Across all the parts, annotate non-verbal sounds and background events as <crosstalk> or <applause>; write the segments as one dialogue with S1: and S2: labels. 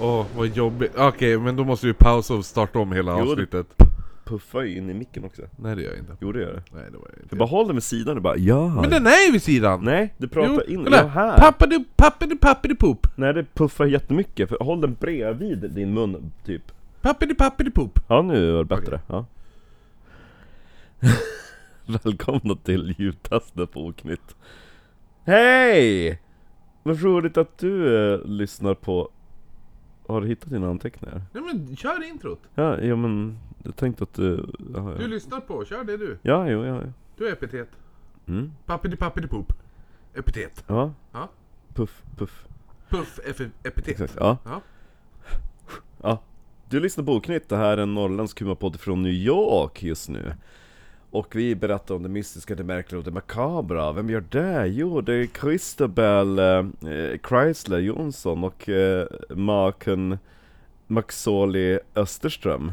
S1: Åh, vad jobbigt. Okej, men då måste vi pausa och starta om hela
S2: Jo, det-
S1: avsnittet.
S2: Puffar ju in i micken också.
S1: Nej det gör jag inte.
S2: Jo det gör det.
S1: Nej det var jag inte.
S2: Du bara håll den vid sidan och bara ja.
S1: Men den är vid sidan!
S2: Nej, du pratar in
S1: kolla.
S2: ja, här.
S1: Pappadi, pappadi, pappadi poop!
S2: Nej det puffar jättemycket, för håll den bredvid din mun typ.
S1: Pappadi, pappadi poop!
S2: Ja nu är det bättre. Ja. <laughs> Välkomna till ljudtestet på Oknytt. Hej! Vad roligt att du eh, lyssnar på... Har du hittat dina anteckningar?
S1: Nej men kör introt!
S2: Ja, ja men jag tänkte att du... Ja,
S1: Du
S2: ja.
S1: lyssnar på, kör det du.
S2: ja jo, ja, ja.
S1: Du är epitet.
S2: Mm.
S1: Pappadi, pappadi poop. Epitet.
S2: Ja.
S1: Ja.
S2: Puff, puff.
S1: Puff, eff- epitet.
S2: Exakt, ja.
S1: Ja.
S2: Ja. Du lyssnar på Oknytt, det här är en norrländsk humorpodd från New York just nu. Och vi berättar om det mystiska, det märkliga och det makabra. Vem gör det? Jo, det är Christabel eh, eh, Chrysler Jonsson och eh, maken Maxoli Österström.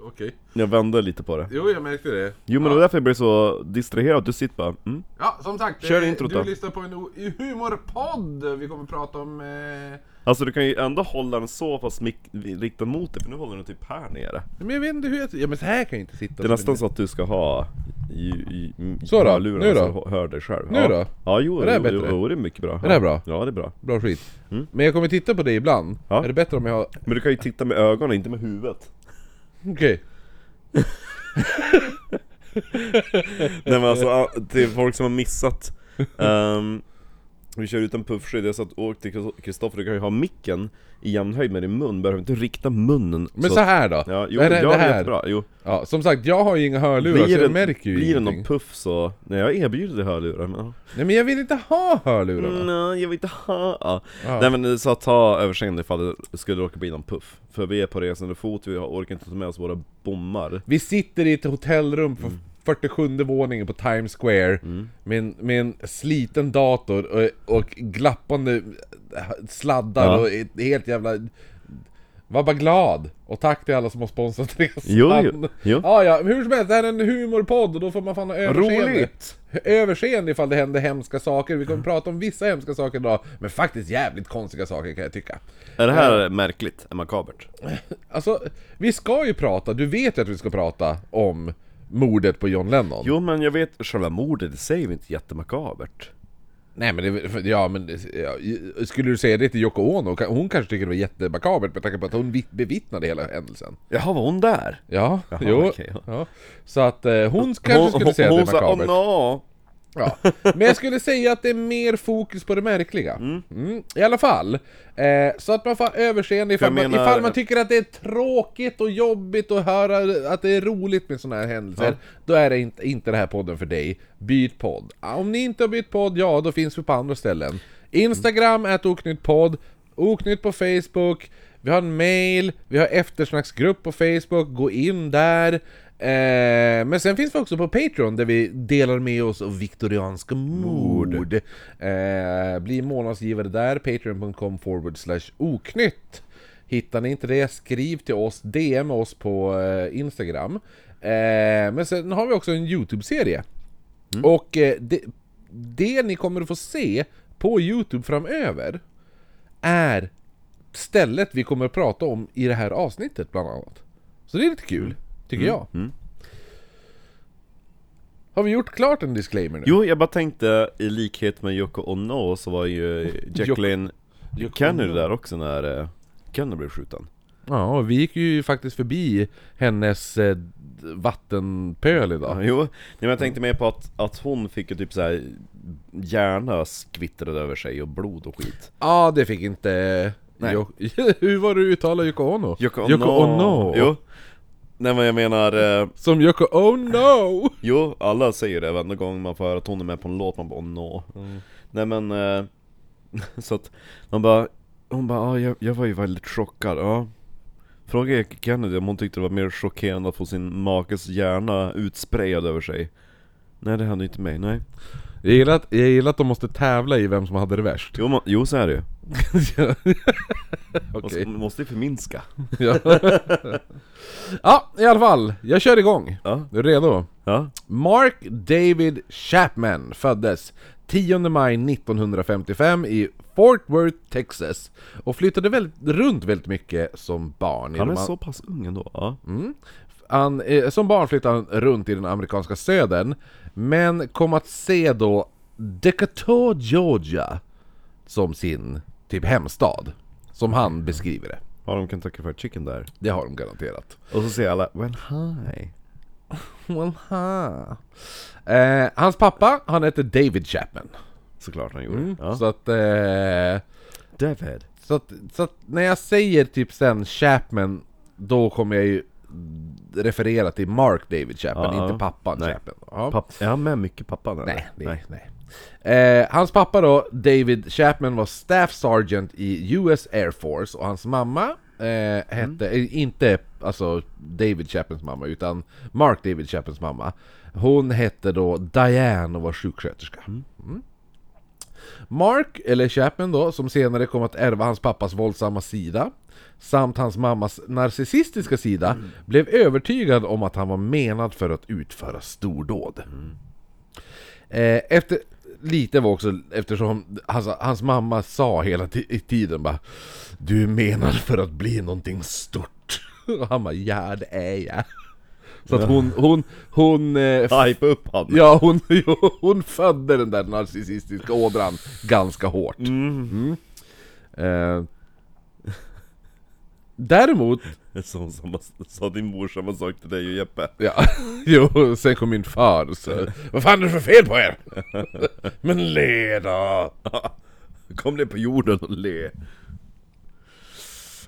S1: Okej.
S2: Jag vände lite på det.
S1: Jo, jag märkte det.
S2: Jo men det var därför jag blev så distraherad, du sitter bara mm.
S1: Ja, som sagt.
S2: Kör
S1: eh,
S2: introt
S1: Du
S2: då.
S1: lyssnar på en o- humorpodd. Vi kommer prata om... Eh...
S2: Alltså du kan ju ändå hålla den så pass mick- riktad mot dig, för nu håller den typ här nere.
S1: Men jag vet inte hur jag... Ja men så här kan jag inte sitta.
S2: Det är nästan så att du ska ha ju- ju- m-
S1: Så då?
S2: hörlurarna
S1: Nu då?
S2: så du hör dig själv.
S1: Nu
S2: ja.
S1: då?
S2: Ja, jo,
S1: Är det här
S2: jo,
S1: bättre?
S2: jo, jo, det är mycket bra.
S1: Är det här bra?
S2: Ja, det är bra.
S1: Bra skit. Men jag kommer titta på det ibland.
S2: Mm. Ja.
S1: Är det bättre om jag har...
S2: Men du kan ju titta med ögonen, inte med huvudet.
S1: Okej.
S2: Nej men alltså, ah, till folk som har missat.
S1: <laughs>
S2: ehm, vi kör utan puffskydd, jag satt och åkte till Kristoffer, du kan ju ha micken i jämn höjd med din mun, behöver inte rikta munnen.
S1: Men så här då.
S2: Ja, jo,
S1: det,
S2: det,
S1: här-
S2: ja,
S1: det
S2: det är
S1: här.
S2: jättebra. Jo.
S1: Ja, som sagt, jag har ju inga hörlurar så jag
S2: det,
S1: märker ju
S2: blir det
S1: ingenting.
S2: någon puff så, nej jag erbjuder dig hörlurar men ja.
S1: Nej men jag vill inte ha hörlurarna.
S2: Mm, Nej, jag vill inte ha... Ja.
S1: Typ. Ja.
S2: Nej men det är så att ta överseende ifall det skulle råka bli någon puff. För vi är på resande fot, vi har- orkar inte ta med oss våra bommar.
S1: Vi sitter i ett hotellrum på
S2: Mm.
S1: 47 våningen på Times Square med, en, med en sliten dator och, och glappande äh, sladdar
S2: Ja.
S1: och ett helt jävla... Var bara glad! Och tack till alla som har sponsrat resan!
S2: Jo, jo, jo.
S1: Ja, ja, men hur som helst, det här är en humorpodd och då får man fan ha överseende.
S2: Roligt! Mm.
S1: Överseende ifall det händer hemska saker. Vi kommer prata om vissa hemska saker idag, men faktiskt jävligt konstiga saker kan jag tycka.
S2: Är det
S1: Mm.
S2: här märkligt? Är makabert?
S1: Alltså, vi ska ju prata, du vet ju att vi ska prata om mordet på John Lennon.
S2: Jo men jag vet, själva mordet i sig är väl inte jättemakabert?
S1: Nej men, det, för- ja, men det- ja, i- skulle du säga det till Yoko Ono? Ka- Hon kanske tycker det var jättemakabert med tanke på att hon vit- bevittnade hela händelsen.
S2: Jaha, var hon där?
S1: Ja, jo.
S2: okej, ja.
S1: ja. Så att eh, hon kanske skulle säga att det är
S2: sa
S1: makabert.
S2: oh no!
S1: Ja. Men jag skulle säga att det är mer fokus på det märkliga. Mm. I alla fall. Eh, så att man får ha överseende ifall,
S2: jag
S1: man,
S2: menar-
S1: ifall man tycker att det är tråkigt och jobbigt och höra att det är roligt med sådana här händelser. Då är det inte, inte den här podden för dig. Byt podd. Om ni inte har bytt podd, ja då finns vi på andra ställen. Instagram, mm. oknyttpodd. Oknytt på Facebook. Vi har en mail, vi har eftersnacksgrupp på Facebook, gå in där. Eh, men sen finns vi också på Patreon där vi delar med oss av viktorianska mord. Eh, bli månadsgivare där, patreon.com forward slash oknytt. Hittar ni inte det, skriv till oss, DM oss på eh, Instagram. Eh, men sen har vi också en YouTube-serie.
S2: Mm.
S1: Och eh, det, det ni kommer att få se på YouTube framöver är stället vi kommer att prata om i det här avsnittet bland annat. Så det är lite kul, tycker
S2: Mm.
S1: jag. Har vi gjort klart en disclaimer nu?
S2: Jo, jag bara tänkte i likhet med Yoko Ono så var ju Jacqueline
S1: Yoko
S2: Kennedy där också när eh, Kennedy blev skjuten.
S1: Ja, och vi gick ju faktiskt förbi hennes eh, d- vattenpöl
S2: Ja,
S1: idag.
S2: Jo, nej, men jag tänkte mer på att, att hon fick ju typ såhär hjärna skvittrade över sig och blod och skit.
S1: Ja, det fick inte...
S2: Nej.
S1: Jo, <laughs> hur var det du uttalade Yoko Ono? Ono.
S2: Jo. Nej men jag menar, eh,
S1: Som Yoko Ono!
S2: jo alla säger det varenda gång man får höra att hon är med på en låt, man bara oh no. Nej men, eh, <laughs> så att man bara, hon bara ah, jag, jag var ju väldigt chockad, ja. Fråga Kennedy om hon tyckte det var mer chockerande att få sin makes hjärna utsprejad över sig. Nej det hände inte mig, nej.
S1: Jag gillar, att, jag gillar att de måste tävla i vem som hade det värst. <laughs>
S2: Jo, man, jo så är det ju. Man
S1: Okej.
S2: måste ju förminska.
S1: <laughs> Ja. ja, i alla fall. Jag kör igång.
S2: Ja.
S1: Är du redo?
S2: Ja.
S1: Mark David Chapman föddes 10 maj 1955 i Fort Worth, Texas. Och flyttade väldigt, runt väldigt mycket som barn. i
S2: Han är
S1: de-
S2: så pass ung ändå. Ja.
S1: Mm. Han, eh, som barn flyttade han runt i den amerikanska södern, men kom att se då Decatur, Georgia som sin typ hemstad. Som han beskriver det.
S2: Har de Kentucky Fried Chicken där?
S1: Det har de garanterat.
S2: Och så säger alla Well hi.
S1: Well, eh, hans pappa, han heter David Chapman.
S2: Såklart han gjorde.
S1: Så
S2: Ja.
S1: att... Eh,
S2: David.
S1: Så att, så att när jag säger typ sen Chapman, då kommer jag ju referera till Mark David Chapman,
S2: Ja,
S1: inte
S2: ja.
S1: pappan
S2: Nej.
S1: Chapman. Ja.
S2: Papp- är han med mycket pappan eller?
S1: nej, det, nej. Eh, hans pappa då, David Chapman, var Staff Sergeant i US Air Force och hans mamma eh, hette, eh, inte alltså David Chapmans mamma, utan Mark David Chapmans mamma. Hon hette då Diane och var sjuksköterska. Mm. Mark, eller Chapman då, som senare kom att ärva hans pappas våldsamma sida samt hans mammas narcissistiska sida blev övertygad om att han var menad för att utföra stordåd. Eh, efter, lite var också eftersom alltså, hans mamma sa hela ti- i tiden bara Du är menad för att bli någonting stort. <laughs> Och han bara ja det är jag. Så att hon, hon, hon eh,
S2: Hype upp han. <laughs>
S1: Ja, hon, <laughs> jo, hon födde den där narcissistiska ådran ganska hårt. Mm. Eh, däremot,
S2: Som, som, sa din mor samma sak till dig och Jeppe.
S1: ja, <laughs> jo, sen kom min far och sa Vad fan är det för fel på er? <laughs> Men le då!
S2: Kom ner på jorden och le.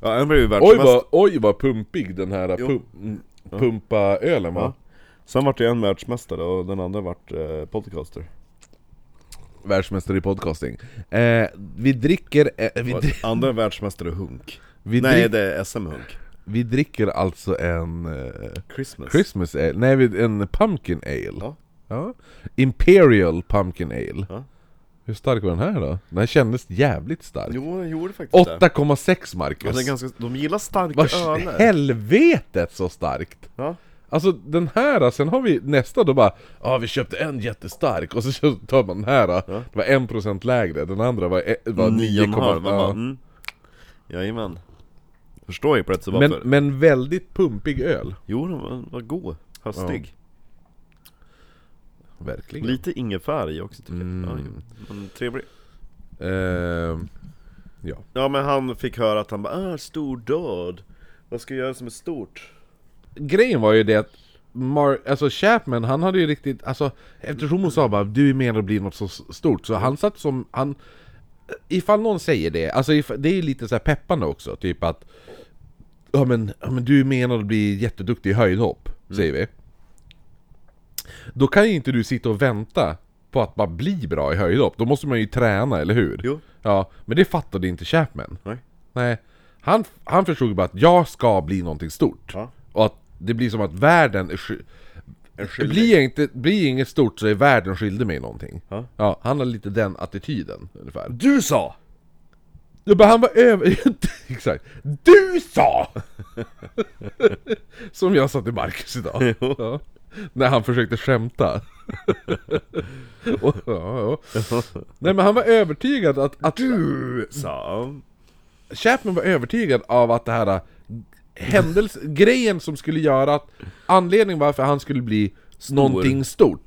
S2: Ja, han blev ju
S1: Oj
S2: världsmästare.
S1: vad, oj vad pumpig den här pump, pumpaölen var.
S2: Mm. Ja. Sen vart jag en världsmästare och den andra vart eh, podcaster.
S1: <laughs> Världsmästare i podcasting. Eh, vi dricker... Eh, vi,
S2: Och
S1: dri-
S2: Andra världsmästare hunk.
S1: vi,
S2: Nej,
S1: drick,
S2: det är SM-hunk.
S1: vi dricker alltså en... Eh,
S2: Christmas.
S1: Christmas ale, nej vid- en pumpkin ale
S2: Ja.
S1: Ja. Imperial pumpkin ale
S2: Ja.
S1: Hur stark var den här då? Den här kändes jävligt stark
S2: Jo, den gjorde faktiskt det.
S1: 8,6
S2: Ja,
S1: Marcus!
S2: den är ganska, de gillar starka
S1: Vars <laughs>
S2: öler.
S1: helvetet så starkt!
S2: Ja.
S1: Alltså den här, sen har vi nästa då bara Ja ah, vi köpte en jättestark och så kö- tar man den här då. Det var 1% lägre, den andra var, e- var 9,5
S2: ja.
S1: ja.
S2: mm. Jajamän. Förstår ju plötsligt
S1: men,
S2: varför.
S1: men väldigt pumpig öl
S2: Jo, den var, var god. Höstig.
S1: Verkligen
S2: Lite ingefära i också tycker jag. Ja, jo. men trevlig.
S1: Ehm, Ja
S2: Ja, men han fick höra att han bara ah, stor död. Vad ska jag göra som är stort?
S1: grejen var ju det att Mar- alltså Chapman, han hade ju riktigt, alltså eftersom hon sa bara du är menad att bli något så s- stort, så han satt som, han Ifall någon säger det, alltså if, det är ju lite så här peppande också, typ att Ja men, ja, men du är menad att bli jätteduktig i höjdhopp,
S2: Mm.
S1: säger vi Då kan ju inte du sitta och vänta på att bara bli bra i höjdhopp, då måste man ju träna, eller hur?
S2: Jo.
S1: Ja, men det fattade inte Chapman
S2: Nej.
S1: Nej, han, han förstod bara att jag ska bli någonting stort.
S2: Ja.
S1: Och att det blir som att världen är sky-
S2: En skyldig.
S1: blir, jag inte, blir inget stort så är världen skyldig mig någonting.
S2: Ja.
S1: han har lite den attityden ungefär.
S2: Du sa!
S1: Jag bara, han var över... <laughs> Exakt. Du
S2: <laughs>
S1: sa! som jag sa till Marcus idag. Ja. När han försökte
S2: <laughs>
S1: skämta. <laughs> och, ja, ja. Nej men han var övertygad att... att du
S2: <laughs> Sa.
S1: Chapman var övertygad av att det här äh, händels grejen som skulle göra att anledningen varför han skulle bli någonting stort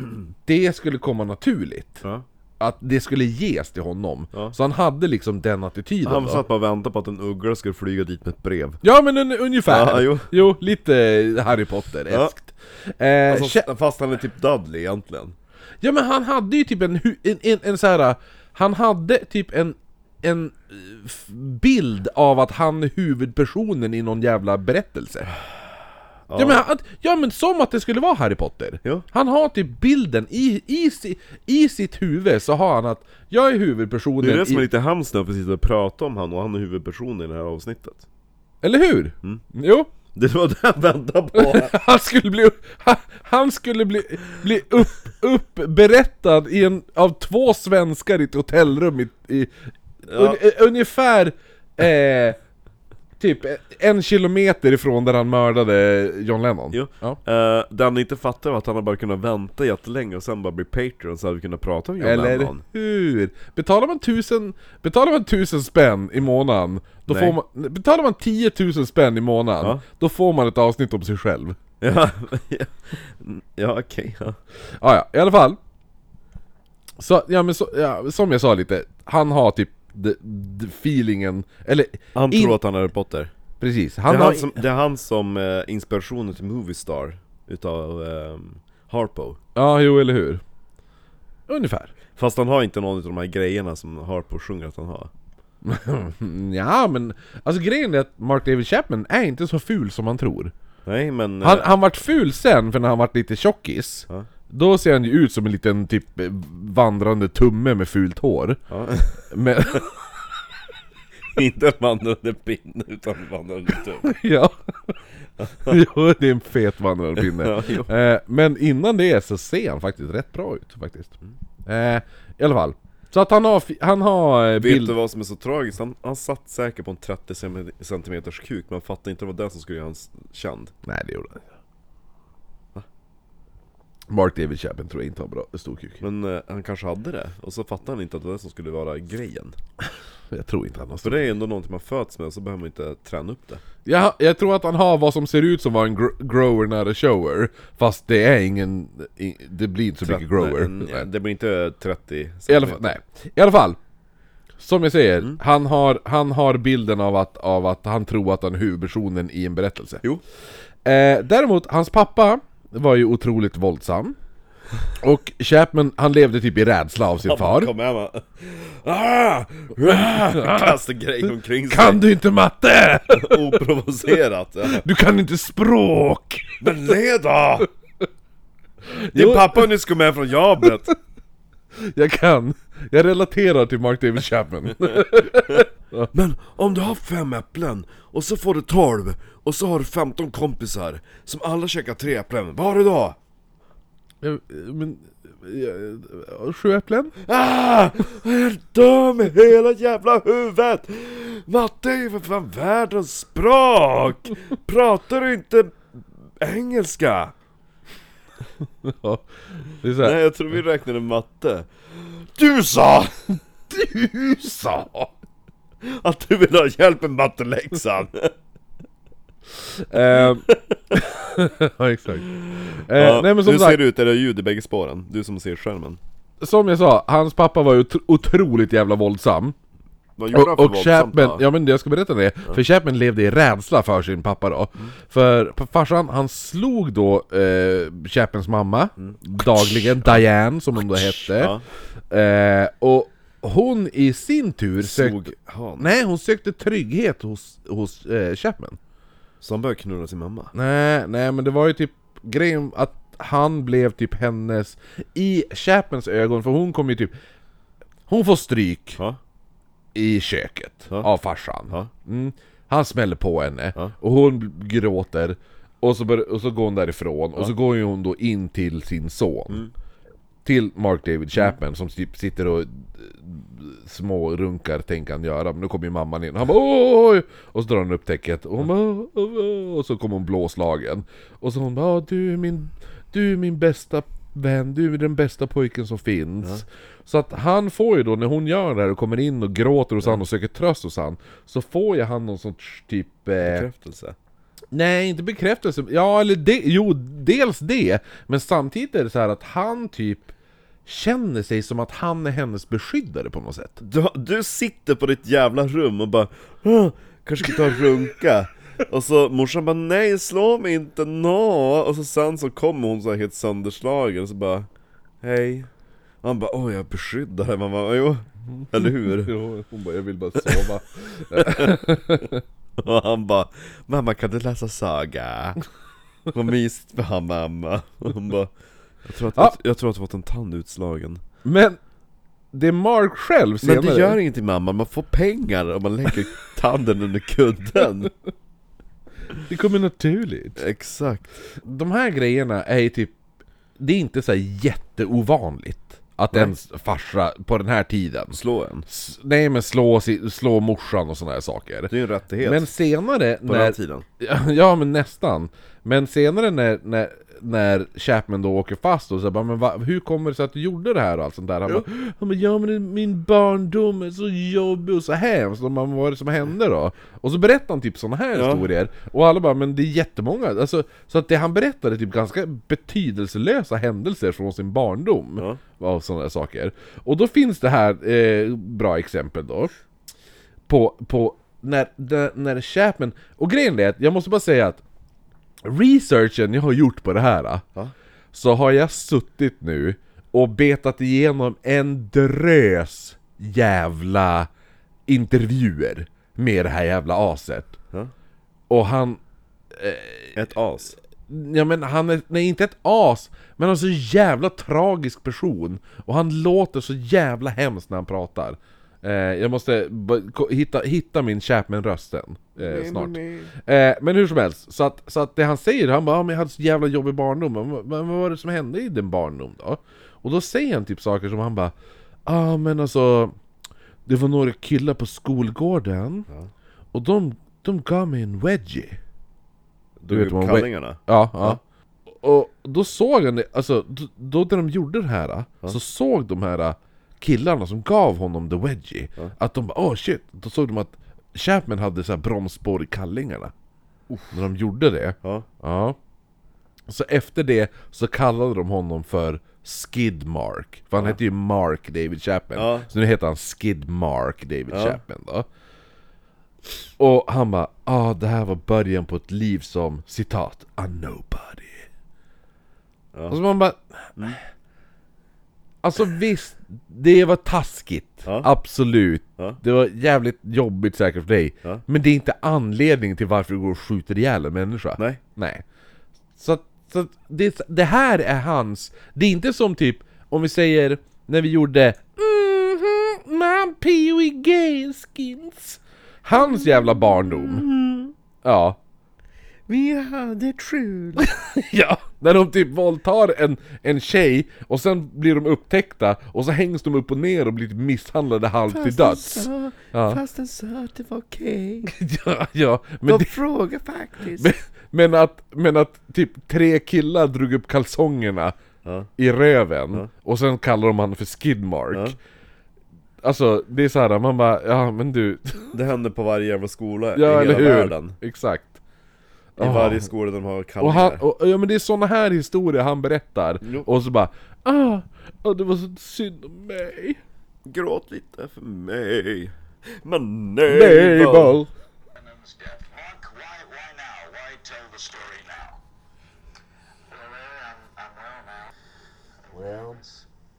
S2: Mm.
S1: Det skulle komma naturligt
S2: Ja.
S1: Att det skulle ges till honom Så han hade liksom den attityden
S2: Han
S1: då.
S2: satt bara och väntade på att en uggla skulle flyga dit med ett brev.
S1: Ja men un ungefär!
S2: Ja, jo.
S1: lite Harry Potter-eskt eh, Cha-
S2: Alltså, fast han är typ Dudley egentligen.
S1: Ja men han hade ju typ en, hu- en, en, en så här. Han hade typ en, en eh, f- bild av att han är huvudpersonen i någon jävla berättelse ja. men, han, att- ja men som att det skulle vara Harry Potter!
S2: Ja.
S1: Han har typ bilden, i, i, si- i sitt huvud så har han att Jag är huvudpersonen
S2: Det är det som är
S1: i,
S2: lite hemskt när vi sitter och pratar om han och han är huvudpersonen i det här avsnittet.
S1: Eller hur?
S2: Mm.
S1: Jo!
S2: Det var det jag väntade
S1: <laughs>
S2: på.
S1: Han skulle bli, han, han skulle bli, bli upp, uppberättad i en, av två svenskar i ett hotellrum i, i
S2: Ja.
S1: un, eh, ungefär eh, typ en kilometer ifrån där han mördade John Lennon.
S2: Jo.
S1: Ja.
S2: Eh, det han inte fattar var att han har bara kunnat vänta jättelänge och sen bara bli Patreon så hade vi kunnat prata om John
S1: Eller
S2: <laughs> Lennon.
S1: hur? Betalar man tusen, betalar man tusen spänn i månaden, då
S2: Nej.
S1: får man, betalar man 10 000 spänn i månaden,
S2: Ja.
S1: då får man ett avsnitt om sig själv.
S2: Ja, <laughs> ja, ja okej. ja.
S1: Ah, ja, i alla fall. Så, ja, men så, ja, som jag sa lite, han har typ the, the feelingen, eller
S2: Han
S1: In-
S2: tror att han är Harry Potter.
S1: precis,
S2: Det
S1: han
S2: är
S1: har...
S2: han som, det är han som eh, inspirationen till Moviestar utav eh, Harpo.
S1: Ja, jo eller hur. Ungefär.
S2: Fast han har inte någon av de här grejerna som Harpo sjunger att han har.
S1: Mm, ja men, alltså grejen är att Mark David Chapman är inte så ful som man tror.
S2: Nej men...
S1: Han,
S2: eh,
S1: han vart ful sen, för när han vart lite tjockis,
S2: Ja.
S1: då ser han ju ut som en liten typ eh, vandrande tumme med fult hår.
S2: ja. <laughs>
S1: Men,
S2: inte en vandrande pinne utan en vandrande
S1: <laughs>
S2: tumme. <laughs>
S1: ja. jo, det är en fet vandrande pinne.
S2: Ja, jo.
S1: Eh, men innan det så ser han faktiskt rätt bra ut faktiskt. Eh, I alla fall. Så att han har, fi- han har eh,
S2: Mm. Vet du
S1: bild...
S2: vad som är så tragiskt? Han, han satt säkert på en 30 cm kuk men han fattade inte att det var det som skulle göra honom känd.
S1: Nej det gjorde han inte. Mark David Chapman tror jag inte har bra stor kuk.
S2: Men eh, han kanske hade det, och så fattade han inte att det var det som skulle vara grejen.
S1: Jag tror inte han har
S2: För
S1: stor.
S2: det är ju ändå någonting man föds med, så behöver man inte träna upp det.
S1: Jag, jag tror att han har vad som ser ut som var en gr- grower not a shower. Fast det är ingen... i- Det blir inte så mycket grower.
S2: En-
S1: Nej.
S2: eh, det blir inte 30
S1: I alla fall, nej. I alla fall. Som jag säger,
S2: Mm.
S1: han, har, han har bilden av att, av att han tror att han är huvudpersonen i en berättelse.
S2: Jo.
S1: Eh, däremot, hans pappa var ju otroligt våldsam. Och Chapman, han levde typ i rädsla av sin far.
S2: Kom hem och... Ah!
S1: <laughs>
S2: Ah! Kastar grejer omkring sig,
S1: Kan du inte matte?
S2: oprovocerat. Ja.
S1: Du kan inte språk!
S2: Men le då!
S1: <laughs> Jo.
S2: Din pappa har nyss kommit hem från jobbet.
S1: Jag kan. Jag relaterar till Mark David
S2: <laughs>
S1: Chapman.
S2: Men om du har fem äpplen och så får du tolv och så har du femton kompisar som alla käkar tre äpplen, vad har du då?
S1: Jag- Men... jag- Sju äpplen?
S2: Ah! Jag är helt dum i hela jävla huvudet! Matte är ju för fan världens språk! Pratar du inte engelska?
S1: Ja. Det är så här.
S2: jag tror vi räknade matte. Du sa
S1: Du sa!
S2: att du vill ha hjälp med matteläxan! <laughs>
S1: Ehm. <laughs> ja, exakt. Eh, nej men som
S2: nu
S1: sagt,
S2: ser det ut, det är ljud i bägge spåren. Du som ser skärmen.
S1: som jag sa, hans pappa var ju otro- otroligt jävla våldsam.
S2: Vad gjorde han
S1: Och,
S2: för
S1: och
S2: våldsamt
S1: Chapman,
S2: då?
S1: ja men jag ska berätta det, för Chapman levde i rädsla för sin pappa då.
S2: Mm.
S1: För p- farsan, han slog då eh, Chapmans mamma dagligen, Diane som hon då hette.
S2: Mm. Ja.
S1: Eh, och hon i sin tur sökte...
S2: Slog han.
S1: Nej, hon sökte trygghet hos, hos eh, Chapman.
S2: Så han började knulla sin mamma?
S1: Nej, nej men det var ju typ grejen att han blev typ hennes, i Chapmans ögon, för hon kom ju typ Hon får stryk
S2: Ja.
S1: i köket
S2: Ja.
S1: av farsan
S2: Ja.
S1: mm. Han smäller på henne,
S2: Ja.
S1: och hon gråter och så, bör, och så går hon därifrån, och så går ju hon då in till sin son
S2: Mm.
S1: Till Mark David Chapman som typ sitter och eh, smårunkar tänker han göra, men nu kommer ju mamman in och han bara oj! Och så drar han upp täcket och hon bara, "Åh, åh, åh", och så kommer hon blåslagen Och så hon bara "Ja, du är min, du är min bästa vän, du är den bästa pojken som finns Så att han får ju då, när hon gör det här och kommer in och gråter hos han och söker tröst hos han Så får ju han någon sorts typ eh,
S2: Bekräftelse?
S1: Nej, inte bekräftelse. Ja, eller det, jo, dels det. Men samtidigt är det så här att han typ känner sig som att han är hennes beskyddare på något sätt.
S2: Du, du sitter på ditt jävla rum och bara "Åh, Kanske ska ta och runka Och så morsan bara nej slå mig inte nå Och så sen så kommer hon så här helt sönderslagen och så bara Hej Och han bara åh jag beskyddar dig man bara jo Eller hur?
S1: Jo, hon bara, jag vill bara sova.
S2: Och han bara Mamma kan du läsa saga? Vad mysigt för han mamma Och hon bara jag tror, att,
S1: Ja.
S2: jag tror att du fått en tand utslagen
S1: <laughs> Men det är Mark själv senare...
S2: Men det gör ingenting mamma, man får pengar om man lägger tanden under kudden
S1: det kommer naturligt.
S2: Exakt
S1: De här grejerna är ju typ... Det är inte så här jätteovanligt att ens farsa på den här tiden...
S2: Slå en.
S1: S- nej men slå, si- slå morsan och sådana här saker.
S2: Det är ju en rättighet
S1: Men senare
S2: på
S1: när...
S2: den tiden.
S1: <laughs> Ja men nästan. Men senare när, när, när Chapman då åker fast och så bara, men va, hur kommer det sig att du gjorde det här och allt sånt där? Han bara, han bara, ja men det- min barndom är så jobbig och så hemskt, och man, vad var det som hände då? Och så berättar han typ såna här
S2: Ja.
S1: historier, och alla bara, men det är jättemånga, alltså, så att det han berättade är typ ganska betydelselösa händelser från sin barndom
S2: Ja.
S1: av sådana där saker. Och då finns det här eh, bra exempel då. På, på när, när, när Chapman... Och grejen är att jag måste bara säga att researchen jag har gjort på det här ah,
S2: Ja.
S1: Så har jag suttit nu och betat igenom en drös jävla intervjuer med det här jävla aset.
S2: Ja.
S1: Och han,
S2: Ett as.
S1: Ja men han är, nej inte ett as, men han är så jävla tragisk person Och han låter så jävla hemskt när han pratar eh, Jag måste b- ko- hitta, hitta min Chapman-rösten eh, snart Eh, men hur som helst, så att, så att det han säger, han bara ah, men jag hade så jävla jobbig barndom, men, vad- men vad var det som hände i din barndom då? Och då säger han typ saker som han bara ah men alltså Det var några killar på skolgården Och de, de gav mig en wedgie
S2: Du
S1: vet vad-
S2: kallingarna.
S1: Ja, ja. Och då såg han det, alltså då, då när de gjorde det här, så såg de här killarna som gav honom the wedgie, att de bara åh shit, då såg de att Chapman hade så här bromsspår i kallingarna. När de gjorde det.
S2: Ja.
S1: Ja. Så efter det så kallade de honom för Skidmark, för han hette ju Mark David Chapman.
S2: Ja.
S1: Så nu heter han Skidmark David Chapman då. Och han bara ah, det här var början på ett liv som citat, a nobody. Och så man bara...
S2: Mm.
S1: Alltså visst, det var taskigt.
S2: Ja.
S1: Absolut.
S2: Ja.
S1: Det var jävligt jobbigt säkert för dig.
S2: Ja.
S1: Men det är inte anledningen till varför du går och skjuter ihjäl en människa.
S2: Nej.
S1: Nej. Så, att- så att det, det här är hans... Det är inte som typ, om vi säger när vi gjorde Mhm, man Pee-Wee Gay-skins. Hans jävla barndom.
S2: Mm-hmm.
S1: Ja.
S2: Vi hade
S1: <laughs>
S2: kul.
S1: Ja, när de typ våldtar en, en tjej och sen blir de upptäckta och så hängs de upp och ner och blir typ misshandlade halvt
S2: Alltså,
S1: till döds. Ja.
S2: Fast den sa att det var okej.
S1: <laughs> Ja, ja, men, det,
S2: frågade faktiskt.
S1: men, men, att, men att typ tre killar drog upp kalsongerna
S2: Ja.
S1: i röven och sen kallar de han för skidmark. Alltså, det är så här, man bara, ja men du, <laughs>
S2: Det händer på varje jävla skola
S1: ja
S2: i
S1: eller
S2: hela
S1: hur?
S2: världen.
S1: Exakt.
S2: I varje skola de har
S1: Och
S2: kallingar.
S1: han, och, ja men det är såna här historier han berättar,
S2: Jo.
S1: och så bara ah, ah, det var så synd om mig.
S2: Gråt lite för mig. Men nej.
S1: Babel!
S3: and it was death. Why, why, why now? Why tell the story now? Well, I'm, I'm well now.
S4: Well,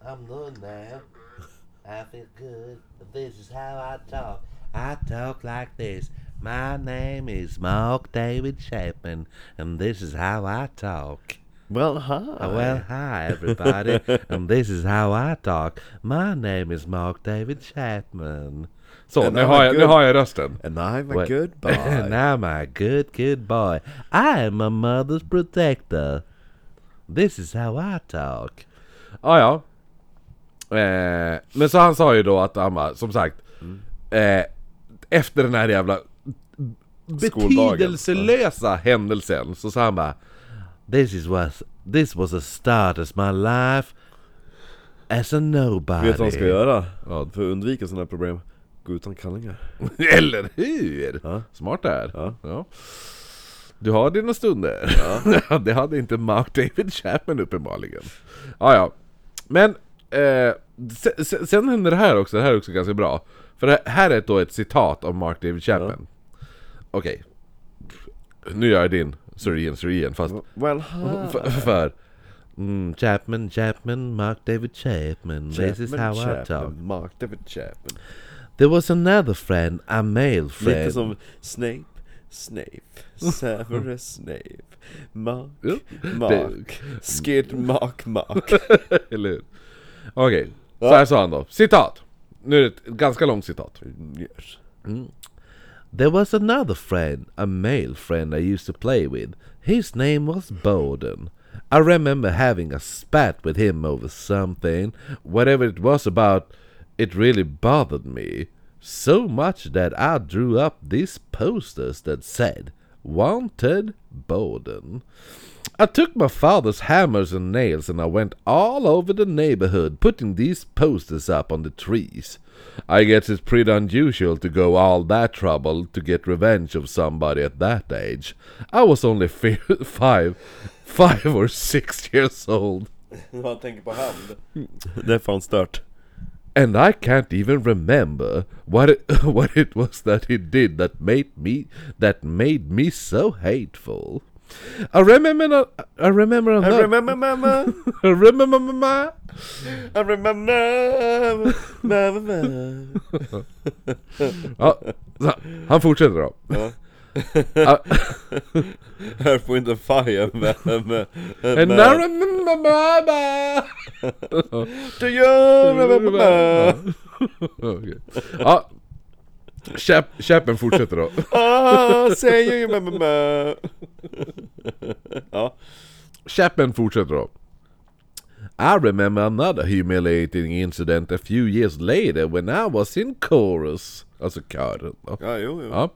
S4: I'm good now. I feel good. This is how I talk. I talk like this. My name is Mark David Chapman, and this is how I talk.
S2: Well hi.
S4: Well, hi, everybody, and this is how I talk. My name is Mark David Chapman.
S1: Så,
S2: And
S1: nu
S2: I'm
S1: har,
S2: a
S1: jag, nu
S2: good-
S1: har jag rösten.
S2: And I'm a
S1: <laughs>
S4: Well,
S2: good
S4: And
S2: boy.
S4: I'm a good, good boy. I am my mother's protector. This is how I talk.
S1: Ah, ja. Eh, men så han sa ju då att han bara, som sagt, eh, efter den här jävla
S2: Skoldagen.
S1: betydelselösa händelsen så sa han bara
S4: This is was this was a start as my life as a nobody.
S2: Vet du vad han ska göra? För att undvika sådana här problem. Gå utan kallingar.
S1: <laughs> Eller hur?
S2: Ja.
S1: Smart där.
S2: Ja.
S1: Du har dina stunder. Ja. <laughs> det hade inte Mark David Chapman uppenbarligen. Ja, ja. Men eh, se- se- sen händer det här också, det här är också ganska bra. För det här är då ett citat av Mark David Chapman. Okej. Nu gör jag din Syrien Syrien fast
S2: Well hi.
S1: för, för <laughs>
S4: Mm, Chapman, Chapman, Mark David Chapman. this is
S2: Chapman,
S4: how I
S2: Chapman,
S4: talk.
S2: Mark David Chapman.
S4: There was another friend, a male friend.
S2: Lite som Snape,
S4: <laughs>
S2: Snape, Severus Snape, Mark, Mark, Skid Mark
S4: <laughs>
S2: Mark.
S1: Eller hur? Okej, så här sa han då. Citat! Nu är det ett ganska långt citat.
S2: Yes.
S4: There was another friend, a male friend I used to play with. His name was Bowden.
S1: I remember having a spat with him over something. Whatever it was about, it really bothered me. So much that I drew up these posters that said, Wanted Borden. I took my father's hammers and nails and I went all over the neighborhood putting these posters up on the trees. I guess it's pretty unusual to go all that trouble to get revenge of somebody at that age. I was only <laughs> fi- five, five or six years old.
S2: Man tänker på hand.
S1: Det är fan stört. And I can't even remember what it, <laughs> what it was that he did that made me that made me so hateful. I remember I remember
S2: I
S1: another,
S2: remember mama,
S1: I <laughs> remember mama.
S2: I remember mama.
S1: Ja, så han fortsätter då. Ja.
S2: Earth, Wind and Fire med... med,
S1: And I
S2: med
S1: remember mama.
S2: Do you remember?
S1: Okej. Ja. Käpp, käppen fortsätter då.
S2: Ah, say you remember? ja.
S1: Chapman fortsätter då. I remember another humiliating incident a few years later when I was in chorus. Alltså kören då.
S2: ja, jo, jo.
S1: Ja.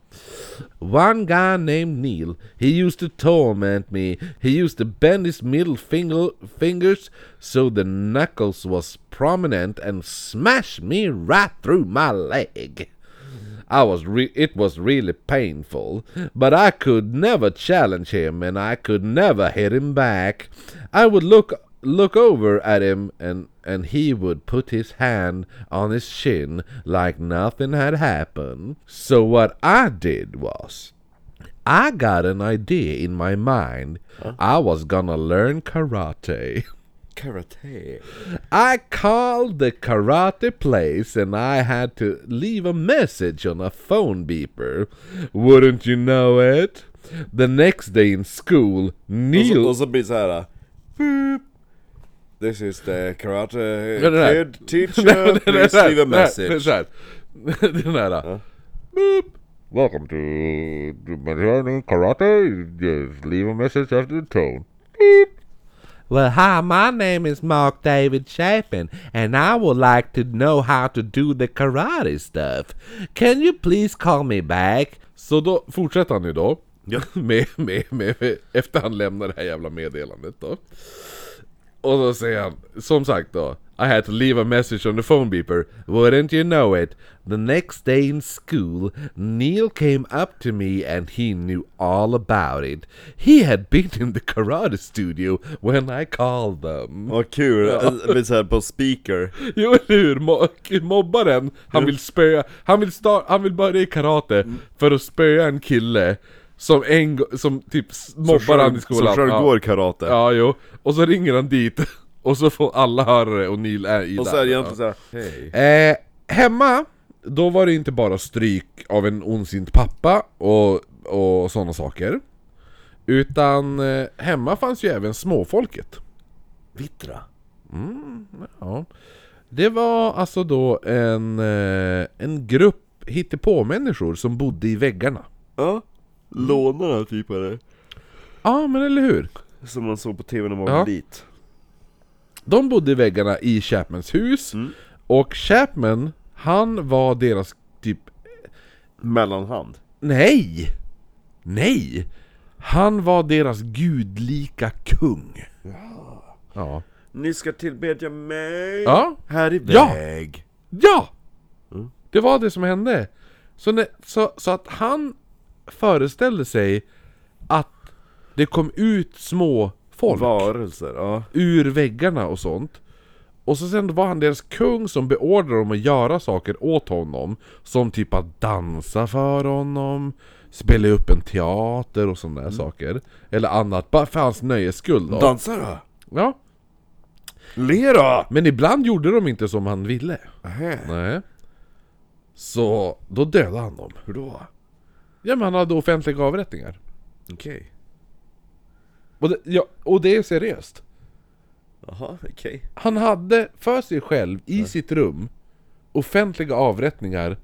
S1: One guy named Neil, he used to torment me. He used to bend his middle finger, fingers so the knuckles was prominent and smash me right through my leg. I was re- it was really painful, but I could never challenge him and I could never hit him back. I would look look over at him and and he would put his hand on his shin like nothing had happened. So what I did was I got an idea in my mind. I was gonna learn karate.
S2: Karate.
S1: I called the karate place and I had to leave a message on a phone beeper. Wouldn't you know it? The next day in school,
S2: Och
S1: Neil...
S2: så, och så blir det så här. Boop. This is the karate
S1: Ja, den här. <laughs>
S2: kid teacher, please leave a message.
S1: Den här. <laughs> Den här. Boop. Welcome to to my learning karate. Just leave a message after the tone. Well, hi, my name is Mark David Chapin, and I would like to know how to do the karate stuff. Can you please call me back? Så då fortsätter han ju då. <laughs> Med, med, med, med, efter han lämnar det här jävla meddelandet då. Och då säger han, som sagt då I had to leave a message on the phone beeper Wouldn't you know it The next day in school Neil came up to me and he knew all about it He had been in the karate studio when I called them <laughs>
S2: Vad kul, det blir såhär på speaker.
S1: Jo eller hur, Mo- mobbaren Han vill spöa, han vill, sta- han vill börja i karate För att spöa en kille Som en gång- som typ s- mobbar han i skolan
S2: Som själv
S1: Ja.
S2: går karate.
S1: Ja, jo. Och så ringer han dit <laughs> och så får alla höra det och Neil är i
S2: Och så är det egentligen såhär, hej.
S1: Eh, hemma, då var det inte bara stryk av en ondsint pappa och, och sådana saker. Utan eh, hemma fanns ju även småfolket. Mm,
S2: Vittra.
S1: Ja. Det var alltså då en, eh, en grupp hittepå-människor som bodde i väggarna.
S2: Ja. Lånarna typ eller?
S1: Ja, men eller hur?
S2: Som man såg på tv när man
S1: Ja.
S2: var dit.
S1: De bodde i väggarna i Chapmans hus och Chapman, han var deras typ
S2: Mellanhand.
S1: Nej! Nej! Han var deras gudlika kung. Ja.
S2: Ni ska tillbedja mig.
S1: Ja.
S2: Här i
S1: Ja.
S2: väg.
S1: Ja! Det var det som hände. Så, när, så, så att han föreställde sig att det kom ut små folk
S2: Varelser, ja.
S1: ur väggarna och sånt. Och så sen var han deras kung som beordrade dem att göra saker åt honom. Som typ att dansa för honom, spela upp en teater och sådana där
S2: Mm.
S1: saker. Eller annat, bara för hans nöjes skull då.
S2: Dansa då!
S1: ja.
S2: Le då!
S1: Men ibland gjorde de inte som han ville.
S2: Nähä,
S1: Nej. Så då dödade han dem.
S2: hur då?
S1: Ja men han hade offentliga avrättningar.
S2: Okej.
S1: Och det, ja, och det är seriöst.
S2: Jaha, okej.
S1: Han hade för sig själv i sitt rum offentliga avrättningar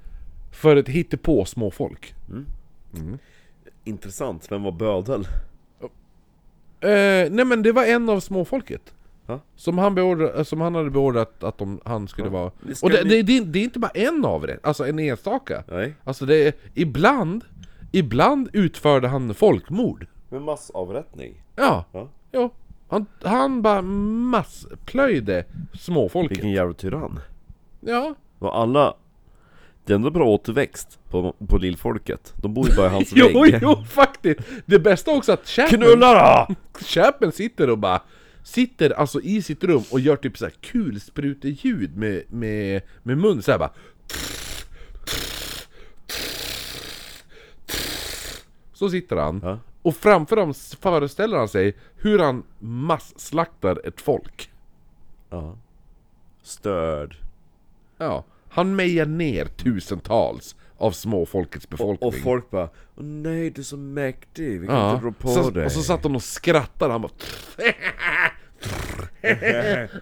S1: för att hitta på småfolk.
S2: Intressant, vem var bödel?
S1: Eh, nej men det var en av småfolket.
S2: Ja.
S1: Som, han beordra, eh, som han hade beordrat att de, han skulle vara...
S2: Vi ska
S1: Och det,
S2: ni-
S1: det, det, det är inte bara en av det, alltså en enstaka.
S2: Nej.
S1: Alltså det är, ibland, ibland utförde han folkmord.
S2: Med massavrättning.
S1: Ja,
S2: Ja.
S1: ja. Han, han bara massplöjde småfolket.
S2: Vilken jävla tyrann.
S1: Ja,
S2: Och alla... Det är ändå bra återväxt på, på lillfolket. De bor ju bara i <laughs> hans
S1: jo,
S2: vägg.
S1: jo faktiskt! Det bästa också att Chapman,
S2: Knulla då!
S1: Chapman sitter och bara Sitter alltså i sitt rum och gör typ såhär kulspruteljud med, med, med mun såhär bara Så sitter han
S2: Ja.
S1: Och framför dem föreställer han sig hur han masslaktar ett folk
S2: Ja. Störd.
S1: Ja, han mejar ner tusentals av småfolkets befolkning
S2: Och folk bara Åh nej du är så mäktig, vi kan
S1: Ja.
S2: inte rå på
S1: så,
S2: dig.
S1: Och så satt hon och skrattade,
S2: <laughs>
S1: han bara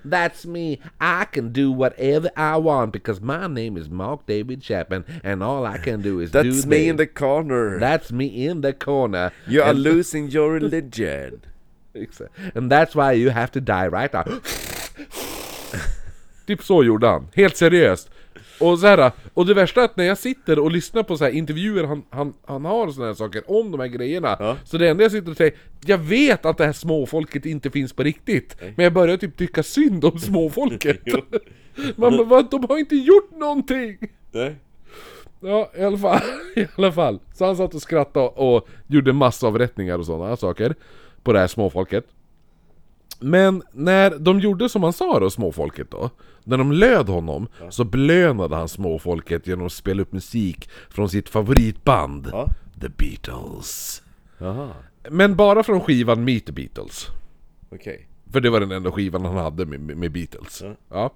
S1: That's me, I can do whatever I want because my name is Mark David Chapman and all I can do is do
S2: That's me
S1: this.
S2: in the corner.
S1: That's me in the corner
S2: You are losing your religion.
S1: And that's why you have to die right now <laughs> Typ så gjorde han, helt seriöst och, så här, och det värsta är att när jag sitter och lyssnar på så här intervjuer han, han, han har och såna här saker om de här grejerna Så det enda jag sitter och säger Jag vet att det här småfolket inte finns på riktigt Men jag börjar typ tycka synd om småfolket <laughs> Man bara, "Vad? de har inte gjort någonting!
S2: <laughs> Nej.
S1: Ja, i alla fall. <laughs> I alla fall. Så han satt och skrattade och gjorde massavrättningar och sådana saker på det här småfolket. Men när de gjorde som han sa då, småfolket då. När de löd honom så belönade han småfolket genom att spela upp musik från sitt favoritband
S2: Ja.
S1: The Beatles.
S2: Jaha,
S1: Men bara från skivan Meet the Beatles.
S2: okej.
S1: För det var den enda skivan han hade med, med med Beatles. Ja.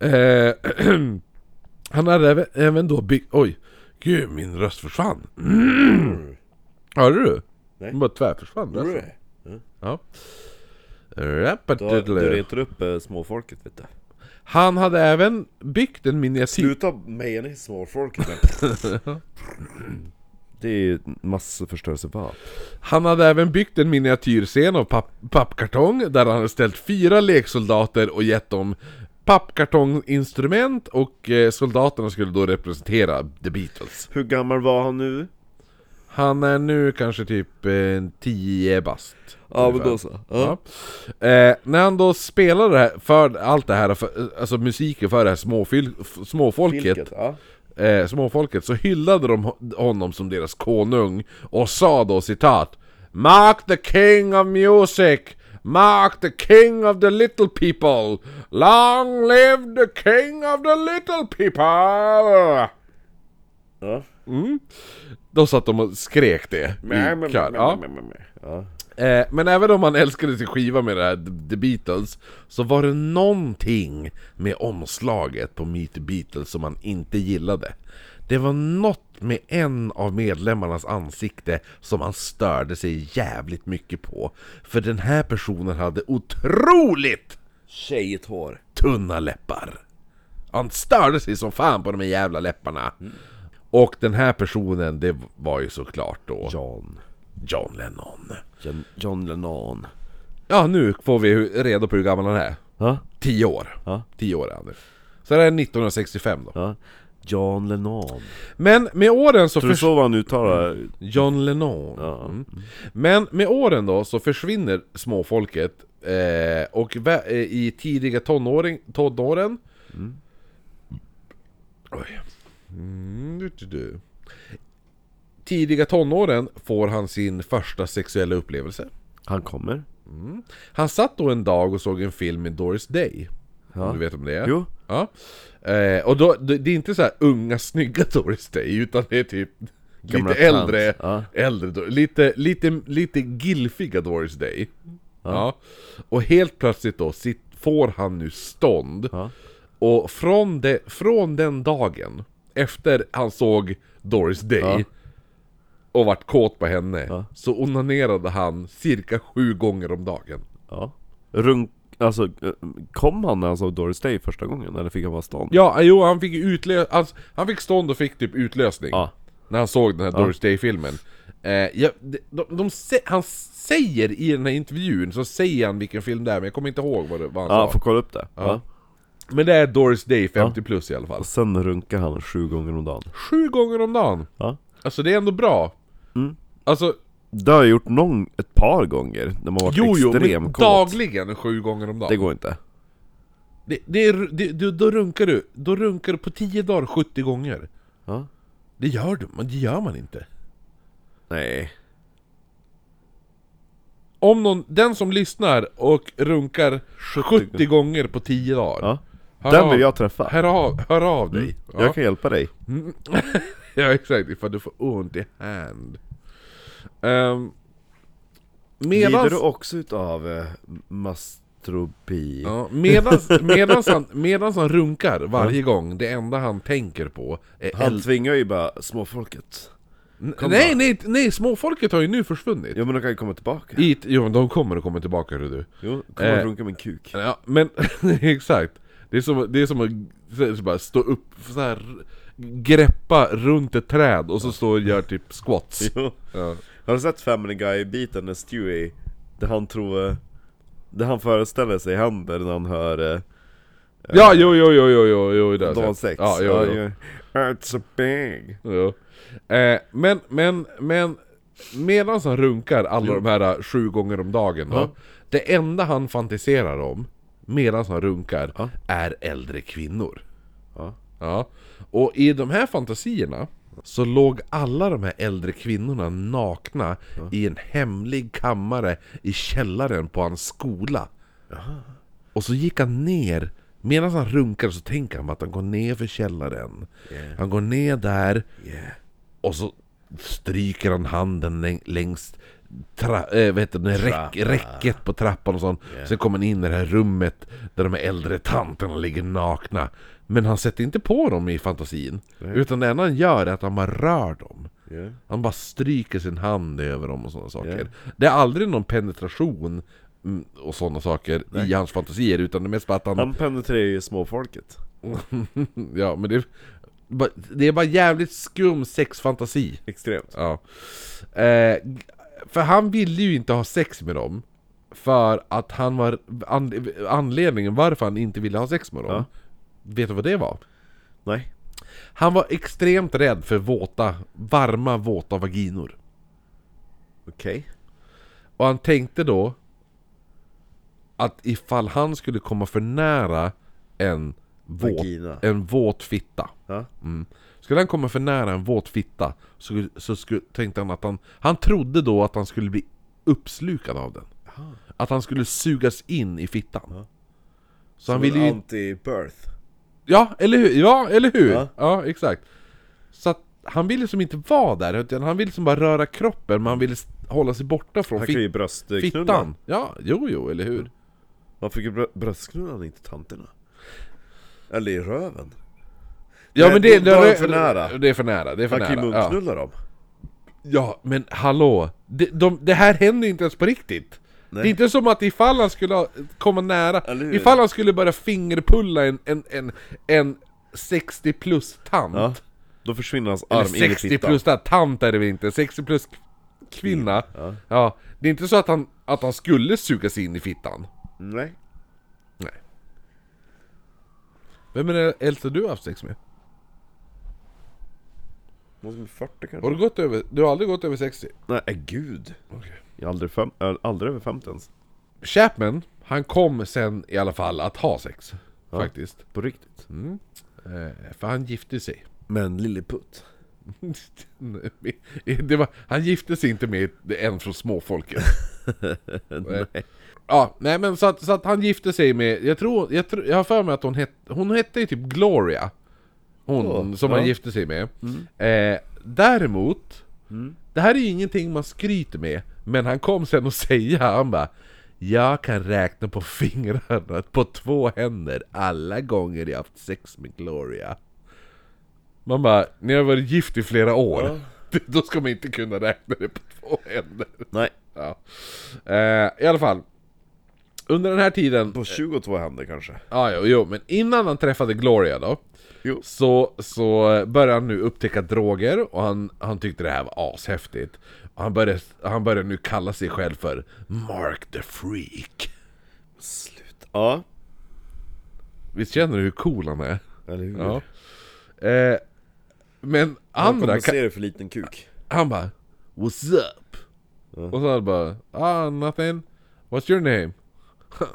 S1: Eh, <clears throat> han hade även, även då byggt... Oj! Gud, min röst försvann. Mm. Hörde du?
S2: Nej.
S1: Den bara tvärförsvann. Alltså. Ja.
S2: Du, du
S1: Rappatiddly.
S2: retar upp eh, småfolket vet du.
S1: Han hade även byggt en miniatyr...
S2: Sluta meja ner småfolket <laughs> Det är ju massförstörelsevapen.
S1: Han hade även byggt en miniatyrscen av papp, pappkartong där han hade ställt fyra leksoldater och gett dem pappkartonginstrument och eh, soldaterna skulle då representera The Beatles.
S2: Hur gammal var han nu?
S1: Han är nu kanske typ eh, 10 bast.
S2: Ja men
S1: ungefär.
S2: då så. Ja.
S1: Ja. Eh, när han då spelade det här, för allt det här, för, alltså musiken för det här småfil, f- småfolket,
S2: Vilket? Ja.
S1: eh, småfolket, så hyllade de ho- honom som deras konung och sa då citat Mark the king of music! Mark the king of the little people! Long live the king of the little people! Mm.
S2: Ja.
S1: Då satt de och skrek det. i kör. Ja.
S2: Ja.
S1: Eh, men även om han älskade sin skiva med det här The Beatles Så var det någonting med omslaget på Meet the Beatles som han inte gillade Det var något med en av medlemmarnas ansikte som han störde sig jävligt mycket på För den här personen hade otroligt
S2: Tjejigt hår.
S1: tunna läppar Han störde sig som fan på de här jävla läpparna Och den här personen, det var ju såklart då
S2: John.
S1: John Lennon
S2: John, John Lennon.
S1: Ja, nu får vi hu- reda på hur gammal han är.
S2: Ja.
S1: 10 år.
S2: Ja.
S1: 10 år är han nu. Så det är 1965 då.
S2: ja. John Lennon.
S1: Men med åren så...
S2: Tror du
S1: förs-
S2: så vad han uttalar?
S1: John Lennon. Mm.
S2: Ja.
S1: Men med åren då så försvinner småfolket eh, och vä- eh, i tidiga tonåring, tonåren... Oj. Mm, du, du, du. Tidiga tonåren får han sin första sexuella upplevelse.
S2: Han kommer.
S1: Han satt då en dag och såg en film med Doris Day. Om Du vet om det är?
S2: Jo.
S1: Ja. Eh, och då, det det är inte så här unga snygga <laughs> Doris Day, utan det är typ
S2: Gamla
S1: lite äldre,
S2: tant, ja.
S1: äldre Dor- lite, lite, lite gilfiga Doris Day. Ja. Och helt plötsligt då sitt, får han nu stånd.
S2: Ja.
S1: Och från, det, från den dagen, efter han såg Doris Day,
S2: Ja.
S1: och vart kåt på henne,
S2: Ja.
S1: så onanerade han cirka sju gånger om dagen.
S2: Ja. Runk... Alltså, eh, kom han när han såg Doris Day första gången? Eller fick han bara stånd?
S1: Ja, eh, jo han alltså, fick utlö- han, han fick stånd och fick typ utlösning
S2: Ja.
S1: När han såg den här Doris Day-filmen Eh, ja, de, de, de, sä- han säger i den här intervjun, så säger han vilken film det är, men jag kommer inte ihåg vad, det, vad han
S2: Ja,
S1: sa.
S2: får kolla upp det. Ja.
S1: Men det är Doris Day 50 plus i alla fall.
S2: Och sen runkar han sju gånger om dagen.
S1: Sju gånger om dagen!
S2: Ja. Mm.
S1: Alltså det är ändå bra. Alltså,
S2: Det har jag gjort någon, ett par gånger, när man varit
S1: jo jo, men
S2: extremkåt.
S1: dagligen sju gånger om dagen.
S2: Det går inte.
S1: Det, det är, det, du- då runkar du, då runkar du på 10 dagar 70 gånger.
S2: Ja.
S1: Det gör du, men det gör man inte.
S2: Nej.
S1: Om någon, den som lyssnar och runkar 70, gånger på 10 dagar.
S2: Ja.
S1: hör
S2: Den
S1: av-
S2: vill jag träffa. Mm,
S1: Hör av, hör av dig. Ja.
S2: Jag kan hjälpa dig.
S1: ja exakt, ifall du får ont i hand. Um,
S2: Lider
S1: medans,
S2: du också utav eh, mastropi?
S1: ja, medans, medans, han, medans han runkar varje gång, det enda han tänker på är
S2: Han
S1: eld.
S2: tvingar ju bara småfolket. kom
S1: Nej,
S2: då.
S1: nej, nej, småfolket har ju nu försvunnit.
S2: Jo men de kan ju komma tillbaka.
S1: Hit, jo men de kommer att komma tillbaka hör du.
S2: Jo, kommer
S1: Eh.
S2: och runka min kuk.
S1: Ja, men <laughs> exakt. Det är som, det är som att så här, så bara stå upp, så här, greppa runt ett träd och så står och gör typ <laughs> squats.
S2: <laughs> Jo. Har du sett Family Guy-biten när Stewie, där han tror, eh, det han föreställer sig händer när han hör eh,
S1: Ja, jo, jo, jo, jo, jo, jo, det har jag
S2: Dan
S1: sett.
S2: 6?
S1: Ja, jo, jo.
S2: It's a big...
S1: Jo. Eh, men, men, men medan han runkar alla de här eh, sju gånger om dagen då, Det enda han fantiserar om medan han runkar
S2: Ja.
S1: är äldre kvinnor.
S2: Ja.
S1: Ja. Och i de här fantasierna så låg alla de här äldre kvinnorna nakna i en hemlig kammare i källaren på hans skola. Och så gick han ner Medan han runkar så tänker han på att han går ner för källaren Han går ner där Och så stryker han handen läng- längs tra- äh, vet du, räck- räcket på trappan och sånt Sen kommer han in i det här rummet Där de här äldre tanterna ligger nakna Men han sätter inte på dem i fantasin Utan det enda han gör är att han bara rör dem
S2: Yeah.
S1: han bara stryker sin hand över dem och sådana saker. Det är aldrig någon penetration mm, och sådana saker i hans fantasier utan det är mest bara att han...
S2: Han penetrerar ju småfolket.
S1: <laughs> ja, men det, ba- det är bara jävligt skum sexfantasi.
S2: Extremt.
S1: Ja. Eh, g- för han ville ju inte ha sex med dem. För att han var... An, anledningen varför han inte ville ha sex med dem.
S2: Ja.
S1: Vet du vad det var?
S2: Nej.
S1: Han var extremt rädd för våta, varma våta vaginor.
S2: Okej.
S1: Och han tänkte då att ifall han skulle komma för nära en våt,
S2: Vagina.
S1: en våt fitta.
S2: Ja.
S1: Mm. Skulle han komma för nära en våt fitta så, så skulle, tänkte han att han... Han trodde då att han skulle bli uppslukad av den. Att han skulle sugas in i fittan. Så han
S2: Han
S1: ville
S2: vill ju...
S1: ju...
S2: Anti-birth.
S1: Ja, eller hur? Ja, eller hur? Ja,
S2: Ja.
S1: exakt. Så att han ville som inte vara där, utan han ville som bara röra kroppen, men han ville s- hålla sig borta från
S2: Han
S1: fit-
S2: kan ju bröstknulla.
S1: Fittan! Ja, jo, jo, eller
S2: Mm.
S1: hur?
S2: Varför fick brö- bröstknullan inte tanterna? Eller i röven?
S1: Ja,
S2: Nej,
S1: men det,
S2: då-
S1: det,
S2: då är
S1: det,
S2: det för nära.
S1: Det är för nära, det är för
S2: Han kan ju
S1: nära. Ja.
S2: munknulla dem.
S1: ja, men hallå! Det, de, det här händer ju inte ens på riktigt! Det är inte som att ifall han skulle ha- komma nära,
S2: Eller hur?
S1: ifall han skulle börja fingerpulla en, en, en, en 60 plus tant
S2: Ja. Då försvinner hans
S1: Eller
S2: arm in i
S1: 60
S2: fittan.
S1: plus där, tant är det väl inte, 60 plus k- kvinna ja. Det är inte så att han, att han skulle sugas in i fittan
S2: Nej.
S1: Nej Vem är det äldsta du har haft sex med?
S2: Någon som är 40 kanske?
S1: Har du gått över, du har aldrig gått över 60?
S2: Nej, äh, gud. Jag är aldrig, fem, äh, aldrig över 50 ens.
S1: Chapman, han kom sen i alla fall att ha sex Faktiskt
S2: På riktigt.
S1: Mm. eh, För han gifte sig <laughs>
S2: Men Lilleputt.
S1: det var, han gifte sig inte med en från
S2: <laughs>
S1: småfolket. nej. Ja, nej men så att, så att han gifte sig med, jag tror, jag, tror, jag har för mig att hon hette, hon hette ju typ Gloria. Hon
S2: Åh,
S1: som
S2: ja. Mm.
S1: han gifte sig med. Eh, däremot, det här är ju ingenting man skryter med, men han kom sen och säga, han bara jag kan räkna på fingrarna på två händer alla gånger jag haft sex med Gloria. Man bara, ni har varit gift i flera år. <laughs> Då ska man inte kunna räkna det på två händer.
S2: Nej.
S1: Ja. Eh, I alla fall. Under den här tiden ah,
S2: På 22 hände kanske?
S1: Ja, jo, jo, men innan han träffade Gloria då
S2: Jo.
S1: Så, så började han nu upptäcka droger och han, han tyckte det här var ashäftigt och han började, han började nu kalla sig själv för Mark the Freak
S2: Slut. Ja,
S1: Visst känner du hur cool han är?
S2: eller hur?
S1: Ja eh, Men
S2: Han
S1: andra, ka-
S2: kompenserar för liten kuk.
S1: han bara What's up? Och så han bara Ah nothing What's your name?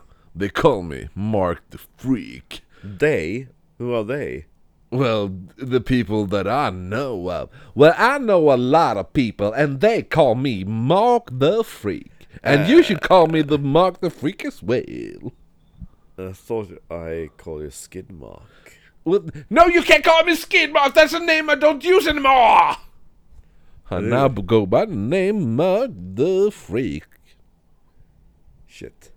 S1: <laughs> They call me Mark the Freak
S2: They? Who are they?
S1: Well, the people that I know of. Well, I know a lot of people, and they call me Mark the Freak. And
S2: Uh.
S1: you should call me the Mark the Freak as well.
S2: I thought I called you Skidmark.
S1: well no, you can't call me Skid Mark. That's a name I don't use anymore. I now go by the name Mark the Freak.
S2: Shit.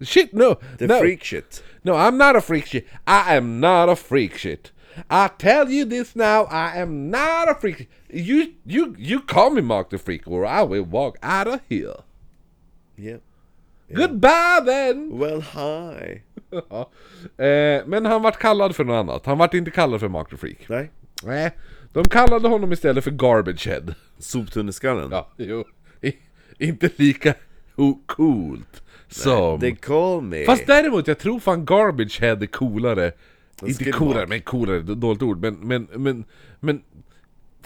S1: Shit, no,
S2: The
S1: no,
S2: freak shit.
S1: no! I'm not a freak shit. I am not a freak shit. I tell you this now. I am not a freak. shit. You, you, you call me Mark the Freak, or I will walk out of here.
S2: Yeah.
S1: Goodbye then!
S2: Well, hi.
S1: Ja. Eh, men han vart kallad för något annat. Han vart inte kallad för Mark the Freak.
S2: Nej.
S1: Nej. De kallade honom istället för Garbage Head.
S2: Soptunneskallen.
S1: Ja, jo. I, inte lika o- coolt som...
S2: They call me.
S1: Fast däremot, jag tror fan Garbage Head är coolare. Inte
S2: Skidmark.
S1: coolare, men coolare, d- dåligt ord. Men, men, men, men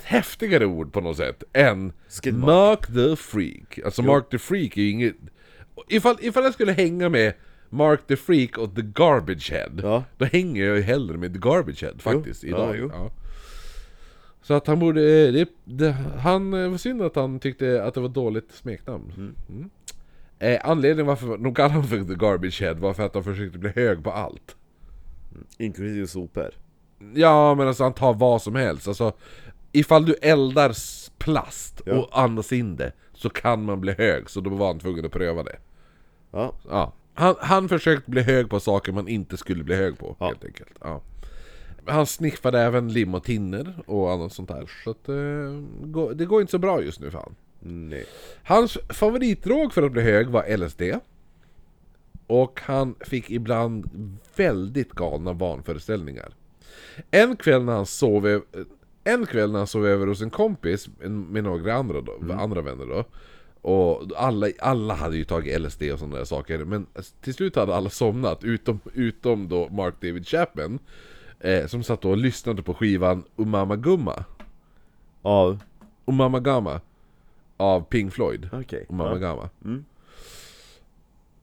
S1: häftigare ord på något sätt än
S2: Skidmark.
S1: Mark the Freak. Alltså Mark the Freak är ju inget... Ifall, ifall jag skulle hänga med Mark the Freak och The Garbage Head,
S2: Ja.
S1: då hänger jag ju hellre med The Garbage Head faktiskt
S2: Ja,
S1: idag.
S2: jo.
S1: Ja. Så att han borde... eh, Det, det, han, eh, var synd att han tyckte att det var dåligt smeknamn. Mm. Eh, anledningen varför de kallade honom för The Garbage Head var för att han försökte bli hög på allt.
S2: Inklusive sopor.
S1: Ja, men alltså han tar vad som helst. Alltså, ifall du eldar s- plast
S2: Ja.
S1: och andas in det så kan man bli hög, så då var han tvungen att pröva det.
S2: Ja.
S1: Ja. Han, han försökte bli hög på saker man inte skulle bli hög på,
S2: Ja.
S1: helt enkelt. Ja. Han sniffade även lim och tinner och annat sånt där. Så att, eh, gå- det går inte så bra just nu för han.
S2: Nej.
S1: Hans favoritdrog för att bli hög var LSD. Och han fick ibland väldigt galna vanföreställningar. En kväll när han sov, ö- en kväll när han sov över hos en kompis en- med några andra, då, andra vänner då. Och alla, alla hade ju tagit LSD och sådana där saker. Men till slut hade alla somnat, utom, utom då Mark David Chapman. Eh, som satt och lyssnade på skivan Umama Gumma.
S2: Ja.
S1: Umama Gamma av Pink Floyd.
S2: Okej.
S1: Och mamma
S2: Ja. Mm.
S1: gamma.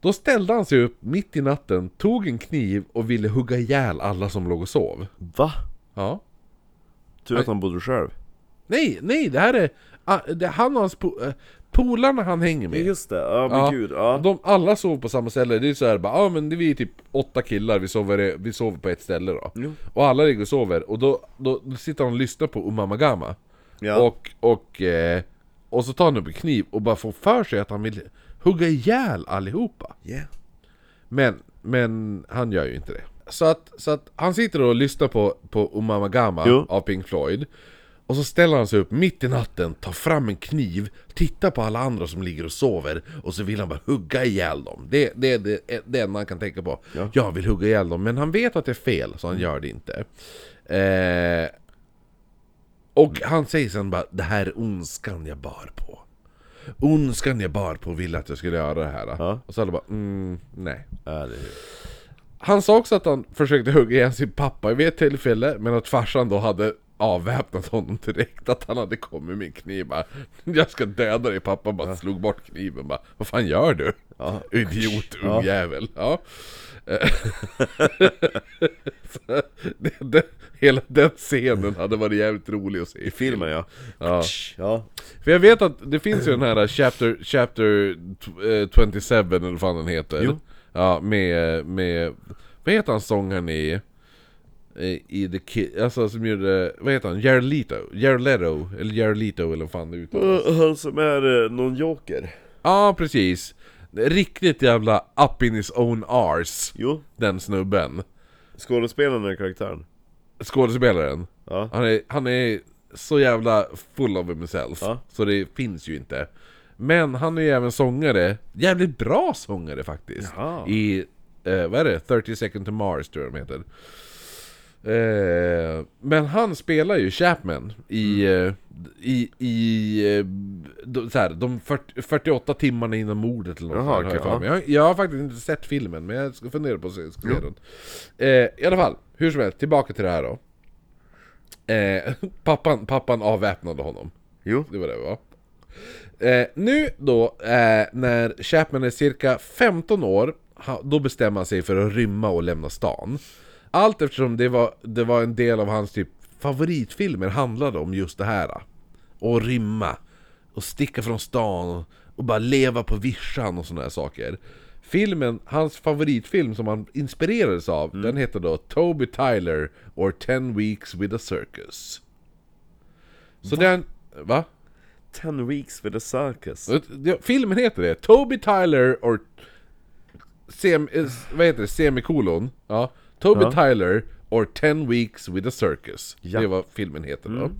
S1: Då ställde han sig upp mitt i natten, tog en kniv och ville hugga ihjäl alla som låg och sov.
S2: Va?
S1: Ja.
S2: Tur att han bodde själv.
S1: Nej, nej, det här är... ah, Det är han och hans po- eh, polarna han hänger med.
S2: Just det. Ja, men
S1: Ja,
S2: gud. Ja.
S1: De alla sov på samma ställe, det är så här bara, ja men det är vi typ åtta killar, vi sover, vi sover på ett ställe då. Och alla ligger och sover, och då, då, då sitter han och lyssnar på Umamagama.
S2: Ja.
S1: Och, och, eh, och så tar han upp en kniv och bara får för sig att han vill hugga ihjäl allihopa.
S2: Yeah.
S1: Men, men han gör ju inte det. Så att, så att han sitter och lyssnar på, på Umamagama
S2: Jo.
S1: av Pink Floyd. Och så ställer han sig upp mitt i natten, tar fram en kniv, tittar på alla andra som ligger och sover och så vill han bara hugga ihjäl dem. Det, det är det, det enda han kan tänka på. Jag vill hugga ihjäl dem, men han vet att det är fel så han
S2: Mm.
S1: gör det inte. Eh, och han säger sen bara Det här är ondskan jag bar på Ondskan jag bar på ville att jag skulle göra det här
S2: Ja.
S1: Och så alla bara mm, nej
S2: Ja, det är ju-
S1: Han sa också att han försökte hugga igen sin pappa vid ett tillfälle Men att farsan då hade avväpnat honom direkt Att han hade kommit med en kniv bara, Jag ska döda dig pappa bara slog bort kniven bara Vad fan gör du?
S2: Ja.
S1: Idiot ung
S2: Ja.
S1: jävel ja. <laughs> Eh, så, det, det, Hela den scenen hade varit jävligt rolig att se
S2: I filmen ja.
S1: Ja.
S2: Ja.
S1: För jag vet att det finns ju den här Chapter, chapter tw- eh, 27 eller vad fan den heter.
S2: Jo.
S1: Ja, med, med... Vad heter han sångaren i... eh, I The Kid... Alltså som gjorde... Vad heter han? Jarlito? Jarleto? Eller Jarlito eller vad fan det uttalas.
S2: Och Han som är eh, någon joker.
S1: Ja, precis. Riktigt jävla up in his own arse.
S2: Jo.
S1: Den snubben.
S2: Skådespelaren är karaktären.
S1: Skådespelaren.
S2: Ja.
S1: Han är, han är så jävla full of himself,
S2: Ja.
S1: så det finns ju inte. Men han är ju även sångare, jävligt bra sångare faktiskt.
S2: Jaha.
S1: I, eh, vad är det? 30 Second to Mars tror jag de heter. Eh, men han spelar ju Chapman i,
S2: Mm.
S1: eh, i, i eh, de, så här, de 40, 48 timmarna innan mordet eller något
S2: Jaha,
S1: sånt där, har jag,
S2: okej,
S1: för mig. jag, har- jag har faktiskt inte sett filmen men jag ska fundera på att se, ska se den. Eh, I alla fall, hur som helst, tillbaka till det här då. Eh, <laughs> pappan, pappan avväpnade honom.
S2: Jo.
S1: Det var det va? Eh, nu då, eh, när Chapman är cirka 15 år, ha- då bestämmer han sig för att rymma och lämna stan. Allt eftersom det var, det var en del av hans typ favoritfilmer handlade om just det här. Och rymma, och sticka från stan, och, och bara leva på vischan och sådana här saker. Filmen, hans favoritfilm som han inspirerades av, den heter då Toby Tyler or 10 Weeks with a Circus. Så den... Va?
S2: Ten weeks with a circus.
S1: Ja, Filmen heter det, Toby Tyler or... Sem, eh, vad heter det? Semikolon? Ja. Toby
S2: Ja.
S1: Tyler or 10 Weeks with a Circus.
S2: Ja. Mm.
S1: Det är vad filmen heter då.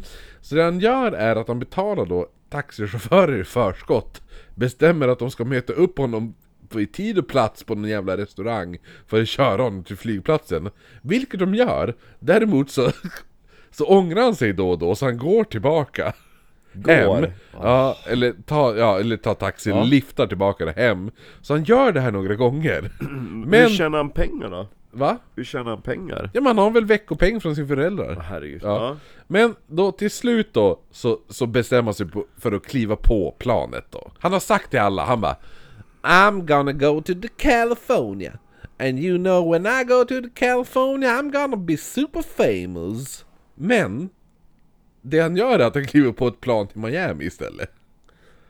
S1: Så det han gör är att han betalar då taxichaufförer i förskott. Bestämmer att de ska möta upp honom på- i tid och plats på någon jävla restaurang för att köra honom till flygplatsen. Vilket de gör. Däremot så, <laughs> så ångrar han sig då och då så han går tillbaka.
S2: Går?
S1: Hem. Ja, eller ta, ja, eller ta taxi, liftar tillbaka det hem. Så han gör det här några
S2: <clears throat>
S1: gånger. <clears throat>
S2: Hur
S1: Men,
S2: tjänar han pengar då?
S1: va?
S2: Hur tjänar han pengar?
S1: Ja, man har väl veckopeng från sina föräldrar.
S2: Herregud.
S1: Ja.
S2: Ja.
S1: Men då till slut då, så, så bestämmer han sig på, för att kliva på planet då. Han har sagt till alla, han bara I'm gonna go to the California And you know when I go to the California I'm gonna be super famous Men Det han gör är att han kliver på ett plan till Miami istället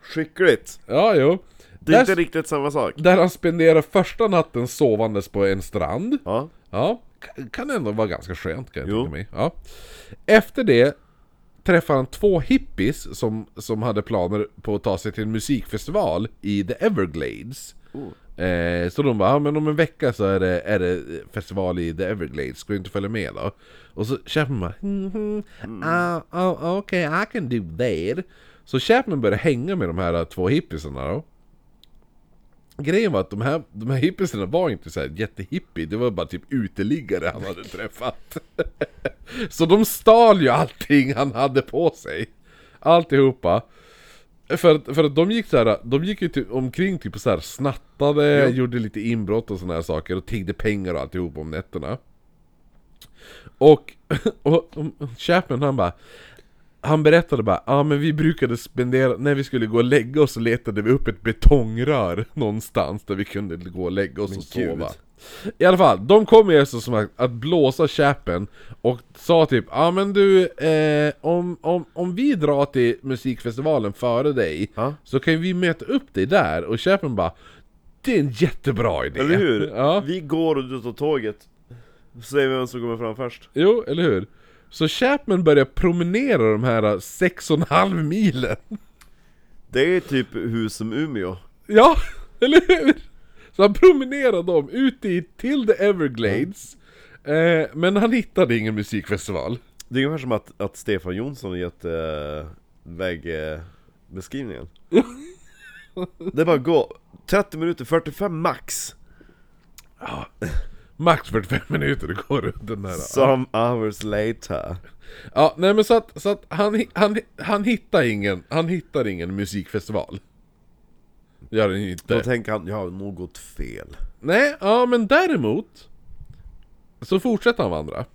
S2: Skickligt.
S1: Ja, jo
S2: Det är
S1: Där-
S2: inte riktigt samma sak.
S1: Där han spenderar första natten sovandes på en strand.
S2: Ja.
S1: Ja, k- kan ändå vara ganska skönt kan jag
S2: Jo.
S1: tänka mig. Ja. Efter det träffar han två hippies som, som hade planer på att ta sig till en musikfestival i The Everglades.
S2: Oh.
S1: Eh, så de bara, ja men om en vecka så är det, är det festival i The Everglades, ska du inte följa med då? Och så Chapman bara, mm ah ah, okej, I can do that. Så Chapman börjar hänga med de här två hippisarna då. Grejen var att de här, de här hippisarna var inte så här jättehippie, det var bara typ uteliggare han hade träffat. så de stal ju allting han hade på sig. Alltihopa. För att, för att de gick så här, de gick ju typ omkring typ och så här snattade, gjorde lite inbrott och såna här saker och tiggde pengar och alltihop om nätterna. Och, <laughs> och, och Chapman han bara han berättade bara, ja ah, men vi brukade spendera, när vi skulle gå och lägga oss så letade vi upp ett betongrör någonstans där vi kunde gå och lägga oss och
S2: gud.
S1: sova. I alla fall, de kom ju alltså som att, att blåsa Chapman och sa typ, ja ah, men du, eh, om, om, om vi drar till musikfestivalen före dig
S2: Ja.
S1: så kan vi möta upp dig där och Chapman bara, det är en jättebra idé!
S2: Eller <laughs> hur?
S1: <laughs> Ja.
S2: Vi går och du tar tåget. Så Säger vi vem som kommer fram först.
S1: Jo, eller hur? Så Chapman börjar promenera de här eh, 6,5 milen. <laughs>
S2: Det är typ hus som Umeå.
S1: Ja, eller hur? Så han promenerade dem ut i till the Everglades. Eh, men han hittade ingen musikfestival.
S2: Det är ungefär som att, att Stefan Jonsson har gett eh, vägbeskrivningen. <laughs> det är bara att gå. 30 minuter, 45 max.
S1: Max 45 minuter det går runt den här.
S2: Some hours later.
S1: Ja, nej men så att, så att han, han, han hittar ingen, han hittar ingen musikfestival. Gör den ju inte.
S2: Då tänker han, jag har nog gått fel.
S1: Nej, ja men däremot Så fortsätter han vandra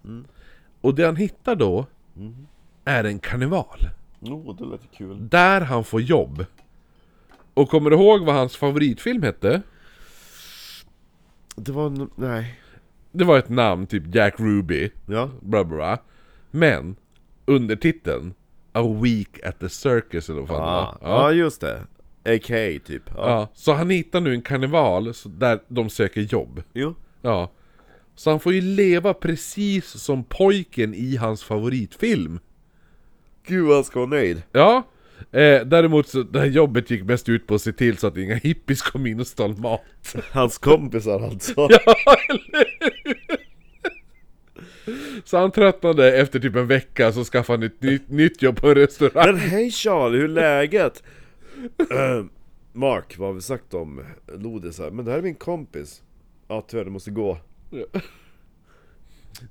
S1: Och det han hittar då Är en karneval
S2: Jo, oh, det lät kul.
S1: Där han får jobb Och kommer du ihåg vad hans favoritfilm hette?
S2: Det var en, nej.
S1: Det var ett namn, typ Jack Ruby
S2: Ja.
S1: bla bla, bla. Men Undertiteln A Week at the Circus eller vad fan det
S2: Ja,
S1: var.
S2: Ah. ja just det. AK typ. Ja.
S1: Ja, Så han hittar nu en karneval så- där de söker jobb
S2: Jo.
S1: Ja. Så han får ju leva precis som pojken i hans favoritfilm.
S2: Gud vad han ska vara nöjd.
S1: Ja. Eh, däremot så, det här jobbet gick mest ut på att se till så att inga hippies kom in och stal mat.
S2: Hans kompisar <laughs> alltså.
S1: Så han tröttnade efter typ en vecka, så skaffade han ett nytt, nytt jobb på en restaurang.
S2: Men hej Charlie, hur är läget? Ehm, Mark, vad har vi sagt om lodisar? Men det här är min kompis. Ja tyvärr, det måste gå.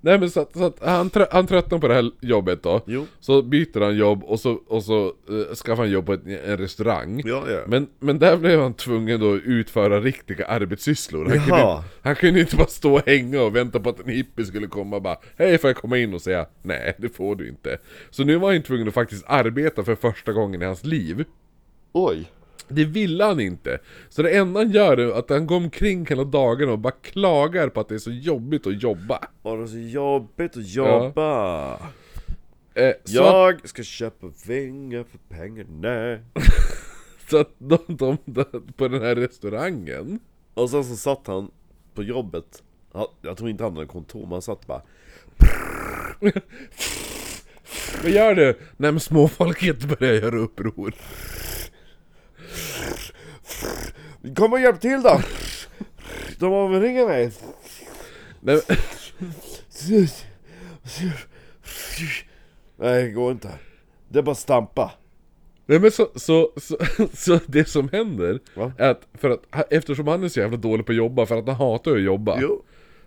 S1: Nej men så att, så att han, trö- han tröttnar på det här jobbet då.
S2: Jo.
S1: Så byter han jobb och så, och så eh, skaffar han jobb på ett, en restaurang.
S2: Ja, ja.
S1: Men, men där blev han tvungen då att utföra riktiga arbetssysslor. Han kunde,
S2: Jaha.
S1: inte- han kunde inte bara stå och hänga och vänta på att en hippie skulle komma och bara Hej får jag komma in och säga Nej det får du inte. Så nu var han tvungen att faktiskt arbeta för första gången i hans liv.
S2: Oj!
S1: Det ville han inte. Så det enda han gör är att han går omkring hela dagen och bara klagar på att det är så jobbigt att jobba.
S2: Var det så jobbigt att jobba?
S1: Eh, så att-
S2: Jag ska köpa vingar för pengarna.
S1: Så att de, de, de på den här restaurangen
S2: Och sen så satt han på jobbet. Han- Jag tror inte han hade kontor, men han satt bara
S1: Vad gör du? Nej men småfolket börjar göra uppror
S2: Kom och hjälp till då! De omringar mig!
S1: Nej, men- <laughs>
S2: Nej, det går inte. Det är bara stampa.
S1: nej men så, så, så, så det som händer
S2: Va?
S1: är att, för att eftersom han är så jävla dålig på att jobba, för att han hatar ju att jobba
S2: Jo.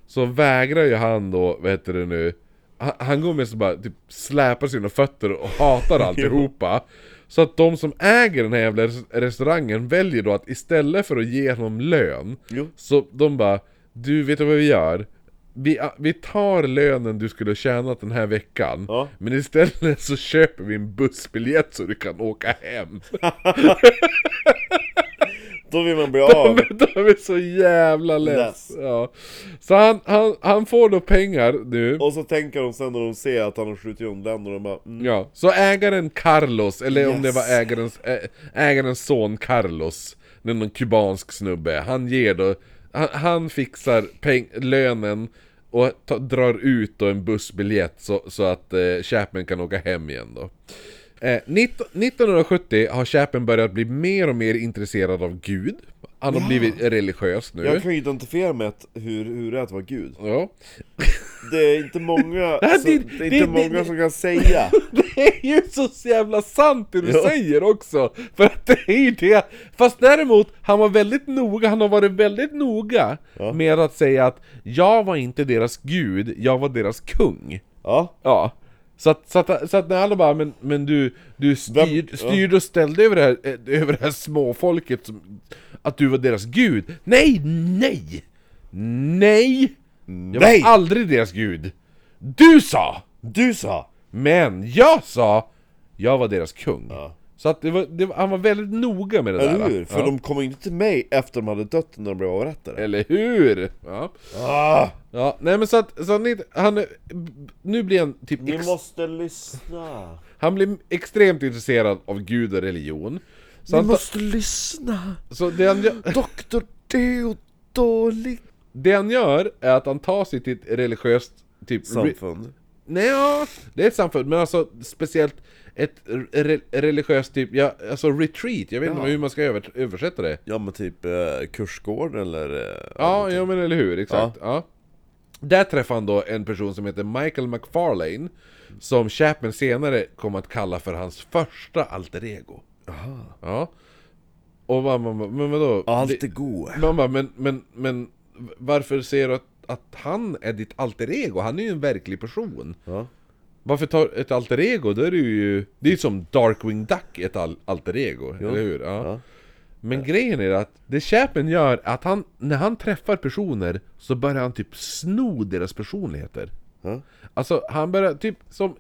S1: Så vägrar ju han då, vad heter det nu Han, han går med så bara typ släpar sina fötter och
S2: <laughs>
S1: hatar alltihopa Så att de som äger den här jävla res- restaurangen väljer då att istället för att ge honom lön
S2: Jo.
S1: Så de bara Du vet du vad vi gör? Vi, vi tar lönen du skulle ha tjänat den här veckan
S2: Ja.
S1: Men istället så köper vi en bussbiljett så du kan åka hem
S2: Då
S1: <laughs>
S2: vill man bli av.
S1: Men de är så jävla less!
S2: Less.
S1: Ja. Så han, han, han får då pengar nu
S2: Och så tänker de sen när de ser att han har skjutit undan och de bara mm.
S1: Ja, så ägaren Carlos, eller om det
S2: Yes.
S1: var ägarens, ä, ägarens son Carlos, det är någon kubansk snubbe, han ger då, han, han fixar peng, lönen och ta, drar ut då en bussbiljett så, så att eh, Chapman kan åka hem igen då. Eh, 19, 1970 har Chapman börjat bli mer och mer intresserad av Gud. Han har blivit religiös nu.
S2: Jag kan ju identifiera med att hur, hur det är att vara gud.
S1: Ja.
S2: Det är inte många,
S1: här, <laughs>
S2: så,
S1: det-
S2: det är
S1: det-
S2: inte
S1: det-
S2: många
S1: det-
S2: som
S1: <laughs>
S2: kan säga.
S1: Det är ju så jävla sant det du
S2: Ja.
S1: säger också! För att det är ju det! Fast däremot, han var väldigt noga, han har varit väldigt noga med att säga att jag var inte deras gud, jag var deras kung.
S2: Ja,
S1: Ja. Så att, så att, så att när alla bara, men, men du, du styr,
S2: Vem-
S1: styrde och ställde över det, här, eh, över det här småfolket, som, att du var deras gud. Nej, nej! Nej! Jag
S2: Nej.
S1: var aldrig deras gud! Du sa!
S2: du sa!
S1: Men jag sa, jag var deras kung.
S2: Ja.
S1: Så att det var, det var, han var väldigt noga med det
S2: Eller
S1: där.
S2: hur? För
S1: ja.
S2: de kom inte till mig efter de hade dött när de blev avrättade.
S1: Eller hur? Ja.
S2: Ah,
S1: ja. Nej men så att, så han, inte- han är- nu blir han typ
S2: ni
S1: ex,
S2: måste lyssna.
S1: han blir extremt intresserad av gud och religion. Så, han,
S2: måste lyssna.
S1: så det, han gör,
S2: <laughs> Doktor Theodor Lick.
S1: det han gör är att han tar sig till ett religiöst typ... re-
S2: Samfund.
S1: Nej, ja, det är ett samfund, men alltså speciellt ett re, religiöst typ, ja, alltså retreat, jag vet inte hur man ska över, översätta det.
S2: Ja men typ eh, kursgård eller... Eh,
S1: Ja, ja men eller hur, exakt. Ja. Där träffar han då en person som heter Michael McFarlane Som Chapman senare kom att kalla för hans första alter ego Ja Och man bara, men vadå?
S2: Allt är
S1: Det-
S2: god.
S1: Man bara, men, men, men varför ser du att, att han är ditt alter ego? Han är ju en verklig person
S2: Ja.
S1: Varför tar ett alter ego? Då är det ju... Det är ju som Darkwing Duck ett al- alter ego, eller hur? Ja.
S2: Ja.
S1: Men grejen är att det Chapman gör, är att han, när han träffar personer så börjar han typ sno deras personligheter.
S2: Ja.
S1: Alltså han börjar typ som...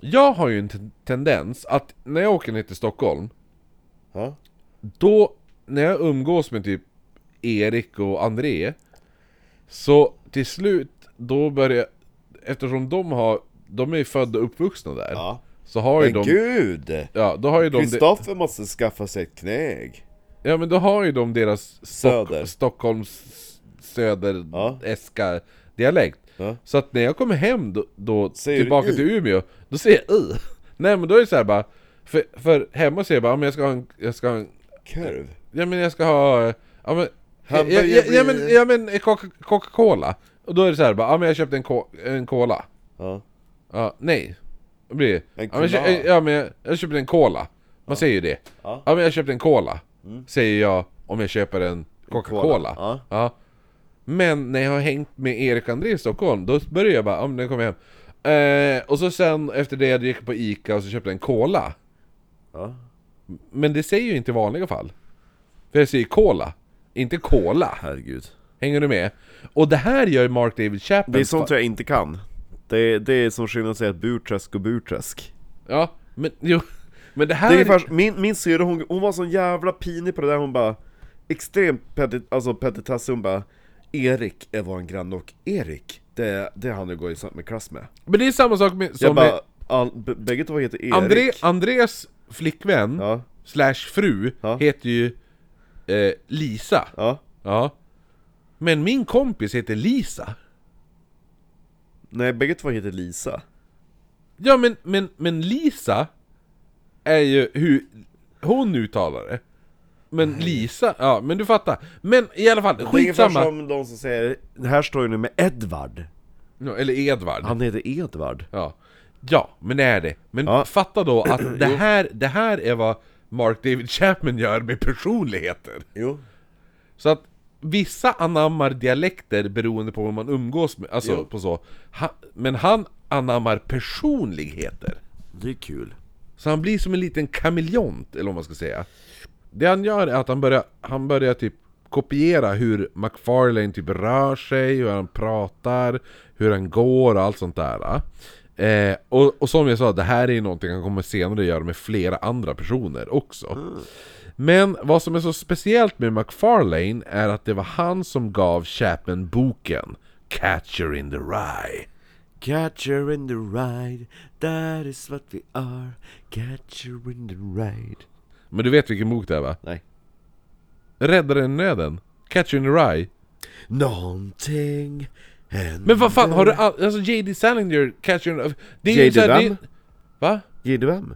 S1: Jag har ju en ten- tendens att när jag åker ner till Stockholm,
S2: Ja.
S1: då när jag umgås med typ Erik och André Så till slut, då börjar Eftersom de har, de är ju födda och uppvuxna där
S2: Ja.
S1: Så har ju
S2: Men
S1: de,
S2: gud!
S1: ja, då har ju de, de
S2: Kristoffer måste skaffa sig ett knäg.
S1: Ja men då har ju de deras
S2: Söder.
S1: Stock, Stockholms söder
S2: Ja.
S1: eska dialekt
S2: Ja.
S1: Så att när jag kommer hem då, då
S2: Säger du
S1: tillbaka
S2: i?
S1: till Umeå, då säger jag i Nej men då är det så här bara för, för hemma säger jag bara, "Ja, men jag ska ha en, jag ska ha en
S2: Kurv.
S1: Ja men jag ska ha... Ja men... Ja,
S2: Hamburgare
S1: ja, ja, ja, men,
S2: blir-
S1: ja men Coca- Coca-Cola. Och då är det så här bara, ja men jag köpte en, ko- en cola.
S2: Ja.
S1: Ja, nej. Då blir det...
S2: En
S1: ja, men, jag kö-
S2: cola.
S1: ja men jag, jag köpte en cola. Man säger ju det.
S2: Ja. Mm.
S1: Ja. men jag köpte en cola. Säger jag om jag köper en Coca-Cola.
S2: Cola, ja.
S1: Men när jag har hängt med Erik och André i Stockholm, då börjar jag bara, om nu kommer jag hem. Eh, och så sen efter det, jag gick jag på Ica och så köpte jag en Cola.
S2: Ja.
S1: Men det säger ju inte i vanliga fall. För jag säger Cola, inte Cola.
S2: Herregud.
S1: Hänger du med? Och det här gör Mark David Chapman.
S2: Det är sånt jag inte kan. Det, det är som skillnad att säga burträsk och burträsk.
S1: Ja, men jo. <laughs> Men det här...
S2: Det är ungefär, min, min syrra hon, hon var sån jävla pinig på det där, hon bara Extremt petit, alltså petitassig, hon bara Erik är vår granne och Erik, det, det är han jag går i sam- med klass med
S1: Men det är samma sak med, som
S2: Jag
S1: med
S2: bara, all, b- bägge två heter Erik
S1: André, Andres flickvän,
S2: Ja.
S1: slash fru,
S2: Ja.
S1: heter ju eh, Lisa.
S2: Ja,
S1: Ja. Men min kompis heter Lisa.
S2: nej bägge två heter Lisa
S1: Ja men, men, men Lisa är ju hur hon uttalar det. Men Lisa, ja men du fattar. Men i alla fall,
S2: Det är ungefär
S1: skitsamma.
S2: som de som säger, här står ju nu med Edvard
S1: Ja, Eller Edvard.
S2: Han heter Edvard
S1: Ja. ja, men det är det. Men
S2: Ja.
S1: fatta då
S2: <clears throat>
S1: att det här, det här är vad Mark David Chapman gör med personligheter.
S2: Jo
S1: Så att vissa anammar dialekter beroende på hur man umgås med, alltså på så. Ha, men han anammar personligheter.
S2: Det är kul
S1: Så han blir som en liten kameleont, eller vad man ska säga. Det han gör är att han börjar, han börjar typ kopiera hur McFarlane typ rör sig, hur han pratar, hur han går och allt sånt där. Eh, och, och som jag sa, det här är ju någonting han kommer senare göra med flera andra personer också. Men vad som är så speciellt med McFarlane är att det var han som gav Chapman boken Catcher in the Rye.
S2: Catcher in the ride, that is what we are Catcher in the ride
S1: Men du vet vilken bok det är va?
S2: Nej
S1: Räddaren i nöden. Catcher in the Rye.
S2: Någonting hände
S1: Men vad fan, har du all, alltså JD Salinger, Catcher det är ju
S2: J.D.
S1: så här, det,
S2: vem?
S1: Va?
S2: Ge du vem?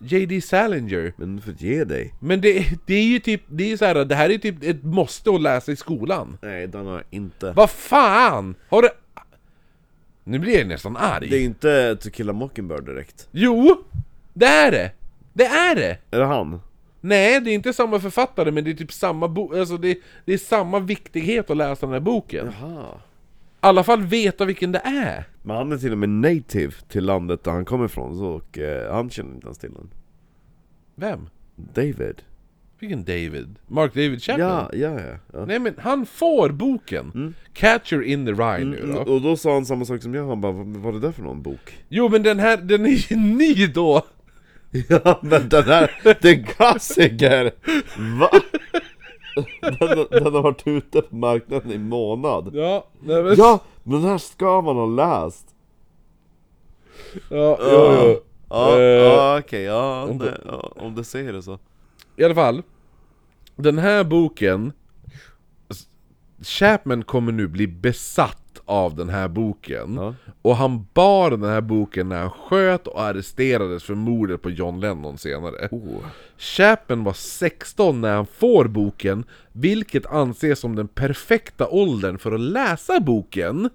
S1: JD Salinger?
S2: Men för att ge dig?
S1: Men det, det är ju typ, det är ju så här, det här är ju typ ett måste att läsa i skolan.
S2: Nej, den har jag inte
S1: Vad fan! Har du... Nu blir jag nästan arg.
S2: Det är inte To Kill a Mockingbird direkt
S1: Jo! Det är det! Det är det!
S2: Är det han?
S1: Nej, det är inte samma författare men det är typ samma bok, alltså det, det är samma viktighet att läsa den här boken. I
S2: Aha.
S1: alla fall veta vilken det är.
S2: Men han är till och med native till landet där han kommer ifrån, så och eh, han känner inte ens till den
S1: Vem?
S2: David?
S1: Vilken David? Mark David Chapman?
S2: Ja, ja, ja, ja.
S1: Nej men han får boken! Catcher in the Rye nu då.
S2: Och då sa han samma sak som jag, han bara 'Vad vad är det där för någon bok?'
S1: Jo men den här, den är ju <laughs> ny då!
S2: Ja men den här, det är Gassinger! Va? Den, den har varit ute på marknaden i en månad
S1: Ja, nej, men,
S2: Ja! Den här ska man ha läst!
S1: ja, jo, jo.
S2: Ja,
S1: Eh,
S2: ja okej, ja,
S1: om
S2: om
S1: du-
S2: det, ja, om du säger det så
S1: I alla fall, den här boken... s- Chapman kommer nu bli besatt av den här boken.
S2: Ja.
S1: Och han bar den här boken när han sköt och arresterades för mordet på John Lennon senare. Chapman var 16 när han får boken, vilket anses som den perfekta åldern för att läsa boken.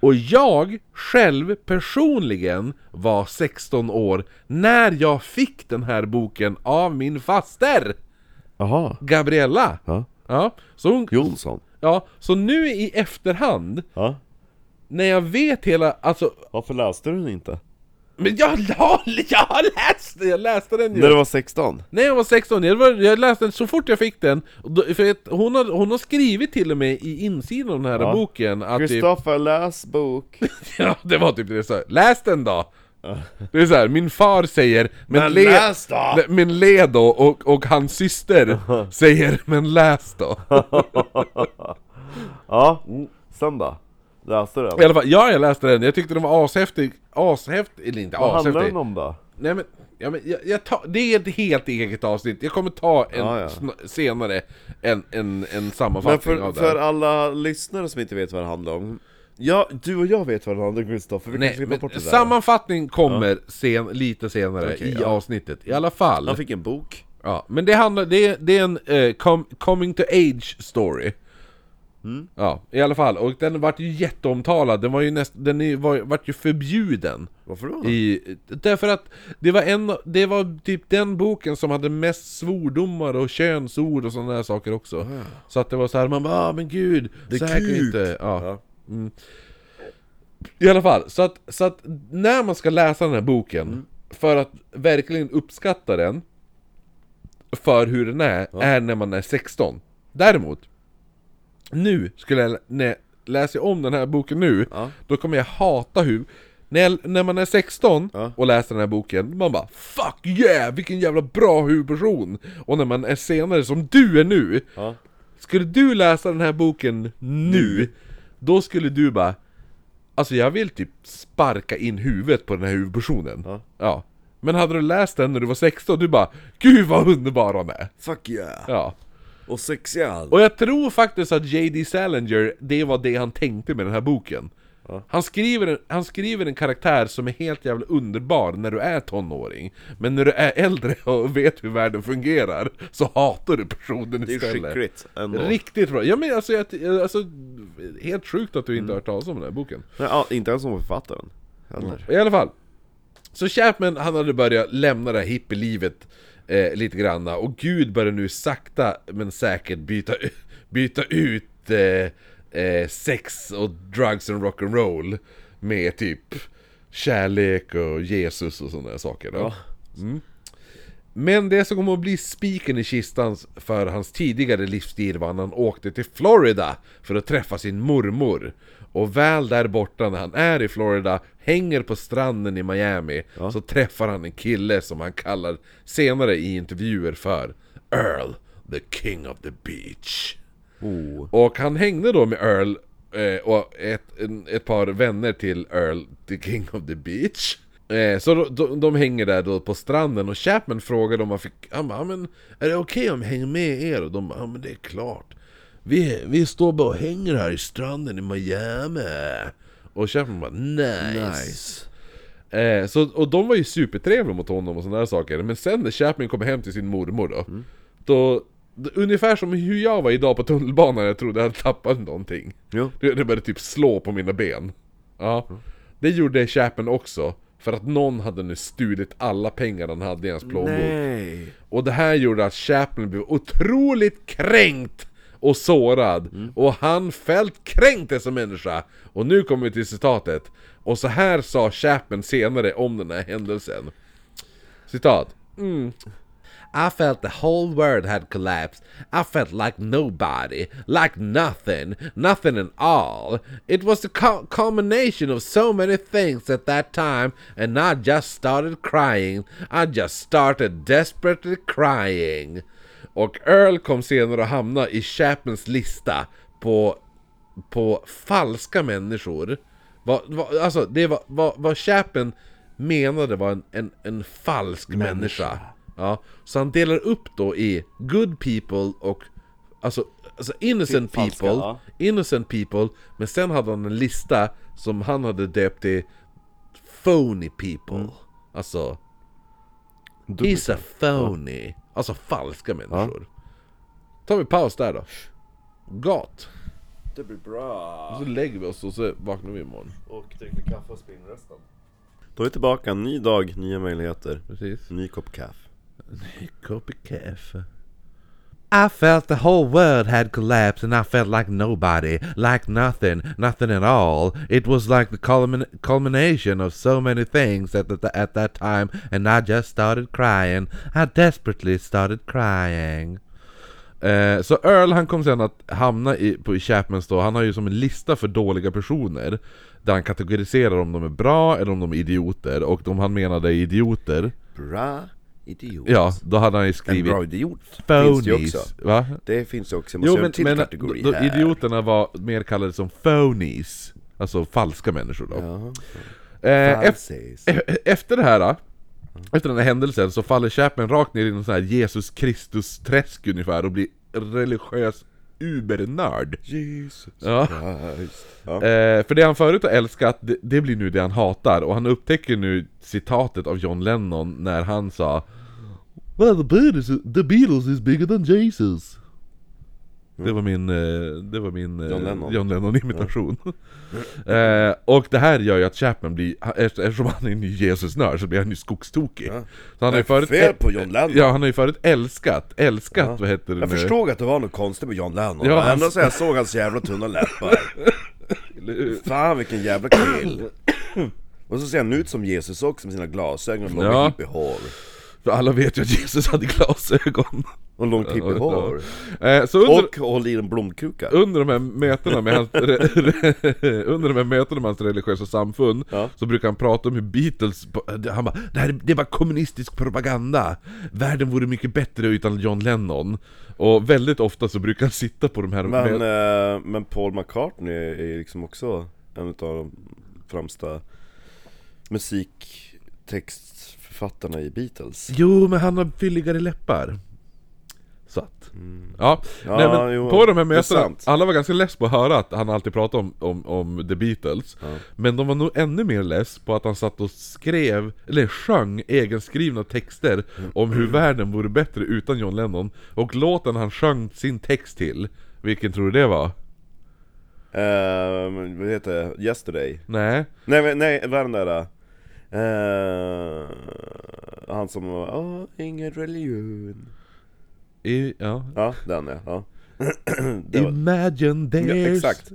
S1: Och jag själv personligen var 16 år när jag fick den här boken av min faster
S2: Aha.
S1: Gabriella.
S2: Ja.
S1: Ja, så, hon,
S2: Jonsson?
S1: ja, så nu i efterhand,
S2: Ja?
S1: när jag vet hela, alltså,
S2: Varför läste du den inte?
S1: men jag, har- <laughs> jag har läst den, jag läste den ju!
S2: När du var 16?
S1: När jag var 16, jag, var, jag läste den så fort jag fick den, och då, för att hon, har, hon har skrivit till och med i insidan av den här
S2: Ja.
S1: boken att typ,
S2: Kristoffer, läs bok!
S1: <laughs> ja, det var typ det så här, läs den då! Det är så här, min far säger Men,
S2: Men
S1: le-
S2: läs då!"
S1: le- Men le då! Och, och hans
S2: <laughs>
S1: syster säger Men läs då!
S2: Ja, sen då? Läste du den?
S1: I alla fall, ja jag läste den, jag tyckte den var ashäftig, ashäftig, eller inte
S2: Vad handlar
S1: ashäftig
S2: den om då?
S1: Nej men, ja, men jag, jag tar, det är ett helt eget avsnitt, jag kommer ta en
S2: Ja, ja.
S1: sn- senare en, en, en
S2: Men
S1: sammanfattning
S2: för,
S1: av det
S2: för alla lyssnare som inte vet vad det handlar om Ja, du och jag vet vad det handlar om Kristoffer, vi
S1: Nej,
S2: kanske kan ta
S1: men
S2: bort det där
S1: sammanfattning kommer sen, lite senare
S2: Okej,
S1: i
S2: ja.
S1: avsnittet, i alla fall.
S2: Han fick en bok
S1: Ja, men det handlar, det är, det är en eh, com, coming to age story.
S2: Mm.
S1: Ja, i alla fall. Och den vart ju jätteomtalad, den var ju näst, den är- var, vart ju förbjuden.
S2: Varför då?
S1: I, därför att det var en, det var typ den boken som hade mest svordomar och könsord och sådana där saker också.
S2: Ah.
S1: Så att det var så här, man bara ah, men gud,
S2: Det är
S1: så här kan ju
S2: kuk."
S1: inte... Ja.
S2: Ja.
S1: Mm. I alla fall, så att, så att när man ska läsa den här boken,
S2: Mm.
S1: för att verkligen uppskatta den, för hur den är, är när man är 16. Däremot, nu skulle jag, när jag läser om den här boken nu, då kommer jag hata hur när, jag, när man är 16 och läser den här boken, man bara 'Fuck yeah! Vilken jävla bra huvudperson!' Och när man är senare, som du är nu,
S2: Ja.
S1: skulle du läsa den här boken nu, då skulle du bara Alltså jag vill typ sparka in huvudet på den här huvudpersonen.
S2: Ja.
S1: Men hade du läst den när du var 16, du bara 'Gud vad underbar han är!'
S2: Fuck yeah!
S1: Ja.
S2: Och sexiga han.
S1: Och jag tror faktiskt att J.D. Salinger, det var det han tänkte med den här boken. Han, skriver en, han skriver en karaktär som är helt jävla underbar när du är tonåring. Men när du är äldre och <laughs> vet hur världen fungerar, så hatar du personen
S2: Det är
S1: istället.
S2: skickligt ändå.
S1: Riktigt bra! Ja men alltså, jag, alltså helt sjukt att du inte har hört talas om den här boken.
S2: Nej, ja, inte ens som författaren. Heller.
S1: I alla fall. Så Chapman, han hade börjat lämna det här hippielivet eh, lite granna och Gud börjar nu sakta men säkert byta, <laughs> u- byta ut eh, eh, sex och drugs and rock'n'roll med typ kärlek och Jesus och sådana där saker. Då. Mm. Men det som kommer att bli spiken i kistan för hans tidigare livsstil var när han åkte till Florida för att träffa sin mormor. Och väl där borta när han är i Florida, hänger på stranden i Miami, så träffar han en kille som han kallar senare i intervjuer för Earl, the king of the beach.
S2: Oh.
S1: Och han hängde då med Earl eh, och ett, en, ett par vänner till Earl, the king of the beach. Eh, så då, de, de hänger där då på stranden och Chapman frågade om han fick, han bara, "Ja, men är det okej om jag hänger med er? Och de bara, ja men det är klart. Vi, vi står bara och hänger här i stranden i Miami. Och Chapman bara, nice. Eh, så, och de var ju supertrevliga mot honom och sådana där saker. Men sen när Chapman kom hem till sin mormor då, då d- Ungefär som hur jag var idag på tunnelbanan, när jag trodde jag hade tappat någonting.
S2: Jo.
S1: Det, det började typ slå på mina ben. Ja. Det gjorde Chapman också, för att någon hade nu stulit alla pengar han hade i hans Mm. plånbok.
S2: Nej.
S1: Och det här gjorde att Chaplin blev otroligt kränkt och sårad. Och han fällt kränkte som människa. Och nu kommer vi till citatet. Och så här sa Chaplin senare om den här händelsen. Citat. I felt the whole world had collapsed. I felt like nobody, like nothing, nothing at all. It was the cu- culmination of so many things at that time, and I just started crying. I just started desperately crying. Och Earl kom senare att hamna i Chapmans lista på, på falska människor. Vad, vad, alltså, det var vad, vad Chapman menade var en, en, en falsk människa. Ja, så han delar upp då i good people och alltså, alltså innocent
S2: Typ falska,
S1: people,
S2: ja.
S1: innocent people, men sen hade han en lista som han hade döpt till phony people.
S2: Mm.
S1: Alltså, he's a phony. Alltså falska människor. Tar vi paus där då. Gott.
S2: Det blir bra.
S1: Så lägger vi oss och så vaknar vi imorgon.
S2: Och dricker kaffe och spinn resten. Då är vi tillbaka, ny dag, nya möjligheter.
S1: Precis.
S2: Ny kopp kaffe.
S4: I felt the whole world had collapsed and I felt like nobody, like nothing, nothing at all. It was like the culmin- culmination of so many things at, the, at that time and I just started crying. I desperately started crying.
S1: Eh, så Earl han kom sen att hamna i, på, i Chapmans då, han har ju som en lista för dåliga personer Där han kategoriserar om de är bra eller om de är idioter, och de han menade är idioter
S2: Bra idiot.
S1: Ja, då hade han ju
S2: En
S1: skrivit
S2: bra idiot finns det ju också.
S1: phonies Va?
S2: Det finns ju också,
S1: Jo
S2: måste
S1: men,
S2: en till
S1: men
S2: kategori
S1: då,
S2: här.
S1: idioterna var mer kallade som phonies Alltså falska människor då eh, efter-
S2: Falsis.
S1: E- Efter det här då, efter den här händelsen så faller Chapman rakt ner i någon sån här Jesus Kristus-träsk ungefär och blir religiös ubernörd.
S2: Jesus
S1: Ja.
S2: Christ. Ja.
S1: Eh, för det han förut har älskat, det, det blir nu det han hatar och han upptäcker nu citatet av John Lennon när han sa Well the Beatles, the Beatles is bigger than Jesus. Det var min, eh, det var min eh,
S2: Mm. John Lennon.
S1: John Lennon-imitation. <laughs> eh, och det här gör ju att Chapman blir, han- efter- eftersom han är en ny Jesus-nörd så blir han ju skogstokig. Så han har ju förut, eh,
S2: Fel på John Lennon.
S1: ja, han har ju förut älskat, älskat vad heter det
S2: Jag
S1: nu?
S2: förstod att det var något konstigt med John Lennon,
S1: Ja, alltså-
S2: ja,
S1: han-
S2: ändå så jag såg hans jävla tunna läppar Fan vilken
S1: <clears throat>
S2: jävla kill Och så ser han ut som Jesus också med sina glasögon och långt
S1: Ja.
S2: hippiehår
S1: För alla vet ju att Jesus hade glasögon.
S2: Och långt hippiehår
S1: Eh, så under,
S2: Och håller i en blomkruka
S1: under de här mötena med hans, re, re, <laughs> under de här mötena med hans religiösa samfund Så brukar han prata om hur Beatles, han bara det, här, är- det är bara kommunistisk propaganda Världen vore mycket bättre utan John Lennon Och väldigt ofta så brukar han sitta på de här
S2: Men,
S1: mö-
S2: eh, men Paul McCartney är liksom också en av de främsta musiktextförfattarna i Beatles
S1: Jo men han har fylligare läppar Så att Ja,
S2: Ja,
S1: nej, men
S2: jo,
S1: på de här
S2: det är
S1: mötena,
S2: sant.
S1: alla var ganska less på att höra att han alltid pratade om, om, om The Beatles Men de var nog ännu mer less på att han satt och skrev, eller sjöng, egenskrivna texter Om
S2: Mm.
S1: hur världen vore bättre utan John Lennon Och låten han sjöng sin text till, vilken tror du det var?
S2: Eh, men Vad heter det? Yesterday?
S1: Nej,
S2: Nej, men, nej, vad är den där? eh, han som var Åh, ingen religion
S1: i, ja
S2: Ja, den ja, ja. det var,
S1: Imagine
S2: ja
S1: there's...
S2: Exakt,
S1: Så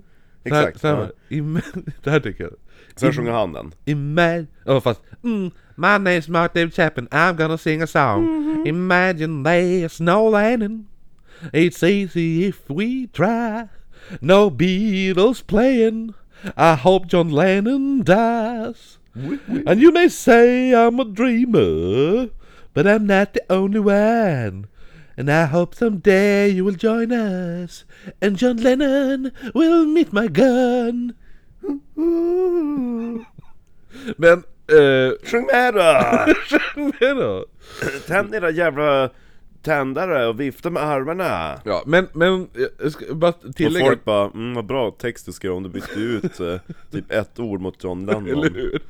S1: här,
S2: exakt
S1: så här,
S2: ja.
S1: Im- <laughs> det här tycker jag
S2: Sen sjunger han den
S1: Imagine... Oh, fast... Mm, my name's Mark David Chapman, I'm gonna sing a song Imagine there's no landing It's easy if we try No Beatles playing I hope John Lennon dies And you may say I'm a dreamer But I'm not the only one And I hope someday you will join us And John Lennon will meet my gun Men, <laughs> eh...
S2: Sjung med då!
S1: det då?
S2: Tänd era jävla tändare och vifta med armarna!
S1: Ja, men, men, jag ska bara
S2: Och
S1: tillägga...
S2: folk bara, mm, vad bra text du skrev om du bytte ut eh, typ ett ord mot John
S1: Eller
S2: Lennon
S1: hur?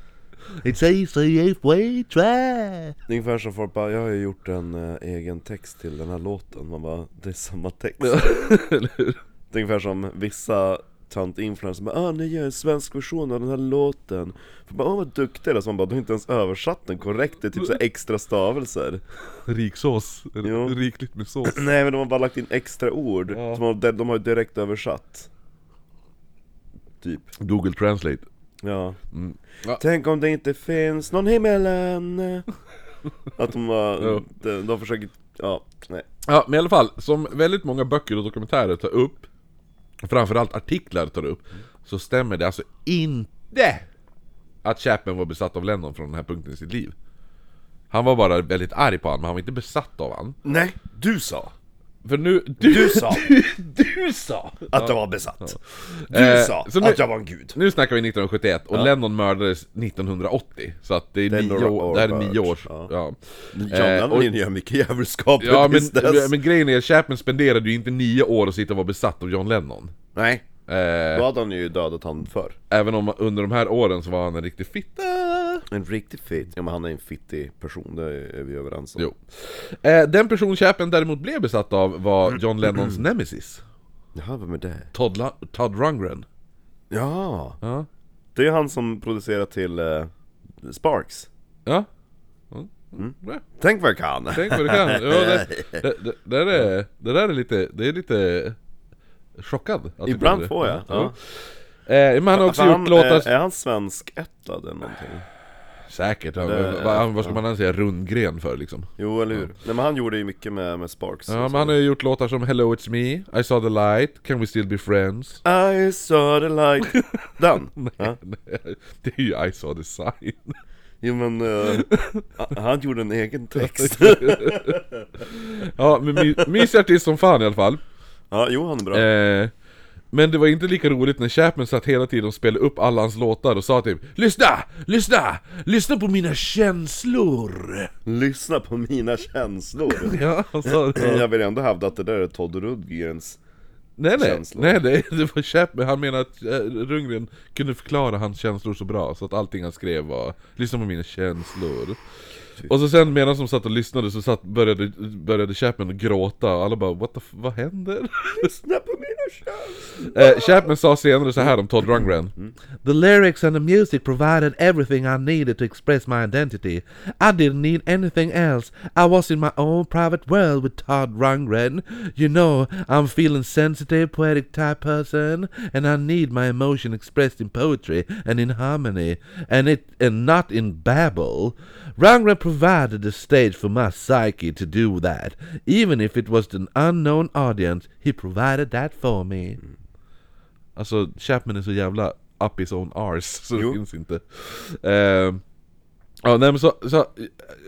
S4: It's easy if we try.
S2: Det är ungefär som folk bara, jag har ju gjort en eh, egen text till den här låten Man bara, det är samma text
S1: <laughs> Eller hur?
S2: Det är ungefär som vissa tönt-influencers bara ah, nu gör jag en svensk version av den här låten' För bara, åh vad duktig du är' så man bara, du har inte ens översatt den korrekt, det är typ
S1: Mm.
S2: så här extra stavelser
S1: Rik sås.
S2: Jo.
S1: Rikligt med sås.
S2: Nej men de har bara lagt in extra ord,
S1: Ja.
S2: som de, de har ju direkt översatt Typ,
S1: Google Translate.
S2: ja,
S1: Ja.
S2: Tänk om det inte finns någon himmelen Att de bara,
S1: Ja.
S2: de, de försöker, ja, nej
S1: Ja, men i alla fall, som väldigt många böcker och dokumentärer tar upp, framförallt artiklar tar upp, så stämmer det alltså inte att Chapman var besatt av Lennon från den här punkten i sitt liv. Han var bara väldigt arg på honom, men han var inte besatt av honom.
S2: Nej, du sa
S1: För nu... Du,
S2: sa.
S1: Du, <laughs> du sa!
S2: att jag var besatt
S1: Eh,
S2: Du sa
S1: så nu-
S2: att jag var en gud
S1: Nu snackar vi 1971 och Lennon mördades 1980 Så att det är,
S2: Det är
S1: nio
S2: några
S1: år,
S2: år
S1: det här är nio
S2: bort,
S1: års... Ja,
S2: ja.
S1: ja.
S2: John Lennon
S1: Eh, och-
S2: gör mycket djävulskap tills
S1: men,
S2: dess.
S1: men grejen är, Chapman spenderade ju inte nio år och sitta och vara besatt av John Lennon
S2: Nej,
S1: eh,
S2: då hade han ju dödat han för
S1: Även om under de här åren så var han en riktig fitta
S2: En riktig fit, ja men han är en fittig person, det är vi överens om
S1: Jo eh, Den person Chapman däremot blev besatt av var John Lennons nemesis
S2: Jaha, vem är det?
S1: Todd, La- Todd Rundgren
S2: Ja!
S1: Ja,
S2: Det är han som producerar till eh, Sparks
S1: ja. Mm. Ja.
S2: Tänk vad jag kan!
S1: Tänk vad du kan! Ja, det,
S2: <laughs>
S1: det, det, där är, det där är lite, det är lite chockad att
S2: Ibland
S1: du-
S2: får jag, ja.
S1: Eh, men han har också
S2: För
S1: gjort låtar...
S2: eh, Är han svenskättad eller någonting?
S1: Säkert, han,
S2: Det-
S1: vad, vad ska man annars säga rundgren för liksom?
S2: Jo, eller hur? Nej men han gjorde ju mycket med, med Sparks
S1: Ja, men han har ju gjort låtar som 'Hello It's Me', 'I saw the light', 'Can we still be friends' <laughs>
S2: I saw the light Den! ja.
S1: Det är ju 'I saw the sign' <laughs>
S2: Jo men, eh, han gjorde en egen text
S1: Ja, men my, mysig artist som fan i alla fall
S2: <laughs> Ja, jo han är bra
S1: Eh, men det var inte lika roligt när Chapman satt hela tiden och spelade upp alla hans låtar och sa typ Lyssna! Lyssna! Lyssna på mina känslor!
S2: Lyssna på mina känslor
S1: <laughs> Ja, han sa det.
S2: Jag vill ändå hävda att det där är Todd Rundgrens
S1: Nej nej,
S2: Känslor.
S1: nej det, det var Chapman, han menar att eh, Rundgren kunde förklara hans känslor så bra så att allting han skrev var Lyssna på mina känslor Och så sen medan de satt och lyssnade så satt, började, började Chapman gråta och alla bara What the f- vad händer?
S2: Lyssna på mina känslor!
S1: Eh, Chapman sa senare så här om Todd Rundgren
S4: The lyrics and the music provided everything I needed to express my identity. I didn't need anything else. I was in my own private world with Todd Rundgren. You know, I'm a feeling sensitive, poetic type person, and I need my emotion expressed in poetry and in harmony, and it and not in babble. Rundgren provided the stage for my psyche to do that, even if it was an unknown audience. He provided that for me.
S1: Alltså Chapman är så jävla up his own arse <laughs> så det
S2: Jo.
S1: finns inte eh, Ja nej men så, så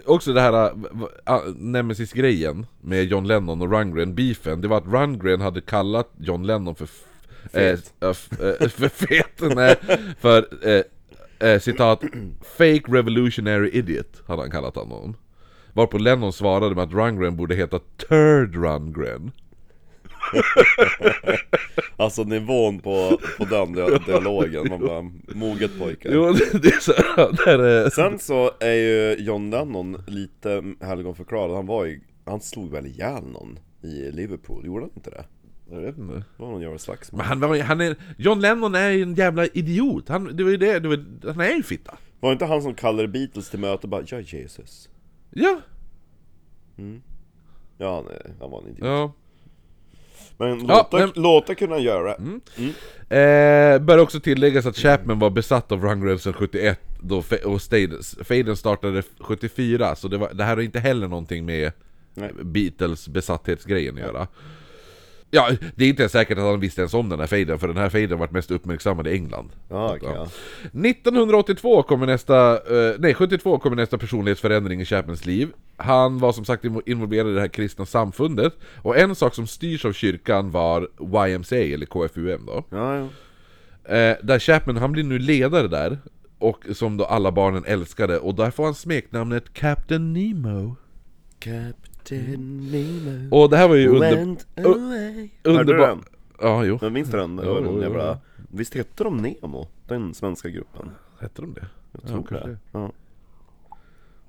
S1: Också det här v- v- ah, Nemesis-grejen Med John Lennon och Rundgren, beefen Det var att Rundgren hade kallat John Lennon för f-
S2: Fet.
S1: eh, f- eh, För fet, <laughs> nej För eh, eh, citat Fake revolutionary idiot hade han kallat honom Varpå Lennon svarade med att Rundgren borde heta Turd Rundgren
S2: Alltså nivån på, på den dia- dialogen, man bara, moget pojkar
S1: Jo <laughs> det är såhär, det här är
S2: Sen så är ju John Lennon lite helgonförklarad, han var ju, han slog väl ihjäl någon i Liverpool, gjorde han inte det?
S1: Jag vet inte
S2: Det var någon jävla slagsmål
S1: Men han, var, ju- han är, John Lennon är ju en jävla idiot, han, det var ju det, det var, han är ju en fitta
S2: Var det inte han som kallade Beatles till möte och bara 'Jag är Jesus'
S1: Ja,
S2: Ja, nej, han var en idiot
S1: ja.
S2: Men låta,
S1: Ja, men-
S2: låta kunna göra
S1: Eh, bör också tilläggas att Chapman var besatt av Rundgren sedan 71 då, Fa- och Stadens- Faden startade 74 så det, var, det här har inte heller någonting med
S2: Nej.
S1: Beatles besatthetsgrejen att göra Ja, det är inte ens säkert att han visste ens om den här faden för den här faden vart mest uppmärksammad i England
S2: Ja, okej, ja.
S1: 1982 kommer nästa, eh, nej 72 kommer nästa personlighetsförändring i Chapmans liv. Han var som sagt invo- involverad i det här kristna samfundet, och en sak som styrs av kyrkan var YMCA, eller KFUM då.
S2: Ja, ja.
S1: Eh, där Chapman, han blir nu ledare där, och som då alla barnen älskade, och där får han smeknamnet Captain Nemo.
S5: Captain Nemo
S1: Och det här var ju under,
S5: went away
S2: Hörde du
S1: underbart...
S2: den?
S1: Ja, jo.
S2: Men minns du den? Det var
S1: Jo, jo,
S2: någon
S1: jo.
S2: jävla... Visst hette de Nemo? Den svenska gruppen?
S1: Hette de det? Jag
S2: tror
S1: kanske
S2: det. Ja.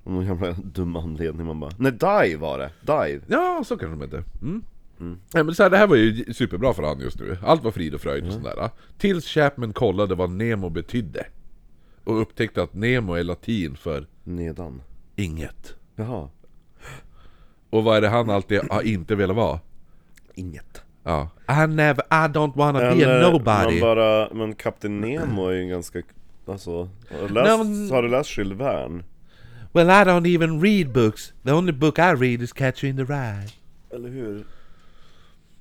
S2: Av någon jävla dum anledning man bara... Nej, Dive var det! Dive!
S1: Ja, så kanske de hette. Mm. Nej, men så här, det här var ju superbra för han just nu. Allt var frid och fröjd
S2: Mm.
S1: och sådär. Tills Chapman kollade vad Nemo betydde. Och upptäckte att Nemo är latin för
S2: Nedan.
S1: inget.
S2: Jaha.
S1: Och vad är det han alltid har inte velat vara?
S2: Inget.
S1: Ja.
S4: I never, I don't wanna be a
S2: Eller,
S4: nobody.
S2: eh, man bara... Men Kapten Nemo är ju ganska... Alltså... Har du läst,
S4: No.
S2: har du läst Jules Verne?
S4: Well, I don't even read books. The only book I read is Catcher in the Rye.
S2: Eller hur?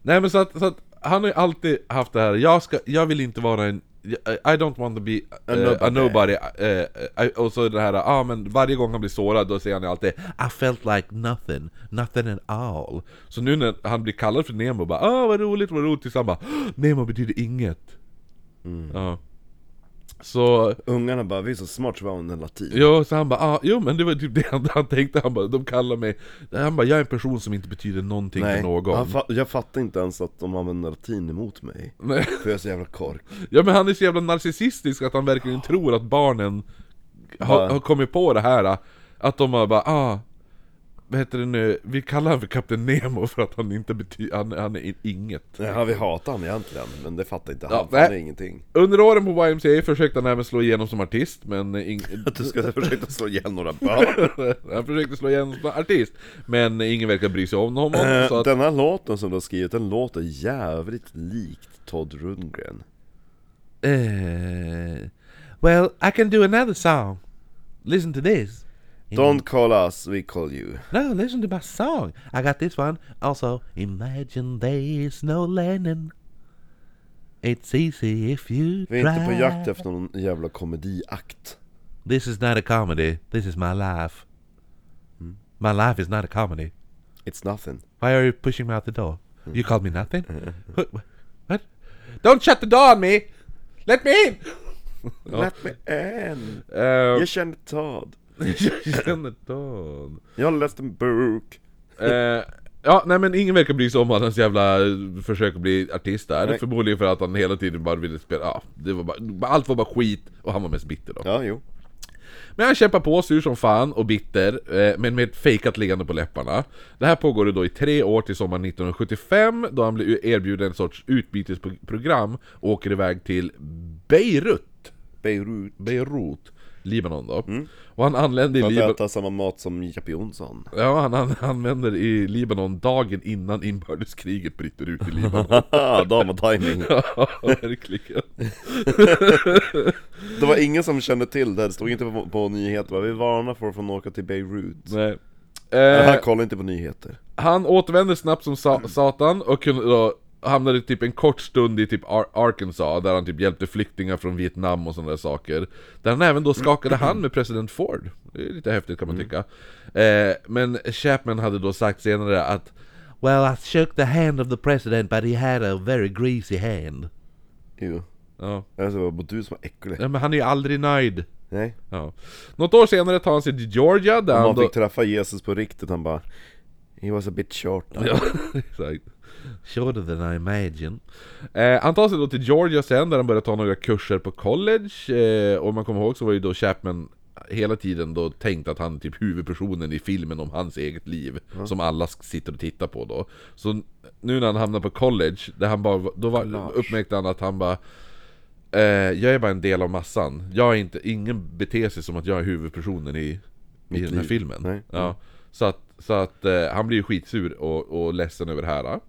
S1: Nej men så att, så att han har ju alltid haft det här, jag, ska, jag vill inte vara en I don't want to be a nobody, a nobody. eh, eh, och så det här, ah, men varje gång han blir sårad då säger han ju alltid
S4: I felt like nothing, nothing at all.
S1: Så nu när han blir kallad för Nemo bara ah vad roligt, vad roligt” tills han bara "Åh, “Nemo betyder inget”. Ja. Så,
S2: Ungarna bara, vi är så smart så vi använder latin.
S1: jo, så han bara ah, “Jo men det var typ det han, han tänkte, han bara “De kallar mig...” Han bara “Jag är en person som inte betyder någonting för någon”.
S2: han fa- jag fattar inte ens att de använder latin emot mig.
S1: Nej.
S2: För jag är så jävla kork.
S1: ja men han är så jävla narcissistisk att han verkligen tror att barnen har, har kommit på det här Att de har bara ah, vad heter det nu, vi kallar han för Kapten Nemo för att han inte betyder, han, han är inget
S2: Ja, vi hatar han egentligen, men det fattar inte han,
S1: Ja,
S2: för han är
S1: nej.
S2: ingenting.
S1: Under åren på YMCA försökte han även slå igenom som artist, men... Ing... <laughs>
S2: Att du <laughs> ska försöka slå ihjäl några barn.
S1: han försökte slå igenom som artist, men ingen verkar bry sig om honom, så
S2: Eh,
S1: att...
S2: Den här låten som du har skrivit, den låter jävligt likt Todd Rundgren.
S4: Uh, well, I can do another song. Listen to this.
S2: Don't call us, we call you.
S4: No, listen to my song. I got this one. Also, imagine there's no Lennon. It's easy if you
S2: Vi är inte på jakt
S4: try.
S2: efter någon jävla komediakt.
S4: This is not a comedy. This is my life. My life is not a comedy.
S2: It's nothing.
S4: Why are you pushing me out the door? You called me nothing? What? what?
S1: Don't shut the door on me! Let me in!
S2: Let me in!
S1: Uh, <laughs>
S2: Jag känner Todd.
S1: jag känner Dan.
S2: Jag har läst en bok.
S1: Eh, Ja, nej men ingen verkar bry sig om hans jävla eh, försök att bli artist där.
S2: Nej.
S1: Förmodligen för att han hela tiden bara ville spela, ja, det var bara, allt var bara skit och han var mest bitter då.
S2: Ja, jo.
S1: Men han kämpar på, sur som fan och bitter, eh, men med ett fejkat liggande på läpparna. Det här pågår ju då i tre år till sommaren 1975, då han blir erbjuden en sorts utbytesprogram och åker iväg till Beirut.
S2: Beirut.
S1: Beirut, Libanon då. Och han anländer i
S2: För
S1: Libanon...
S2: att äta samma mat som Japp Jonsson. <laughs>
S1: Ja, han an- använder i Libanon dagen innan inbördeskriget bryter ut i Libanon.
S2: Haha, då har man timing.
S1: ja, verkligen.
S2: Det var ingen som kände till det, det stod inte på, på nyheter. bara, Vi varnar folk från att åka till Beirut.
S1: Nej.
S2: Äh,
S1: Eh,
S2: kolla inte på nyheter.
S1: han återvänder snabbt som sa- satan och kunde då hamnade typ en kort stund i typ Ar- Arkansas där han typ hjälpte flyktingar från Vietnam och sådana där saker. Där han även då skakade hand med president Ford. Det är lite häftigt kan man tycka. Eh, men Chapman hade då sagt senare att
S4: Well, I shook the hand of the president, but he had a very greasy hand.
S2: Jo.
S1: ja,
S2: Alltså, det var du som var äcklig.
S1: ja, men han är ju aldrig nöjd.
S2: Nej.
S1: Ja. Något år senare tar han sig till Georgia där
S2: Om
S1: han
S2: man
S1: då...
S2: fick träffa Jesus på riktigt, han bara He was a bit short.
S1: Ja, <laughs> exakt.
S4: Shorter than I imagined.
S1: Eh, han tar sig då till Georgia sen där han börjar ta några kurser på college eh, Och om man kommer ihåg så var ju då Chapman hela tiden då tänkt att han är typ huvudpersonen i filmen om hans eget liv Som alla sk- sitter och tittar på då Så n- nu när han hamnar på college, där han bara, då var, uppmärkte han att han bara eh, Jag är bara en del av massan, jag är inte, ingen beter sig som att jag är huvudpersonen i, i den här
S2: liv.
S1: filmen
S2: Nej.
S1: Ja, så att, så att eh, han blir ju skitsur och, och ledsen över det här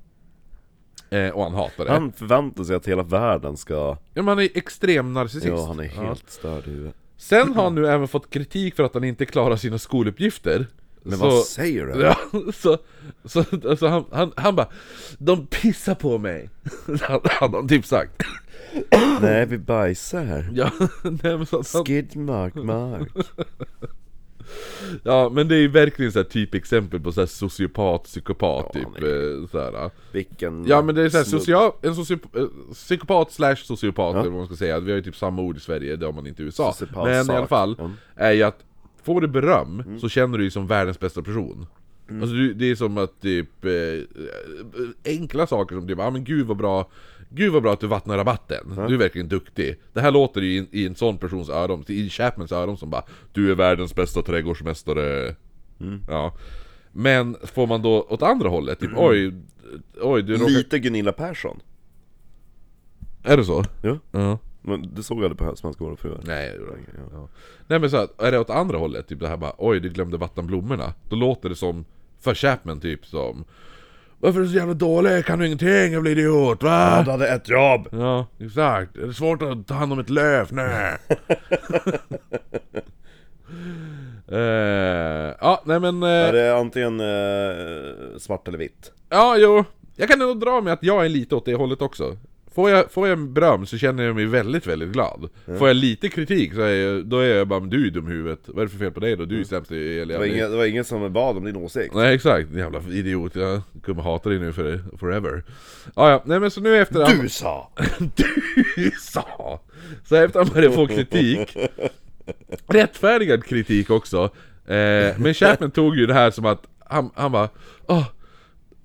S1: eh, Och han hatar det
S2: Han förväntar sig att hela världen ska...
S1: Ja, men han är extrem narcissist.
S2: Ja, han är
S1: Ja.
S2: helt störd i huvudet.
S1: Sen har han nu även fått kritik för att han inte klarar sina skoluppgifter.
S2: Men vad säger du?
S1: Ja, <laughs> så, så, alltså han, han, han bara De pissar på mig! <laughs> Hade han, han typ sagt.
S2: Nej, vi bajsar här.
S1: Ja, <laughs> nej, men så, han,
S2: Skidmark, mark.
S1: ja, men det är ju verkligen så här typexempel på så här sociopat, psykopat
S2: Ja,
S1: typ.
S2: han
S1: eh, Så här.
S2: Vilken
S1: Ja men det är så här,
S2: snubb.
S1: social, en socio- eh, psykopat slash sociopat eller vad man ska säga, vi har ju typ samma ord i Sverige, det har man inte i USA
S2: Sociopat
S1: Men i
S2: sak.
S1: alla fall,
S2: Mm.
S1: är ju att får du beröm så känner du dig som världens bästa person
S2: Mm.
S1: Alltså du, det är som att typ, eh, eh, enkla saker som typ, ah, men gud vad bra Gud vad bra att du vattnar rabatten, du är verkligen duktig Det här låter ju i, en- i en sån persons öron, i Chapmans öron som bara Du är världens bästa trädgårdsmästare Ja men får man då åt andra hållet, typ oj, oj du råkar...
S2: Lite Gunilla Persson.
S1: Är det så?
S2: Ja.
S1: Ja.
S2: Men du såg aldrig på Svenska våra fruar?
S1: Nej, det gjorde jag inte. ja. Nej men så att, är det åt andra hållet, typ det här bara oj du glömde vattna blommorna. Då låter det som, för Chapman typ som Varför är du så jävla dålig? Kan du ingenting? Jag blir idiot, va?
S2: Du hade ett jobb!
S1: Ja, exakt. Är det svårt att ta hand om ett löv? <laughs> Nej. Eh, ja, nej men... eh,
S2: Är det antingen eh, svart eller vitt?
S1: Ja, jo. Jag kan ändå dra med att jag är lite åt det hållet också. Får jag, får jag beröm så känner jag mig väldigt, väldigt glad. Får jag lite kritik så är jag, då är jag bara men du är dum i huvudet. Vad är det för fel på dig då? Du är sämst i hela
S2: Det var,
S1: jävla-
S2: ingen, det var ingen som bad om din åsikt?
S1: Nej exakt, jävla idiot. Jag kommer hata dig nu för, forever. Ja, ja, nej men så nu efter...
S2: Du sa!
S1: du sa! Så efter han började få kritik, rättfärdigad kritik också, eh, men Chapman tog ju det här som att han, han bara Åh!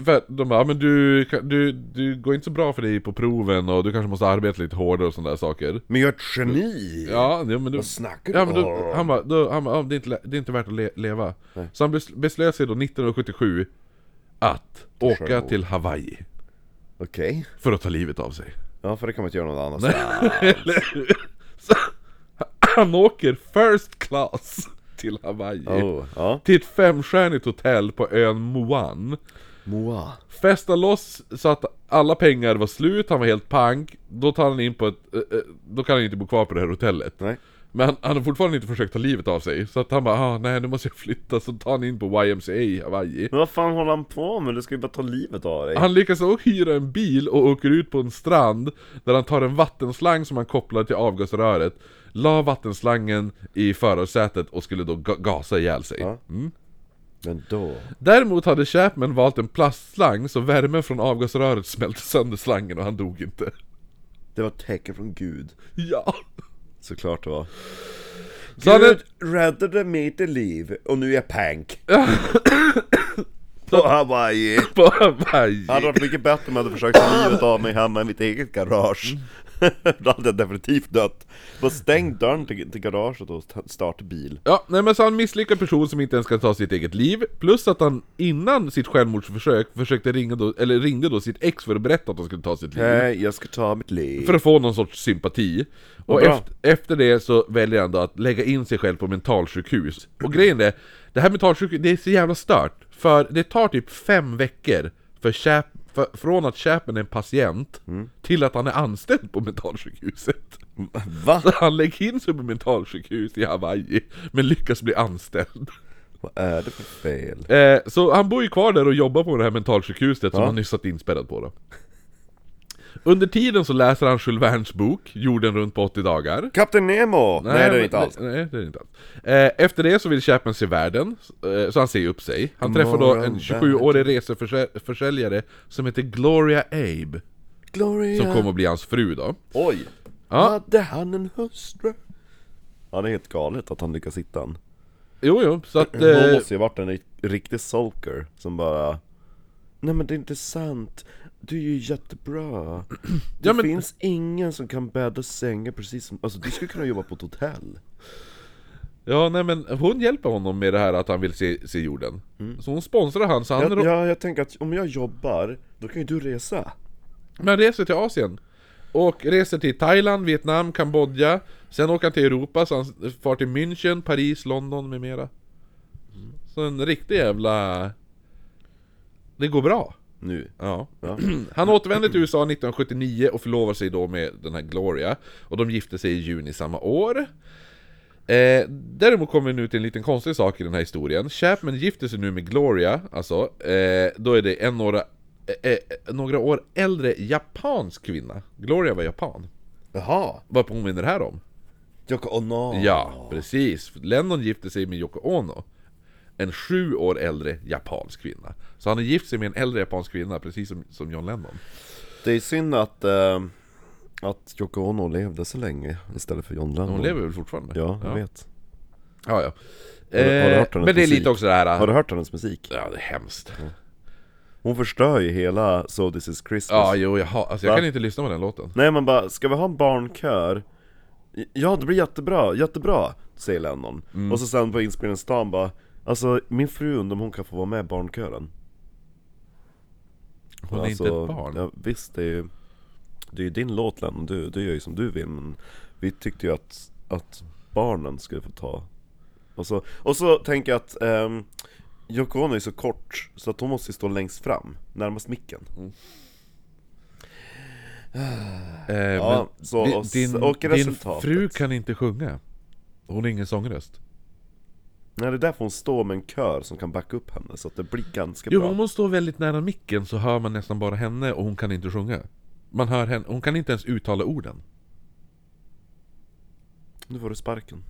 S1: För de bara, "Ja, men du, kan- du, du går inte så bra för dig på proven och du kanske måste arbeta lite hårdare och sådana där saker.
S2: Men jag är ett geni!
S1: Ja, ja men du...
S2: snackar du
S1: ja, men då,
S2: om?
S1: Han bara, då, han bara "Ja, det, är inte, lä- det är inte värt att le, leva. Så han bes- beslöt sig då 1977 att åka
S2: Självmord.
S1: till Hawaii
S2: Okej.
S1: för att ta livet av sig.
S2: Ja, för det kan man inte göra något annat.
S1: Så, han åker first class till Hawaii.
S2: Oh, ja.
S1: Till ett femstjärnigt hotell på ön Moan.
S2: Moa.
S1: Festar loss så att alla pengar var slut, han var helt pank. Då tar han in på ett... eh, eh, Då kan han inte bo kvar på det här hotellet.
S2: Nej.
S1: Men han, han har fortfarande inte försökt ta livet av sig. Så att han bara ah, nej nu måste jag flytta. Så tar han in på YMCA i Hawaii.
S2: Men vad fan håller han på med? Du ska ju bara ta livet av dig.
S1: Han lyckas också hyra en bil och åker ut på en strand Där han tar en vattenslang som han kopplar till avgasröret La vattenslangen i förarsätet och skulle då ga- gasa ihjäl sig
S2: Ja. Men då?
S1: Däremot hade Chapman valt en plastslang så värmen från avgasröret smälte sönder slangen och han dog inte <laughs>
S2: Det var ett tecken från Gud.
S1: Ja!
S2: Såklart det var.
S1: Så han är,
S2: Gud räddade mig till liv och nu är jag pank. <laughs> på Hawaii.
S1: <laughs> på Hawaii
S2: Det hade varit mycket bättre om jag hade försökt ta livet av mig hemma i mitt eget garage. <laughs> Då hade jag definitivt dött. Bara stäng dörren till, till garaget och sta- starta bil.
S1: Ja, nej men så han misslyckad person som inte ens kan ta sitt eget liv, plus att han innan sitt självmordsförsök försökte ringa då, eller ringde då sitt ex för att berätta att han skulle ta sitt liv.
S2: Nej, jag ska ta mitt liv.
S1: För att få någon sorts sympati. Och
S2: bra.
S1: efter, efter det så väljer han då att lägga in sig själv på mentalsjukhus. Och grejen är, det här mentalsjukhus, det är så jävla stört. För det tar typ fem veckor för Chap, för, från att Chapman är en patient till att han är anställd på mentalsjukhuset. <laughs>
S2: Va?
S1: Så han lägger in sig på mentalsjukhus i Hawaii, men lyckas bli anställd.
S2: Vad är det för fel?
S1: Eh, så han bor ju kvar där och jobbar på det här mentalsjukhuset som han nyss satt inspärrad på då. Under tiden så läser han Jules Vernes bok, Jorden runt på 80 dagar.
S2: Kapten Nemo! Nej, det är det
S1: men-
S2: inte alls.
S1: Nej, det är det inte alls. Eh, efter det så vill Chapman se världen, eh, så han säger upp sig. Han träffar då en
S2: Morgon,
S1: 27-årig reseförsäljare som heter Gloria Abe,
S2: Gloria!
S1: som kommer att bli hans fru då.
S2: Oj!
S1: Ja,
S2: Hade han en hustru? Ja, det är helt galet att han lyckas hitta en.
S1: jo, jo, så att...
S2: Hon
S1: Eh,
S2: måste ju varit en ri- riktig sulker som bara Nej men det är inte sant, du är
S1: <clears throat>
S2: ju jättebra Det
S1: Ja, men-
S2: finns ingen som kan bädda sängar precis som, alltså du skulle kunna jobba på ett hotell
S1: ja, nej men hon hjälper honom med det här att han vill se, se jorden. Så hon sponsrar han, så han...
S2: jag,
S1: rå-
S2: Mm. ja, jag tänker att om jag jobbar, då kan ju du resa
S1: Men reser till Asien. Och reser till Thailand, Vietnam, Kambodja. Sen åker han till Europa, så han far till München, Paris, London med mera. Så en riktig jävla... Det går bra.
S2: Nu
S1: Ja.
S2: Ja.
S1: <clears throat> Han återvände till USA 1979 och förlovar sig då med den här Gloria. Och de gifte sig i juni samma år. Eh, däremot kommer vi nu till en liten konstig sak i den här historien. Chapman gifter sig nu med Gloria, alltså. Eh, då är det en några, eh, eh, några år äldre japansk kvinna. Gloria var japan.
S2: Jaha,
S1: Vad påminner det här om?
S2: Yoko Ono
S1: Ja, precis. Lennon gifte sig med Yoko Ono. En sju år äldre japansk kvinna. Så han har gift sig med en äldre japansk kvinna, precis som, som John Lennon.
S2: Det är synd att, eh, att Yoko Ono levde så länge istället för John Lennon
S1: Hon lever väl fortfarande?
S2: Ja, jag vet
S1: Ja, ja.
S2: du- har du
S1: Eh,
S2: hört hennes
S1: men det är
S2: musik?
S1: lite också det här...
S2: Har du hört hennes musik?
S1: Ja, det är hemskt.
S2: Hon förstör ju hela So This Is Christmas
S1: Ja, jo, jag, har, alltså, jag
S2: Va?
S1: kan inte lyssna på den låten.
S2: Nej man bara, ska vi ha en barnkör? Ja det blir jättebra, jättebra, säger Lennon.
S1: Mm.
S2: Och så sen på inspelningsdagen bara, alltså min fru undrar om hon kan få vara med i barnkören.
S1: Hon
S2: alltså,
S1: är inte ett barn.
S2: Ja, visst, det är ju, det är ju din låt Lennon, du, du gör ju som du vill men vi tyckte ju att, att barnen skulle få ta. Och så, och så tänker jag att um, Yoko Ono är så kort så att hon måste ju stå längst fram, närmast micken.
S1: Mm. Eh,
S2: Ja, så,
S1: men
S2: och,
S1: din,
S2: och
S1: din
S2: resultatet.
S1: fru kan inte sjunga. Hon har ingen sångröst.
S2: Nej det är därför hon står med en kör som kan backa upp henne så att det blir ganska
S1: Jo,
S2: bra
S1: om hon står väldigt nära micken så hör man nästan bara henne och hon kan inte sjunga. Man hör henne, hon kan inte ens uttala orden.
S2: Nu får du <laughs> sparken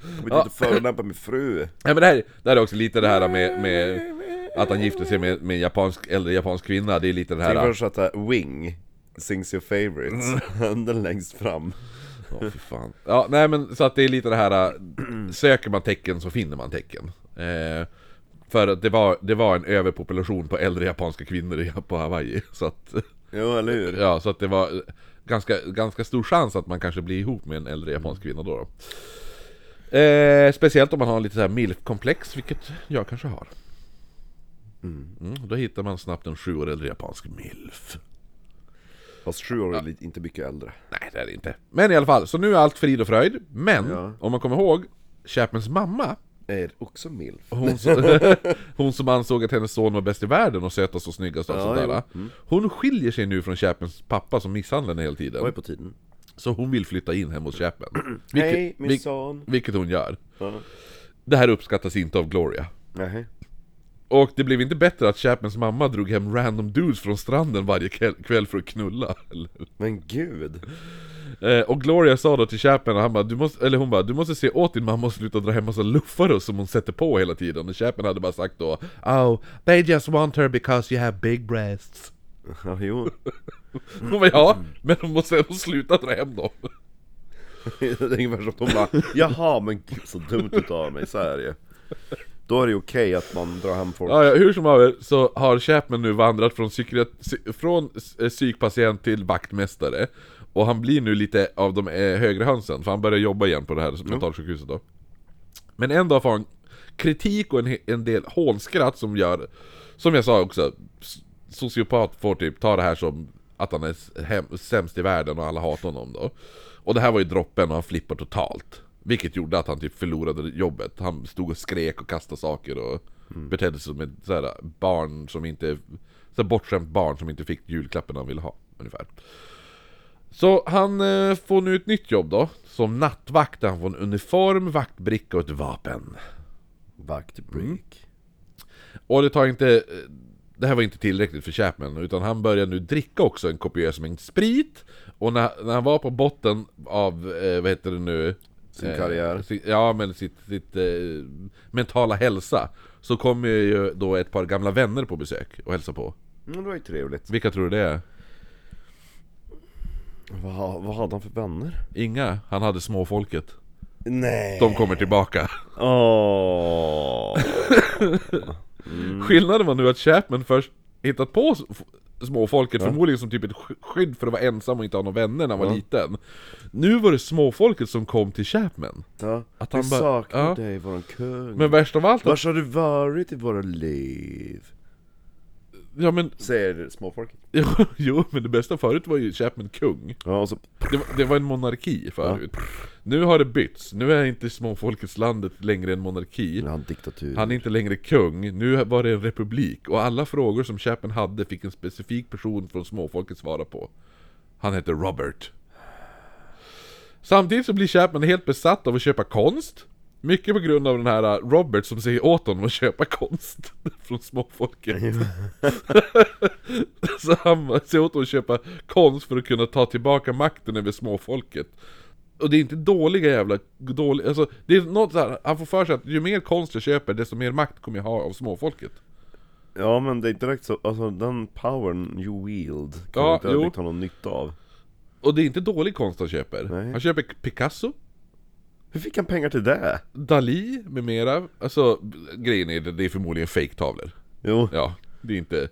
S2: Kom inte och förolämpa min <laughs> fru
S1: Ja, men det, här, det här är också lite det här med, med att han gifte sig med, med en japansk, äldre japansk kvinna. Det är lite det här...
S2: Tänk först att det här Wing Sings your <laughs> favorites Den längst fram
S1: Ja, fy fan. Ja, nej men så att det är lite det här, äh, söker man tecken så finner man tecken. Eh, för att det var, det var en överpopulation på äldre japanska kvinnor i- på Hawaii. Så att, <laughs>
S2: Jo eller hur?
S1: ja, så att det var eh, ganska, ganska stor chans att man kanske blir ihop med en äldre japansk kvinna då. då. Eh, speciellt om man har lite så här milfkomplex, vilket jag kanske har. Mm, då hittar man snabbt en sju år äldre japansk milf.
S2: Fast sju år är lite- inte mycket äldre
S1: Nej det är det inte. Men i alla fall, så nu är allt frid och fröjd. Men,
S2: Ja.
S1: om man kommer ihåg, Chapmans mamma,
S2: Är också milf?
S1: hon som, hon som ansåg att hennes son var bäst i världen och sötast och snyggast och allt
S2: Ja, Mm.
S1: sånt där. Hon skiljer sig nu från Chapmans pappa som misshandlar henne hela tiden.
S2: Vad är på tiden?
S1: Så hon vill flytta in hem hos
S2: <clears throat>
S1: Chapman.
S2: Hej min
S1: vil-
S2: son
S1: vilket hon gör.
S2: Ja.
S1: Det här uppskattas inte av Gloria.
S2: Nej.
S1: Och det blev inte bättre att Chapmans mamma drog hem random dudes från stranden varje kväll- kväll för att knulla. Eller?
S2: Men <laughs> gud
S1: Eh, och Gloria sa då till Chapman, och han bara, du måste, eller hon bara, du måste se åt din mamma och sluta dra hem massa luffare som hon sätter på hela tiden. Och Chapman hade bara sagt då, Oh, they just want her because you have big breasts.
S2: Ja jo <laughs>
S1: Hon bara, ja, men hon måste ändå sluta dra hem dem.
S2: Det är ungefär som att hon bara Jaha men gud så dumt utav mig, så är det ju Då är det okej att man drar hem folk.
S1: Ja, ja, hur som helst så har Chapman nu vandrat från, psykiat- psy- från eh, psykpatient till vaktmästare Och han blir nu lite av de eh, högre hönsen, för han börjar jobba igen på det här mentalsjukhuset då Men en dag får han kritik och en, he- en del hånskratt som gör Som jag sa också, s- sociopat får typ ta det här som att han är s- hem, sämst i världen och alla hatar honom då Och det här var ju droppen och han flippar totalt Vilket gjorde att han typ förlorade jobbet, han stod och skrek och kastade saker och Betedde sig som ett så här, barn som inte så här, Bortskämt barn som inte fick julklappen han ville ha, ungefär så han eh, får nu ett nytt jobb då, som nattvakt där han får en uniform, vaktbricka och ett vapen.
S2: Mm.
S6: Vaktbreak.
S1: Och det tar inte... eh, Det här var inte tillräckligt för Chapman, utan han börjar nu dricka också en kopiös mängd sprit. Och när, när han var på botten av, eh, vad heter det nu?
S2: Sin karriär.
S1: sin, ja, men sitt, sitt eh, mentala hälsa. Så kommer ju då ett par gamla vänner på besök och hälsa på.
S2: Mm, det var ju trevligt.
S1: Vilka tror du det är?
S2: Vad, vad hade han för vänner?
S1: Inga. Han hade småfolket.
S2: Nej.
S1: De kommer tillbaka.
S2: Åh.
S1: Mm. Skillnaden var nu att Chapman först hittat på s- f- småfolket förmodligen som typ ett sk- skydd för att vara ensam och inte ha några vänner när han var liten. Nu var det småfolket som kom till Chapman.
S2: Ja.
S1: Att
S2: Vi
S1: han bara-
S2: saknar
S1: ja.
S2: dig våran kung.
S1: Men värst av allt, att,
S2: Vars har du varit i våra liv?
S1: ja men, <laughs>
S2: Säger småfolket.
S1: jo men det bästa förut var ju Chapman kung.
S2: Ja, och så
S1: Det var, det var en monarki förut. Nu har det bytts, nu är inte småfolkets landet längre en monarki.
S2: han diktatur.
S1: Han är inte längre kung, nu var det en republik och alla frågor som Chapman hade fick en specifik person från småfolket svara på. Han hette Robert. Samtidigt så blir Chapman helt besatt av att köpa konst. Mycket på grund av den här eh, Robert som säger åt honom att köpa konst <laughs> från småfolket. <laughs> så han säger åt honom att köpa konst för att kunna ta tillbaka makten över småfolket. Och det är inte dåliga jävla... Dåliga, alltså, det är något så här, han får för sig att ju mer konst jag köper desto mer makt kommer jag ha av småfolket.
S2: Ja men det är direkt så, alltså den powern you wield kan
S1: Ja,
S2: du inte
S1: jo.
S2: riktigt ha någon nytta av
S1: Och det är inte dålig konst han köper.
S2: Nej.
S1: Han köper Picasso,
S2: Hur fick han pengar till det?
S1: Dalí med mera. Alltså b- grejen är det, det är förmodligen fejktavlor.
S2: Jo,
S1: Ja, det är inte...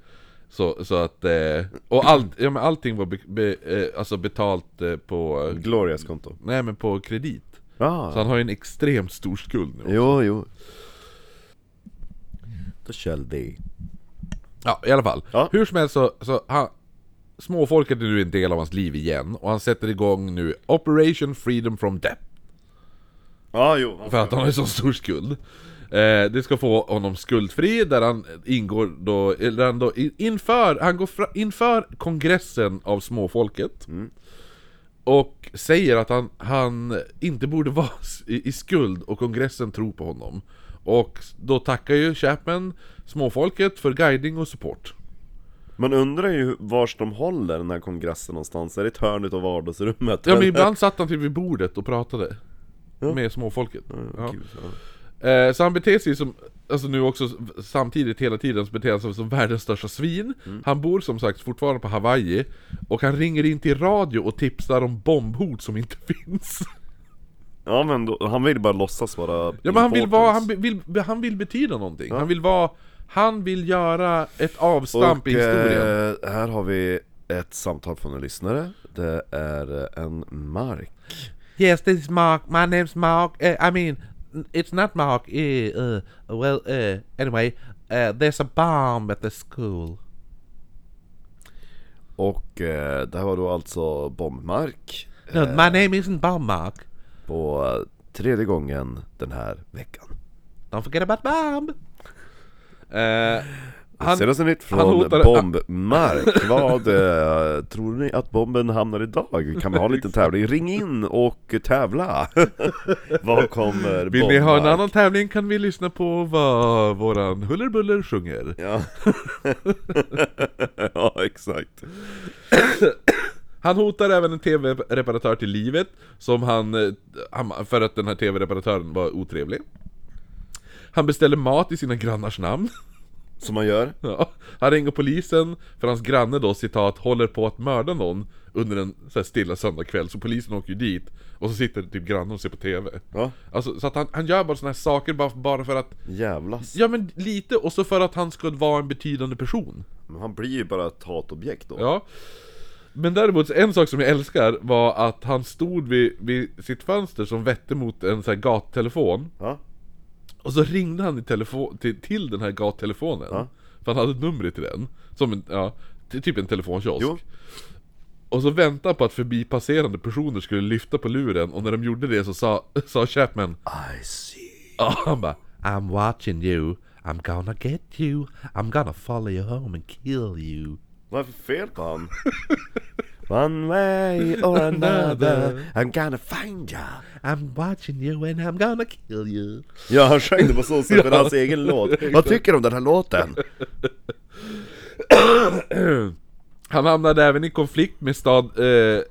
S1: Så, så att... Eh, och allt, ja, men allting var be, be, eh, alltså betalt eh, på...
S2: Glorias konto
S1: Nej men på kredit.
S2: ah.
S1: Så han har ju en extremt stor skuld nu.
S2: Jo, jo Då käll vi
S1: Ja, i alla fall.
S2: Ja.
S1: Hur som helst så, så han, småfolket är nu en del av hans liv igen och han sätter igång nu Operation Freedom from Debt.
S2: Ja, ah, jo
S1: För att han har en så stor skuld. Eh, det ska få honom skuldfri, där han ingår då, eller där han då i- inför, han går fra, inför kongressen av småfolket. Och säger att han, han inte borde <laughs> vara s- i, i skuld och kongressen tror på honom. Och då tackar ju Chapman småfolket för guiding och support.
S2: Man undrar ju vars de håller den här kongressen någonstans, är det ett hörn utav vardagsrummet?
S1: Ja men
S2: eller?
S1: ibland satt han typ vid bordet och pratade Med småfolket ja.
S2: Gud, ja.
S1: Eh, Så han beter sig som, alltså nu också s- samtidigt hela tiden så beter han sig som världens största svin Han bor som sagt fortfarande på Hawaii Och han ringer in till radio och tipsar om bombhot som inte <laughs> finns
S2: ja men då, han vill bara låtsas vara
S1: Ja men han vill
S2: important.
S1: vara, han be- vill, han vill betyda någonting Han vill vara, han vill göra ett avstamp i
S2: Och,
S1: historien
S2: eh, här har vi ett samtal från en lyssnare Det är eh, en Mark
S4: Yes, this is Mark. My name's Mark. Uh, I mean, n- it's not Mark. eh, uh, well, uh, anyway, uh, there's a bomb at the school.
S2: Och eh, det här var då alltså Bombmark
S4: No, my name isn't Bomb Mark.
S2: på eh, tredje gången den här veckan.
S4: Don't forget about bomb.
S1: eh,
S2: Han,
S1: han,
S2: Senaste nytt
S1: han
S2: från
S1: hotar- <laughs>
S2: Bombmark. Vad eh, tror ni att bomben hamnar idag? Kan vi ha en liten tävling? Ring in och tävla! <laughs> Vad kommer
S1: vill ni ha en
S2: Bombmark?
S1: annan tävling kan vi lyssna på vad våran Hullerbuller sjunger
S2: Ja. <laughs> ja, exakt.
S1: Han hotar även en TV-reparatör till livet, som han, eh, han... För att den här TV-reparatören var otrevlig. Han beställer mat i sina grannars namn. <laughs>
S2: Som man gör.
S1: Ja. Han ringer polisen för hans granne då citat håller på att mörda någon under en så här stilla söndagkväll så polisen åker ju dit och så sitter typ grannen och ser på TV.
S2: Ja.
S1: Alltså, så att han, han gör bara såna här saker bara, bara för att
S2: Jävlas.
S1: Ja men lite, och så för att han ska vara en betydande person.
S2: Men han blir ju bara ett hatobjekt då.
S1: Ja. Men däremot, en sak som jag älskar var att han stod vid, vid sitt fönster som vette mot en sån här gattelefon.
S2: Ja.
S1: Och så ringde han i telefon, till, till den här gattelefonen. För han hade numret till den. Som en, ja, ty- typ en telefonkiosk.
S2: Jo.
S1: Och så väntade han på att förbipasserande personer skulle lyfta på luren och när de gjorde det så sa, sa Chapman
S4: I see.
S1: Ja, han bara
S4: I'm watching you. I'm gonna get you. I'm gonna follow you home and kill you.
S2: Vad är det för fel på han? <laughs> One way or another I'm gonna find ya
S4: I'm watching you and I'm gonna kill you.
S2: Ja han sjöng det på så sätt, men hans egen låt Vad tycker du om den här låten?
S1: Han hamnade även i konflikt med stad, eh, eh,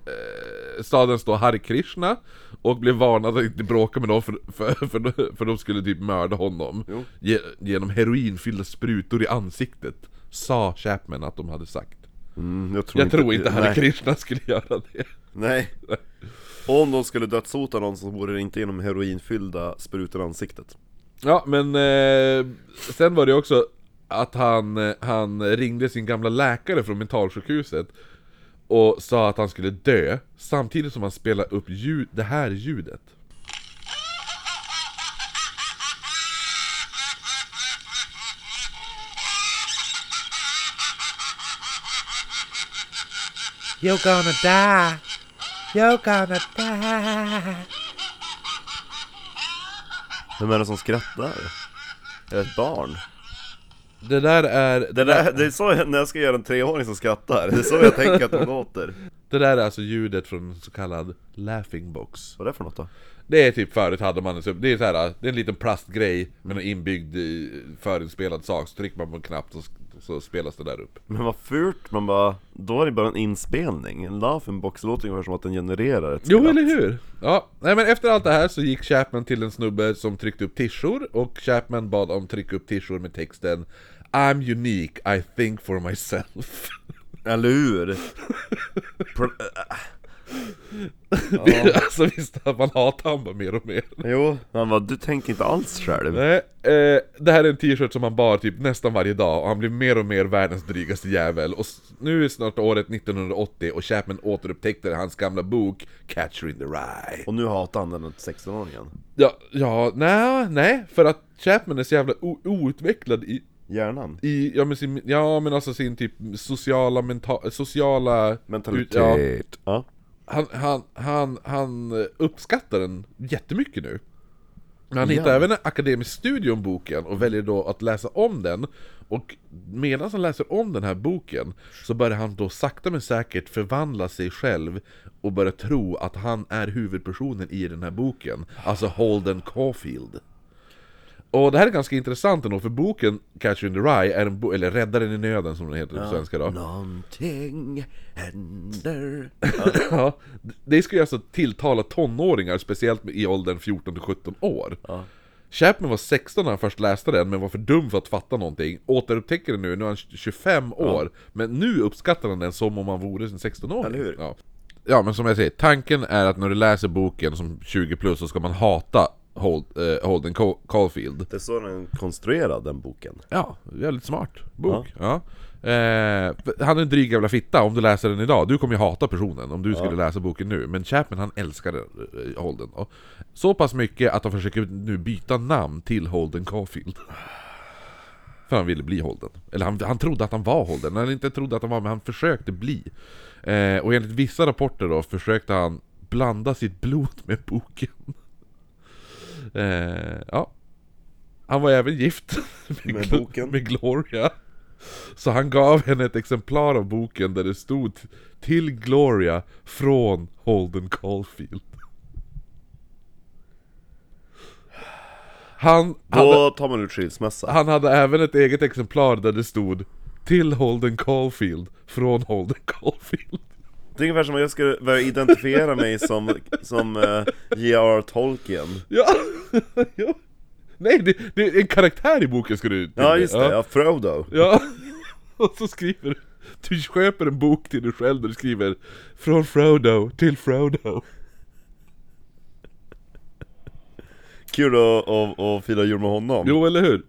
S1: stadens då Hare Krishna och blev varnad att inte bråka med dem för, för, för, för de skulle typ mörda honom ge, Genom heroinfyllda sprutor i ansiktet Sa Chapman att de hade sagt
S2: Mm,
S1: Jag tror inte Hare
S2: nej,
S1: Krishna skulle göra det
S2: nej Om de skulle dödshota någon så vore det inte genom heroinfyllda sprutor i ansiktet
S1: Ja men eh, sen var det också att han, eh, han ringde sin gamla läkare från mentalsjukhuset och sa att han skulle dö samtidigt som han spelade upp ljud, det här ljudet.
S4: You're gonna die. You're gonna die.
S2: Vem är det som skrattar? Är det ett barn?
S1: Det där är, det
S2: Det,
S1: där,
S2: där, det är så jag, när jag ska göra en treåring som skrattar Det är så jag tänker att de låter
S1: det där är alltså ljudet från en så kallad laughing box.
S2: Vad är det för något då?
S1: Det är typ förut hade man en, så- det är så här, det är en liten plastgrej med en inbyggd eh, förinspelad sak, så trycker man på en knapp så, så spelas det där upp.
S2: Men vad fult, man bara, då är det bara en inspelning En laughing box låter ungefär som att den genererar ett
S1: Jo,
S2: skratt.
S1: eller hur? Ja, nej men efter allt det här så gick Chapman till en snubbe som tryckte upp tishor och Chapman bad om tryck upp tishor med texten I'm unique, I think for myself.
S2: Eller hur? Pro-
S1: <laughs> alltså visst, man hatar han bara mer och mer.
S2: Jo, han bara, du tänker inte alls själv
S1: Nej, eh, det här är en t-shirt som han bar typ nästan varje dag och han blev mer och mer världens drygaste jävel och s- nu är snart året 1980 och Chapman återupptäckte hans gamla bok Catcher in the Rye.
S2: Och nu hatar han den 16-åringen
S1: Ja, ja, nej, nej, för att Chapman är så jävla o- outvecklad i
S2: Hjärnan
S1: I, ja, men sin, ja men alltså sin typ sociala menta, sociala...
S2: Mentalitet
S1: ut- ja,
S2: ja.
S1: han, han, han, han uppskattar den jättemycket nu. Men han hittar även en akademisk studie om boken och väljer då att läsa om den. Och medan han läser om den här boken så börjar han då sakta men säkert förvandla sig själv och börjar tro att han är huvudpersonen i den här boken. Alltså Holden Caulfield. Och det här är ganska intressant ändå, för boken Catcher in the Rye, är en bo- eller Räddaren i nöden som den heter på svenska då.
S2: Någonting händer <laughs>
S1: Ja, det skulle alltså tilltala tonåringar, speciellt i åldern 14 till 17 år. Chapman var 16 när han först läste den, men var för dum för att fatta någonting. Återupptäcker den nu, nu är han 25 år, men nu uppskattar han den som om han vore en 16-åring.
S2: Eller hur?
S1: Ja. ja, men som jag säger, tanken är att när du läser boken som 20 plus så ska man hata Hold, eh, Holden Caul- Caulfield.
S2: Det är så den är konstruerad den boken
S1: Ja, väldigt smart bok. Ja. Eh, för han är en dryg jävla fitta om du läser den idag. Du kommer ju hata personen om du skulle läsa boken nu. Men Chapman han älskade eh, Holden. Då. Så pass mycket att han försöker nu byta namn till Holden Caulfield. För han ville bli Holden. Eller han, han trodde att han var Holden. Han inte trodde att han var, men han försökte bli. Eh, och enligt vissa rapporter då försökte han blanda sitt blod med boken. Eh, ja. Han var även gift <laughs> med,
S2: Med
S1: Glo-
S2: boken.
S1: med Gloria. Så han gav henne ett exemplar av boken där det stod Till Gloria från Holden Caulfield. Han, han,
S2: Då tar man ut skilsmässa
S1: han hade även ett eget exemplar där det stod Till Holden Caulfield från Holden Caulfield. <laughs>
S2: Det är ungefär som att jag skulle börja identifiera mig som, som eh, J.R. Tolkien
S1: Ja, ja. Nej, det, det är en karaktär i boken ska du till
S2: Ja just det, ja, Frodo.
S1: Ja, <laughs> och så skriver du Du köper en bok till dig själv där du skriver Från Frodo till Frodo
S2: Kul att, att, att fira jul med honom.
S1: Jo, eller hur?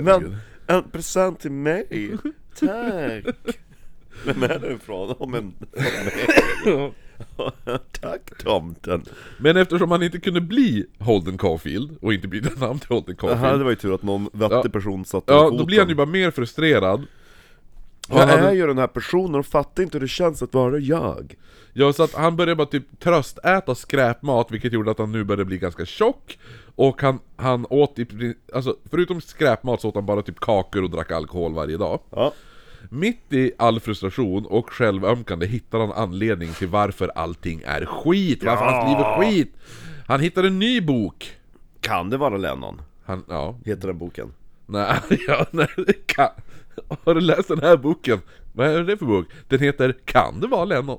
S2: Men, en present till mig! Tack! Vem är du ifrån? Om <laughs> en...
S1: Ja.
S2: Tack tomten!
S1: Men eftersom han inte kunde bli Holden Caulfield och inte byta namn till Holden Caulfield
S2: Här, det var ju tur att någon vettig person satte
S1: Ja,
S2: ner
S1: då blir han ju
S2: foten.
S1: bara mer frustrerad
S2: Han
S1: Ja,
S2: är
S1: men-
S2: ju den här personen och fattar inte hur det känns att vara jag.
S1: Ja, så att han började bara typ tröstäta skräpmat, vilket gjorde att han nu började bli ganska tjock Och han, han åt i prin- alltså förutom skräpmat så åt han bara typ kakor och drack alkohol varje dag
S2: Ja.
S1: Mitt i all frustration och självömkande hittar han anledning till varför allting är skit, varför hans liv är skit! Han hittar en ny bok!
S2: Kan det vara Lennon?
S1: Han, ja,
S2: Heter den boken.
S1: nej, <laughs> ja, nej, det kan. Har du läst den här boken? Vad är det för bok? Den heter Kan det vara
S2: <laughs>
S1: Lennon?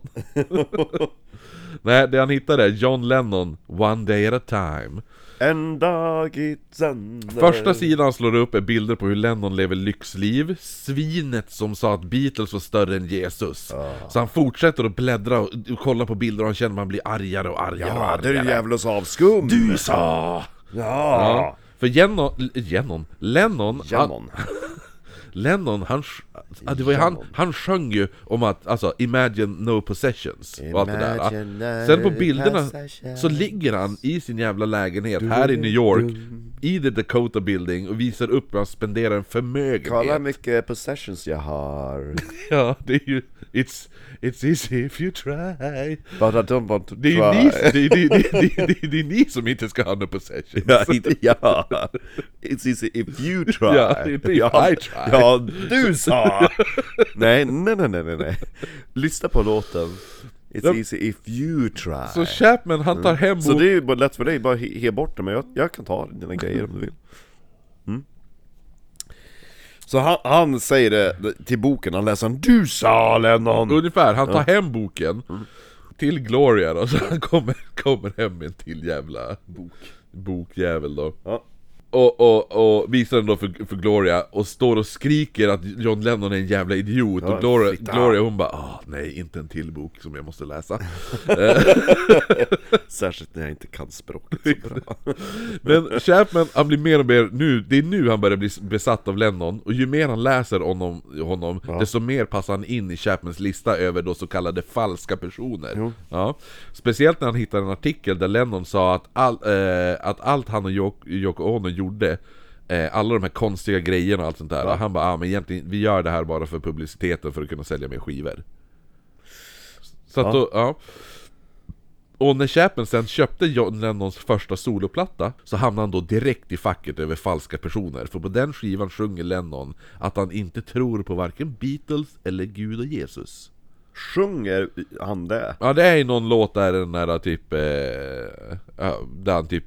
S1: nej, det han hittade är John Lennon, One Day At A Time
S2: En dag i sänder.
S1: Första sidan han slår upp är bilder på hur Lennon lever lyxliv Svinet som sa att Beatles var större än Jesus Så han fortsätter att bläddra och, och kolla på bilder och han känner att man blir argare och argare och
S2: Ja, det är
S1: argare
S2: ju djävulens avskum!
S1: Du sa!
S2: Ja!
S1: Ja. För Genon, Genon, Lennon, han,
S2: Jamon.
S1: Lennon, han, sj- ja, det var ju han, han sjöng ju om att, alltså, imagine no possessions och allt det där.
S2: Imagine
S1: Sen på
S2: no
S1: bilderna så
S2: possessions.
S1: ligger han i sin jävla lägenhet här i New York, i the Dakota building och visar upp hur han spenderar en
S2: Kolla hur
S1: förmögenhet.
S2: mycket possessions jag har.
S1: Ja, det är ju, it's, it's easy if you try.
S2: But I don't want to
S1: Det är ju ni, det, är- det, är- det, är- det, är- det är ni som inte ska ha no possessions. <laughs>
S2: Ja, inte jag. <laughs> It's easy if you try.
S1: Ja, inte if I try.
S2: Ja, du sa! nej, nej, nej, nej, nej, nej. Lyssna på låten. It's
S1: Ja.
S2: easy if you try.
S1: Så Chapman, han tar hem
S2: Så
S1: boken
S2: det är ju bara lätt för dig, bara he, he bort det, men jag, jag kan ta dina grejer om du vill. Mm. Så han, han säger det till boken, han läser den 'Du sa Lennon'
S1: Ungefär, han tar hem boken till Gloria då, <laughs> så han kommer, kommer hem med en till jävla bok. bokjävel då.
S2: ja.
S1: Och, och, och visar den då för, för Gloria och står och skriker att John Lennon är en jävla idiot och Gloria,
S2: fitta.
S1: Gloria hon bara ah nej, inte en till bok som jag måste läsa.
S2: Särskilt när jag inte kan språket så bra
S1: <laughs> Men Chapman, han blir mer och mer nu, det är nu han börjar bli besatt av Lennon och ju mer han läser honom, honom desto mer passar han in i Chapmans lista över då så kallade falska personer. Ja. Speciellt när han hittar en artikel där Lennon sa att, all, eh, att allt han och Yoko Yoko Ono gjorde eh, alla de här konstiga grejerna och allt sånt där. Han bara ah, men egentligen, vi gör det här bara för publiciteten för att kunna sälja mer skivor. Så att då, ja. Och när Chapman sen köpte John Lennons första soloplatta så hamnade han då direkt i facket över falska personer för på den skivan sjunger Lennon att han inte tror på varken Beatles eller Gud och Jesus.
S2: Sjunger han det?
S1: Ja det är ju någon låt där den där typ, eh, ja, där han typ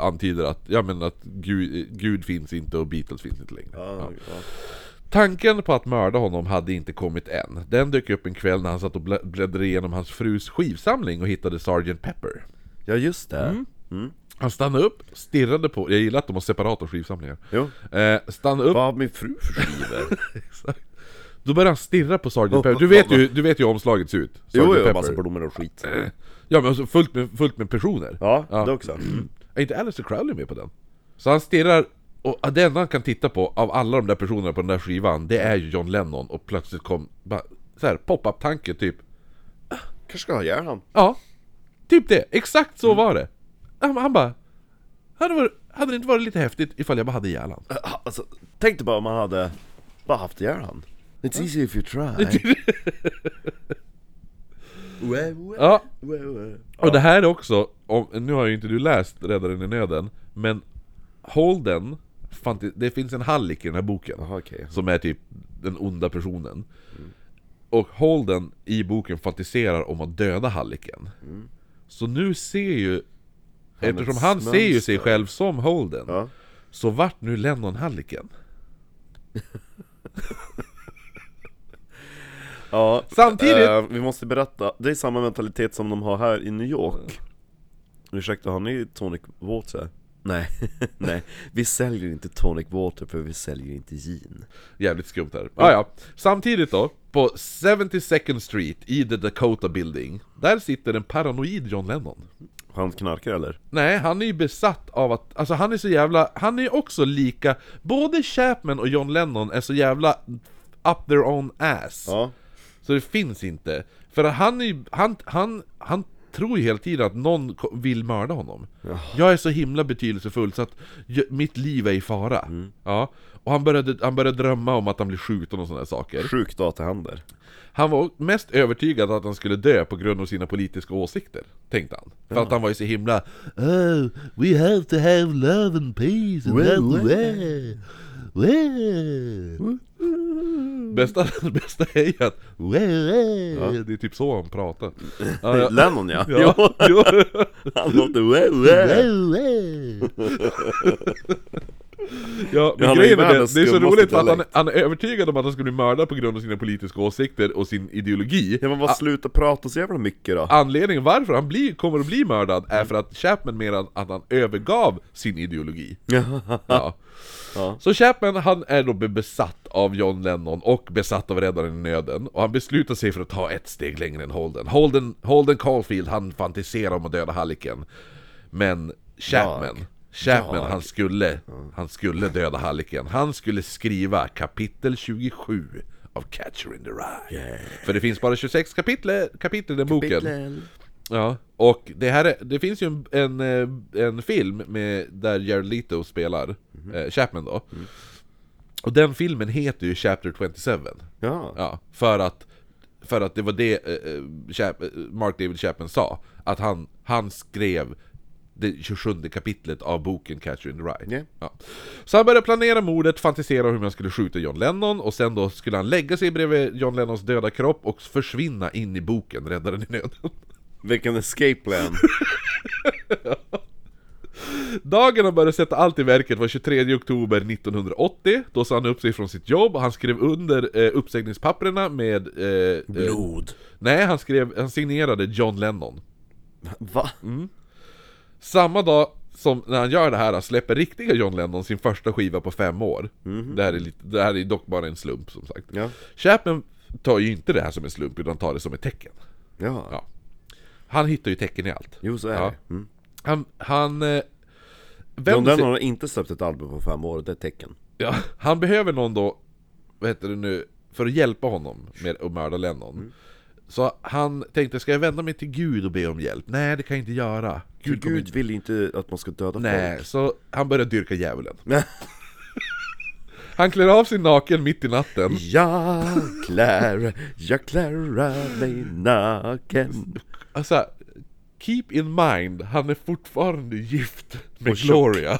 S1: antyder att, ja men att Gud, Gud finns inte och Beatles finns inte längre. Ja. Tanken på att mörda honom hade inte kommit än. Den dök upp en kväll när han satt och blä- bläddrade igenom hans frus skivsamling och hittade Sgt. Pepper.
S2: Ja just det
S1: Mm. Han stannade upp, stirrade på, jag gillar att de har separata skivsamlingar
S2: Jo.
S1: eh, Stannade upp,
S2: Vad har min fru för <laughs> skivor?
S1: exakt <laughs> Då började han stirra på Sgt. Pepper, du vet ju, du vet ju hur omslaget ser ut Sgt.
S2: jo jo,
S1: Pepper.
S2: massa blommor och skit
S1: <clears throat> Ja men alltså fullt med, fullt med personer
S2: Ja, Mm. det också
S1: Är inte Alistair Crowley med på den? Så han stirrar, och det enda han kan titta på av alla de där personerna på den där skivan Det är ju John Lennon och plötsligt kom, bara, så här, pop-up tanke typ
S2: Kanske ska ha ihjäl han
S1: Ja, typ det. Exakt
S2: Mm.
S1: så var det. Han, han bara... Hade, varit, hade det inte varit lite häftigt ifall jag bara hade ihjäl han?
S2: Alltså, tänk dig bara om han hade bara haft ihjäl han It's easy if you <laughs> try Wä, wä,
S1: Ja,
S2: wä, wä.
S1: och det här är också... Om, nu har ju inte du läst Räddaren i nöden, men Holden... Fanti, det finns en hallick i den här boken.
S2: Jaha, Mm. okej.
S1: Som är typ den onda personen. Och Holden i boken fantiserar om att döda hallicken.
S2: Mm.
S1: Så nu ser ju... eftersom
S2: ett
S1: han ser ju sig
S2: mönster.
S1: själv som Holden,
S2: Ja.
S1: så vart nu Lennon hallicken?
S2: Ja,
S1: Samtidigt-
S2: eh, vi måste berätta, det är samma mentalitet som de har här i New York Ursäkta, har ni tonic water? Nej, <laughs> nej. Vi säljer inte tonic water för vi säljer inte gin.
S1: Jävligt skumt
S2: Mm.
S1: där. Ah, ja. Samtidigt då, på 72nd Street i The Dakota Building, där sitter en paranoid John Lennon.
S2: Han knarkar eller?
S1: Nej, han är ju besatt av att, alltså han är så jävla, han är ju också lika, både Chapman och John Lennon är så jävla up their own ass.
S2: Ja.
S1: Så det finns inte. För att han är ju, han, han, han tror ju hela tiden att någon ko- vill mörda honom. Jag är så himla betydelsefull så att jag, mitt liv är i fara. Ja. Och han började, han började drömma om att han blir skjuten och sådana saker.
S2: Sjukt datahandel.
S1: Han var mest övertygad att han skulle dö på grund av sina politiska åsikter, tänkte han. För att han var ju så himla
S4: Oh, we have to have love and peace and that's the way. Well,
S1: Bästa, <laughs> bästa är ju att
S4: well, well.
S1: det är typ så han
S2: <laughs>
S1: pratar. Ja, ja.
S2: Lennon ja. <laughs>
S1: Ja, jo.
S2: Han låter wow, wow.
S4: well, well.
S1: ja,
S2: Ja,
S1: men
S2: han
S1: grejen
S2: är
S1: är det,
S2: världens
S1: det är så
S2: skummaste
S1: roligt för att han,
S2: dialekt.
S1: han är övertygad om att han skulle bli mördad på grund av sina politiska åsikter och sin ideologi.
S2: Ja men bara sluta prata så jävla mycket
S1: Ah.
S2: då.
S1: Anledningen varför han blir, kommer att bli mördad är för att Chapman menar att han övergav sin ideologi. Ja.
S2: Ja.
S1: Så Chapman, han är då be- besatt av John Lennon och besatt av Räddaren i nöden och han beslutar sig för att ta ett steg längre än Holden. Holden, Holden Caulfield, han fantiserar om att döda Halliken. Men Chapman, Chapman han skulle, han skulle döda Halliken. Han skulle skriva kapitel 27 av Catcher in the Rye. För det finns bara 26 kapitel, kapitel i den boken. Ja, och det här är, det finns ju en, en, eh, en film med, där Jared Leto spelar eh, Chapman då. Och den filmen heter ju Chapter 27.
S2: Ja.
S1: Ja, för att, för att det var det eh, eh, Chap, eh, Mark David Chapman sa. Att han, han skrev det 27 kapitlet av boken Catcher in the Rye.
S2: Ja.
S1: Ja. Så han började planera mordet, fantisera om hur man skulle skjuta John Lennon och sen då skulle han lägga sig bredvid John Lennons döda kropp och försvinna in i boken, Räddaren i nöden.
S2: Vilken escape
S1: <laughs>
S2: plan.
S1: Eh. Dagen han började sätta allt i verket var 23 oktober 1980, då sa han upp sig från sitt jobb, han skrev under eh, uppsägningspapperna med... Eh, eh,
S2: Blod.
S1: nej, han, skrev, han signerade John Lennon.
S2: Va?
S1: Mm. Samma dag som när han gör det här släpper riktiga John Lennon sin första skiva på fem år. Det, här är lite, det här är dock bara en slump som sagt.
S2: Mhm. Ja.
S1: Chapman tar ju inte det här som en slump, utan tar det som ett tecken.
S2: Ja.
S1: Ja. Han hittar ju tecken i allt.
S2: Jo så är
S1: Ja.
S2: det. Mm.
S1: Han... han eh,
S2: John
S1: vänder sig-
S2: Lennon har inte släppt ett album på fem år, det är ett tecken.
S1: Ja, han behöver någon då, vad heter det nu, för att hjälpa honom med att mörda Lennon.
S2: Mm.
S1: Så han tänkte, ska jag vända mig till Gud och be om hjälp? Nej, det kan jag inte göra. Gud,
S2: Gud,
S1: kommer
S2: Gud
S1: inte...
S2: vill ju inte att man ska döda
S1: Nej, så han börjar dyrka djävulen.
S2: folk.
S1: Han klär av sig naken mitt i natten.
S2: <laughs> Jag klär, jag klär mig naken
S1: Alltså, keep in mind, han är fortfarande gift med
S2: Och tjock.
S1: Gloria.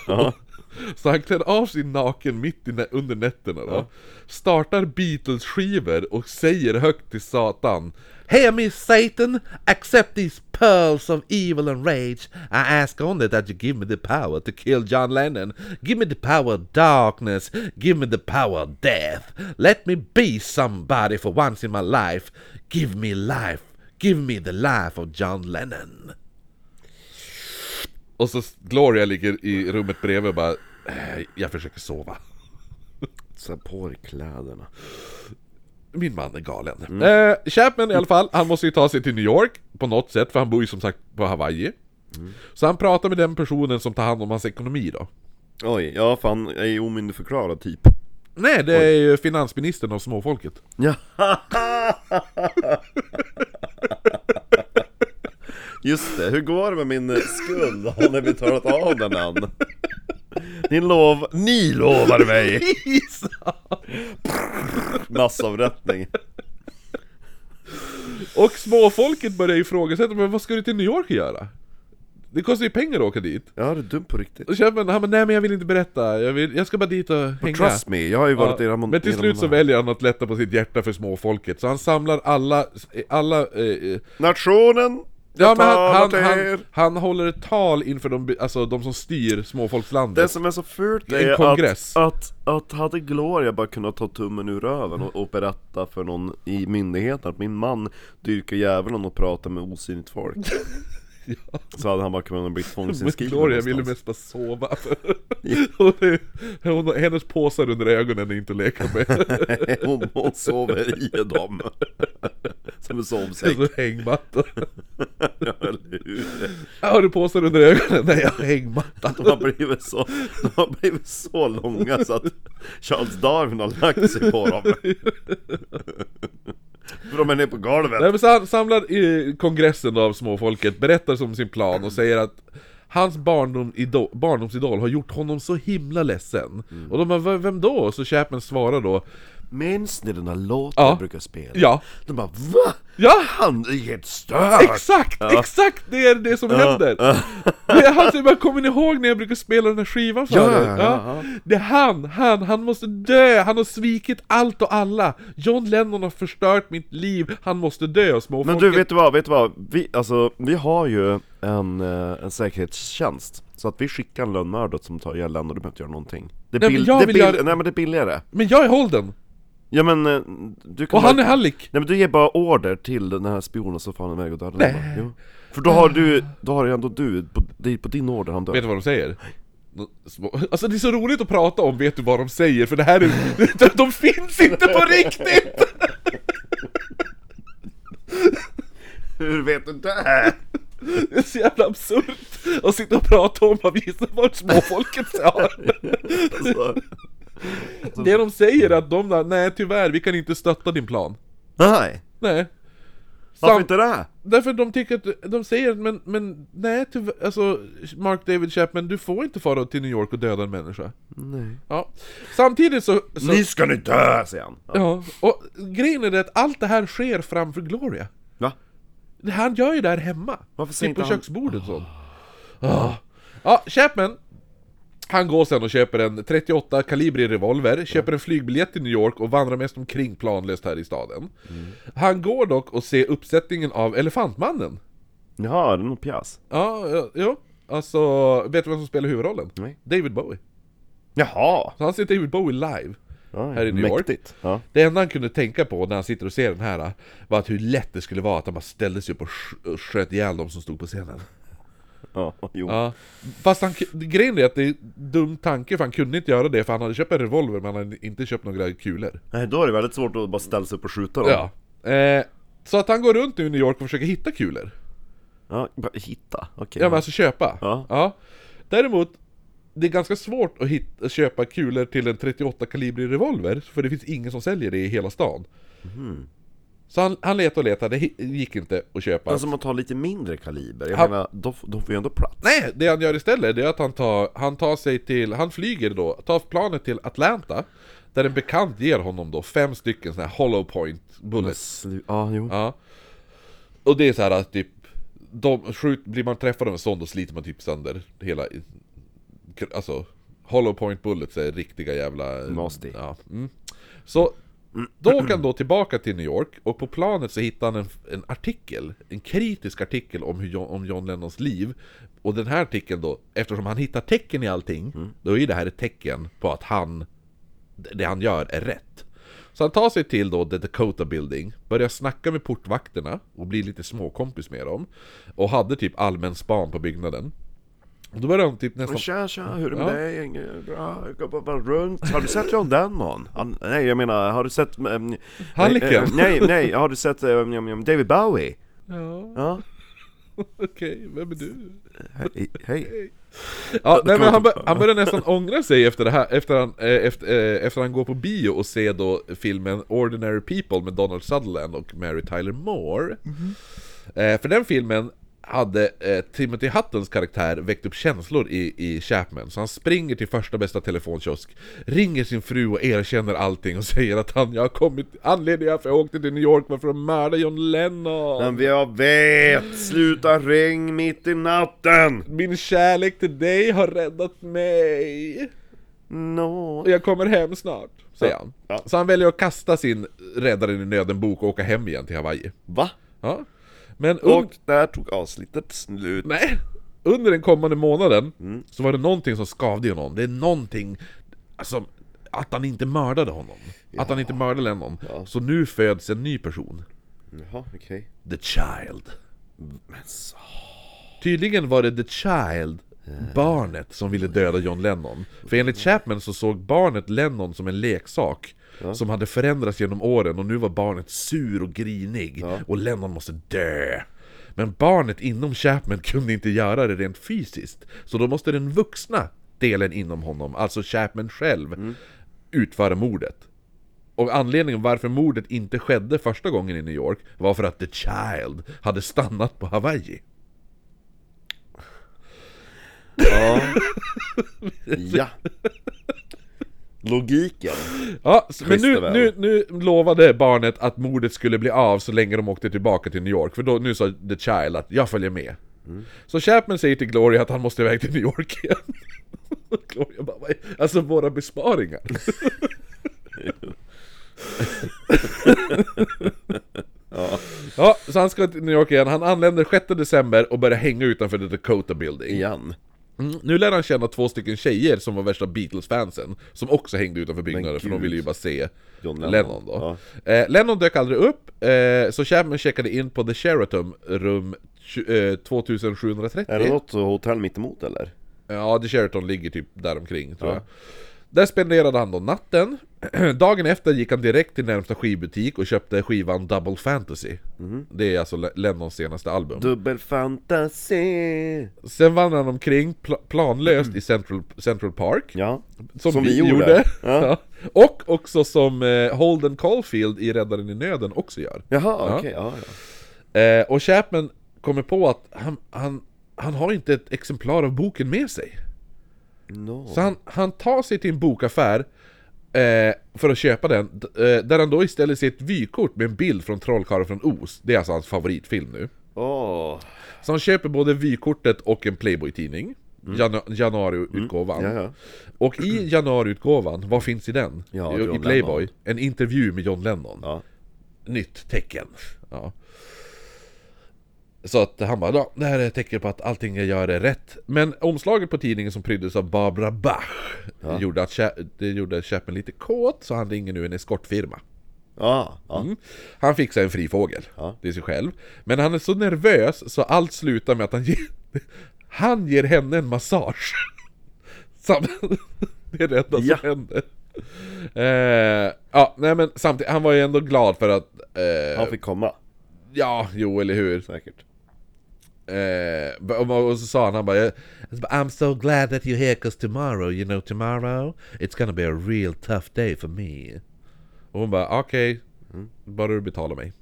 S1: Så han klär av sig naken mitt i nä- under nätterna då. Startar Beatles-skivor och säger högt till Satan
S4: Hear me, Satan, accept these pearls of evil and rage. I ask only that you give me the power to kill John Lennon. Give me the power of darkness. Give me the power of death. Let me be somebody for once in my life. Give me life. Give me the life of John Lennon.
S1: Och så Gloria ligger i rummet bredvid och bara "Eh, Jag försöker sova
S2: Sätt på dig kläderna
S1: Min man är galen eh, Chapman i alla fall, han måste ju ta sig till New York På något sätt, för han bor ju som sagt på Hawaii Så han pratar med den personen som tar hand om hans ekonomi då
S2: Oj, ja fan, jag är ju omyndigförklarad typ
S1: Nej, det är ju finansministern av småfolket
S2: Ja. Just det, hur går det med min eh, skuld? Har ni betalat av den än? Ni, lov... ni lovade mig massavrättning
S1: Och småfolket börjar ju ifrågasätta Men vad ska du till New York och göra? Det kostar ju pengar att åka dit
S2: Ja, det är dumt på riktigt
S1: Och Chapman, han bara, nej men jag vill inte berätta Jag, vill, jag ska bara dit och hänga
S2: Trust me, jag har ju varit i
S1: Ja,
S2: Ramon
S1: men till
S2: i
S1: slut så
S2: Ramona.
S1: väljer han att lätta på sitt hjärta för småfolket, så han samlar alla... alla eh, eh,
S2: Nationen!
S1: ja, men han,
S2: betalar
S1: han,
S2: till
S1: han,
S2: er.
S1: han håller ett tal inför de, alltså, de som styr
S2: Det
S1: småfolkslandet.
S2: som är så fult
S1: En
S2: är
S1: kongress.
S2: att, att, att hade Gloria bara kunnat ta tummen ur röven och, och berätta
S1: <laughs>
S2: för någon i myndigheten att min man dyrkar djävulen och pratar med osynligt folk Så hade han bara kunnat bli tvångsinskriven
S1: Gloria ville
S2: någonstans.
S1: mest bara sova. Hon är- hon, hennes påsar under ögonen är inte att leka
S2: <laughs>
S1: med.
S2: hon, hon sover i dem. <laughs> Som en sovsäck, <laughs>
S1: Alltså hängmatta.
S2: eller hur?
S1: Har du påsar under ögonen? Nej, jag har hängmatta.
S2: De har blivit så, de har blivit så långa så att Charles Darwin har lagt sig på
S1: <laughs>
S2: dem. För de är nere på
S1: Nej,
S2: golvet.
S1: men så han samlar i kongressen av småfolket, berättar om sin plan och säger att Hans barndom ido- barndomsidol har gjort honom så himla ledsen. Och de bara, "V- vem då? Så Chapman svarar då,
S2: Minns ni den där låten
S1: Ja.
S2: jag brukar spela?
S1: Ja.
S2: De bara VA?
S1: Ja!
S2: Han är helt störd!
S1: Exakt! Exakt! Det är det som händer! Det är han som bara, kommer ni ihåg när jag brukade spela den här skivan för
S2: Ja,
S1: er?"
S2: ja,
S1: Det är han, han, han måste dö! Han har svikit allt och alla! John Lennon har förstört mitt liv, han måste dö! Och
S2: Men
S1: småfolket...
S2: du, vet du vad? Vet du vad? Vi, alltså, vi har ju en, eh, en säkerhetstjänst Så att vi skickar en lönnmördare som tar ihjäl länder och du behöver inte göra någonting Det är,
S1: Nej, men
S2: bill-
S1: jag
S2: det är
S1: vill
S2: bill-
S1: göra-
S2: Nej men det är billigare
S1: Men jag är Holden!
S2: Ja men eh, du kan
S1: Och
S2: bara-
S1: han är Hallik!
S2: Nej men du ger bara order till den här spionen så får han iväg och dödar den jo. För då har du, då har ju ändå du, på, det är på din order han
S1: Vet
S2: dör
S1: du vad de säger? Små- Alltså det är så roligt att prata om, vet du vad de säger? För det här är... <laughs> de- De finns inte på riktigt! <laughs>
S2: Hur vet du det? <laughs>
S1: Det är så jävla absurt att sitta och prata om vad vissa vart småfolket sa.
S2: Alltså,
S1: Det de säger är att de där, nej tyvärr, vi kan inte stötta din plan.
S2: nej,
S1: Nej.
S2: varför
S1: Sam-
S2: inte det?
S1: Därför de tycker att, de säger att men, men nej tyvärr, alltså Mark David Chapman, du får inte fara till New York och döda en människa. Nej. Ja. Samtidigt så... så
S2: Ni ska ni dö, säger han! Ja.
S1: ja. Och grejen är det att allt det här sker framför Gloria.
S2: Va?
S1: Det- Han gör ju det här hemma.
S2: Varför
S1: Typ
S2: säger
S1: på
S2: inte han-
S1: köksbordet så. Ah. Ja, Chapman. Han går sen och köper en 38 kalibrig revolver, köper en flygbiljett till New York och vandrar mest omkring planlöst här i staden.
S2: Mm.
S1: Han går dock och ser uppsättningen av Elefantmannen.
S2: Jaha, är det någon pjäs?
S1: Ja, ja, ja. Alltså, vet du vem som spelar huvudrollen?
S2: Nej.
S1: David Bowie.
S2: Jaha!
S1: Så han ser David Bowie live.
S2: Ja,
S1: Här i New York.
S2: mäktigt. Ja.
S1: Det enda han kunde tänka på när han sitter och ser den här var att hur lätt det skulle vara att han bara ställde sig upp och sk- och sköt ihjäl de som stod på scenen.
S2: Ja, jo.
S1: Ja, fast han, grejen är att det är dum tanke för han kunde inte göra det för han hade köpt en revolver men han hade inte köpt några kulor.
S2: Nej, då är det väldigt svårt att bara ställa sig upp och skjuta dem.
S1: Ja. Eh, så att han går runt nu i New York och försöker hitta kulor.
S2: ja bara hitta, okej.
S1: Ja men alltså köpa.
S2: Ja.
S1: Däremot, det är ganska svårt att hitta, köpa kulor till en 38 kalibrig revolver för det finns ingen som säljer det i hela stan. Mhm. Så han, han letade och letade, det hi- gick inte att köpa.
S2: Alltså man tar lite mindre kaliber, jag
S1: Han-
S2: menar, de, f- de får ju ändå plats.
S1: Nej, det han gör istället det är att han tar, han tar sig till, han flyger då, tar planet till Atlanta Där en bekant ger honom då fem stycken såna här hollow point bullets
S2: Slu- ja, jo.
S1: ja. Och det är så här att typ, de, skjut, blir man träffad av en sån då sliter man typ sönder hela, alltså hollow point bullets är riktiga jävla...
S2: Nasty.
S1: Ja, mm. Så då åker han då tillbaka till New York och på planet så hittar han en, en artikel, en kritisk artikel om, hur John, om John Lennons liv. Och den här artikeln då, eftersom han hittar tecken i allting, då är det här ett tecken på att han, det han gör är rätt. Så han tar sig till då The Dakota Building, börjar snacka med portvakterna och blir lite småkompis med dem. Och hade typ allmän span på byggnaden. Och då börjar han typ nästan...
S2: Tja tja, hur är det med
S1: Ja.
S2: dig? Inget Bra, jag går bara- bara runt. Har du sett John Lennon? Han, nej jag menar, har du sett... Um,
S1: Halliken.
S2: Nej, nej, har du sett ehm, ehm, ehm, David Bowie?
S1: <laughs> Ja,
S2: Ja,
S1: okej, vem är du?
S2: hej. hej.
S1: Ja, nej, men
S2: kommer
S1: han,
S2: inte-
S1: bör, han börjar nästan ångra sig efter det här, efter han, eh, efter, eh, efter han går på bio och ser då filmen Ordinary People med Donald Sutherland och Mary Tyler Moore. Eh, för den filmen hade eh, Timothy Huttons karaktär väckt upp känslor i, i Chapman, så han springer till första bästa telefonkiosk, ringer sin fru och erkänner allting och <laughs> säger att han, jag har kommit, anledningen varför jag åkte till New York var för att mörda John Lennon.
S2: Men jag vet! Sluta ring mitt i natten!
S1: Min kärlek till dig har räddat mig.
S2: No.
S1: Och jag kommer hem snart, säger han.
S2: Ja.
S1: Så han väljer att kasta sin Räddaren i nöden-bok och åka hem igen till Hawaii.
S2: Va?
S1: Ja. Men un-
S2: Och där tog avsnittet slut.
S1: nej. under den kommande månaden
S2: Mm.
S1: så var det någonting som skavde i honom. Det är någonting som... Att han inte mördade honom. Att han inte mördade Lennon. Så nu föds en ny person.
S2: Jaha, okej.
S1: The Child.
S2: Men så...
S1: Tydligen var det The Child, barnet, som ville döda John Lennon. För enligt Chapman så såg barnet Lennon som en leksak. Som hade förändrats genom åren och nu var barnet sur och grinig och Lennon måste dö. Men barnet inom Chapman kunde inte göra det rent fysiskt. Så då måste den vuxna delen inom honom, alltså Chapman själv, utföra mordet. Och anledningen varför mordet inte skedde första gången i New York var för att The Child hade stannat på Hawaii. <laughs>
S2: Ja. Logiken.
S1: Ja, s- men
S2: Christer
S1: nu,
S2: väl.
S1: nu, nu lovade barnet att mordet skulle bli av så länge de åkte tillbaka till New York, för då, nu sa The Child att jag följer med. Så Chapman säger till Gloria att han måste iväg till New York igen. <laughs> Och Gloria bara, "Vad är- alltså våra besparingar. ja, så han ska till New York igen. Han anländer 6 december och börjar hänga utanför The Dakota Building.
S2: Igen.
S1: Mm, Nu lär han känna två stycken tjejer som var värsta Beatles-fansen Som också hängde utanför byggnaden för de
S2: gud.
S1: ville ju bara se
S2: John
S1: Lennon.
S2: Lennon.
S1: då eh, Lennon dök aldrig upp, eh, så Chapman checkade in på The Sheraton rum tju- eh, 2730
S2: Är det något hotell mittemot eller?
S1: Ja, The Sheraton ligger typ däromkring tror jag Där spenderade han då natten <clears throat> Dagen efter gick han direkt till närmsta skivbutik och köpte skivan Double Fantasy
S2: Mhm.
S1: Det är alltså Le- Lennons senaste album
S2: Dubbel fantasi.
S1: Sen vandrade han omkring pla- planlöst
S2: Mm.
S1: i Central, Central Park
S2: Ja.
S1: Som, vi gjorde. Ja. Och också som eh, Holden Caulfield i Räddaren i Nöden också gör.
S2: Jaha,
S1: Ja.
S2: okej. ja, ja.
S1: Eh, och Chapman kommer på att han, han, han har inte ett exemplar av boken med sig.
S2: No.
S1: Så han, han tar sig till en bokaffär eh, för att köpa den, d- eh, där han då istället ser ett vykort med en bild från Trollkarlen från Oz. Det är alltså hans favoritfilm nu.
S2: Åh.
S1: Så han köper både vykortet och en Playboy-tidning. Janu- januariutgåvan.
S2: Mm, ja, ja.
S1: Och i januariutgåvan, vad finns i den?
S2: Ja,
S1: I,
S2: John
S1: I Playboy? En intervju med John Lennon.
S2: Ja.
S1: Nytt tecken. Ja. Så att han bara, ja, det här är ett tecken på att allting jag gör är rätt. Men omslaget på tidningen som pryddes av Barbara Bach gjorde att Cha- det gjorde Chapman lite kåt, så han ringer nu en eskortfirma.
S2: Ja. ja.
S1: Mm. Han fixar en fri fågel
S2: Ja.
S1: till sig själv. Men han är så nervös så allt slutar med att han ger, <laughs> han ger henne en massage. <laughs> Sam, <laughs> det är det enda
S2: Ja.
S1: som händer. Eh, ja, nej men samtidigt, han var ju ändå glad för att... Eh,
S2: Han fick komma.
S1: ja, jo eller hur.
S2: Säkert.
S1: Eh, och, och så sa han, han bara, "Jag- I'm so glad that you're here 'cause tomorrow, you know tomorrow, it's gonna be a real tough day for me. Och hon bara, okej, bara du betalar mig.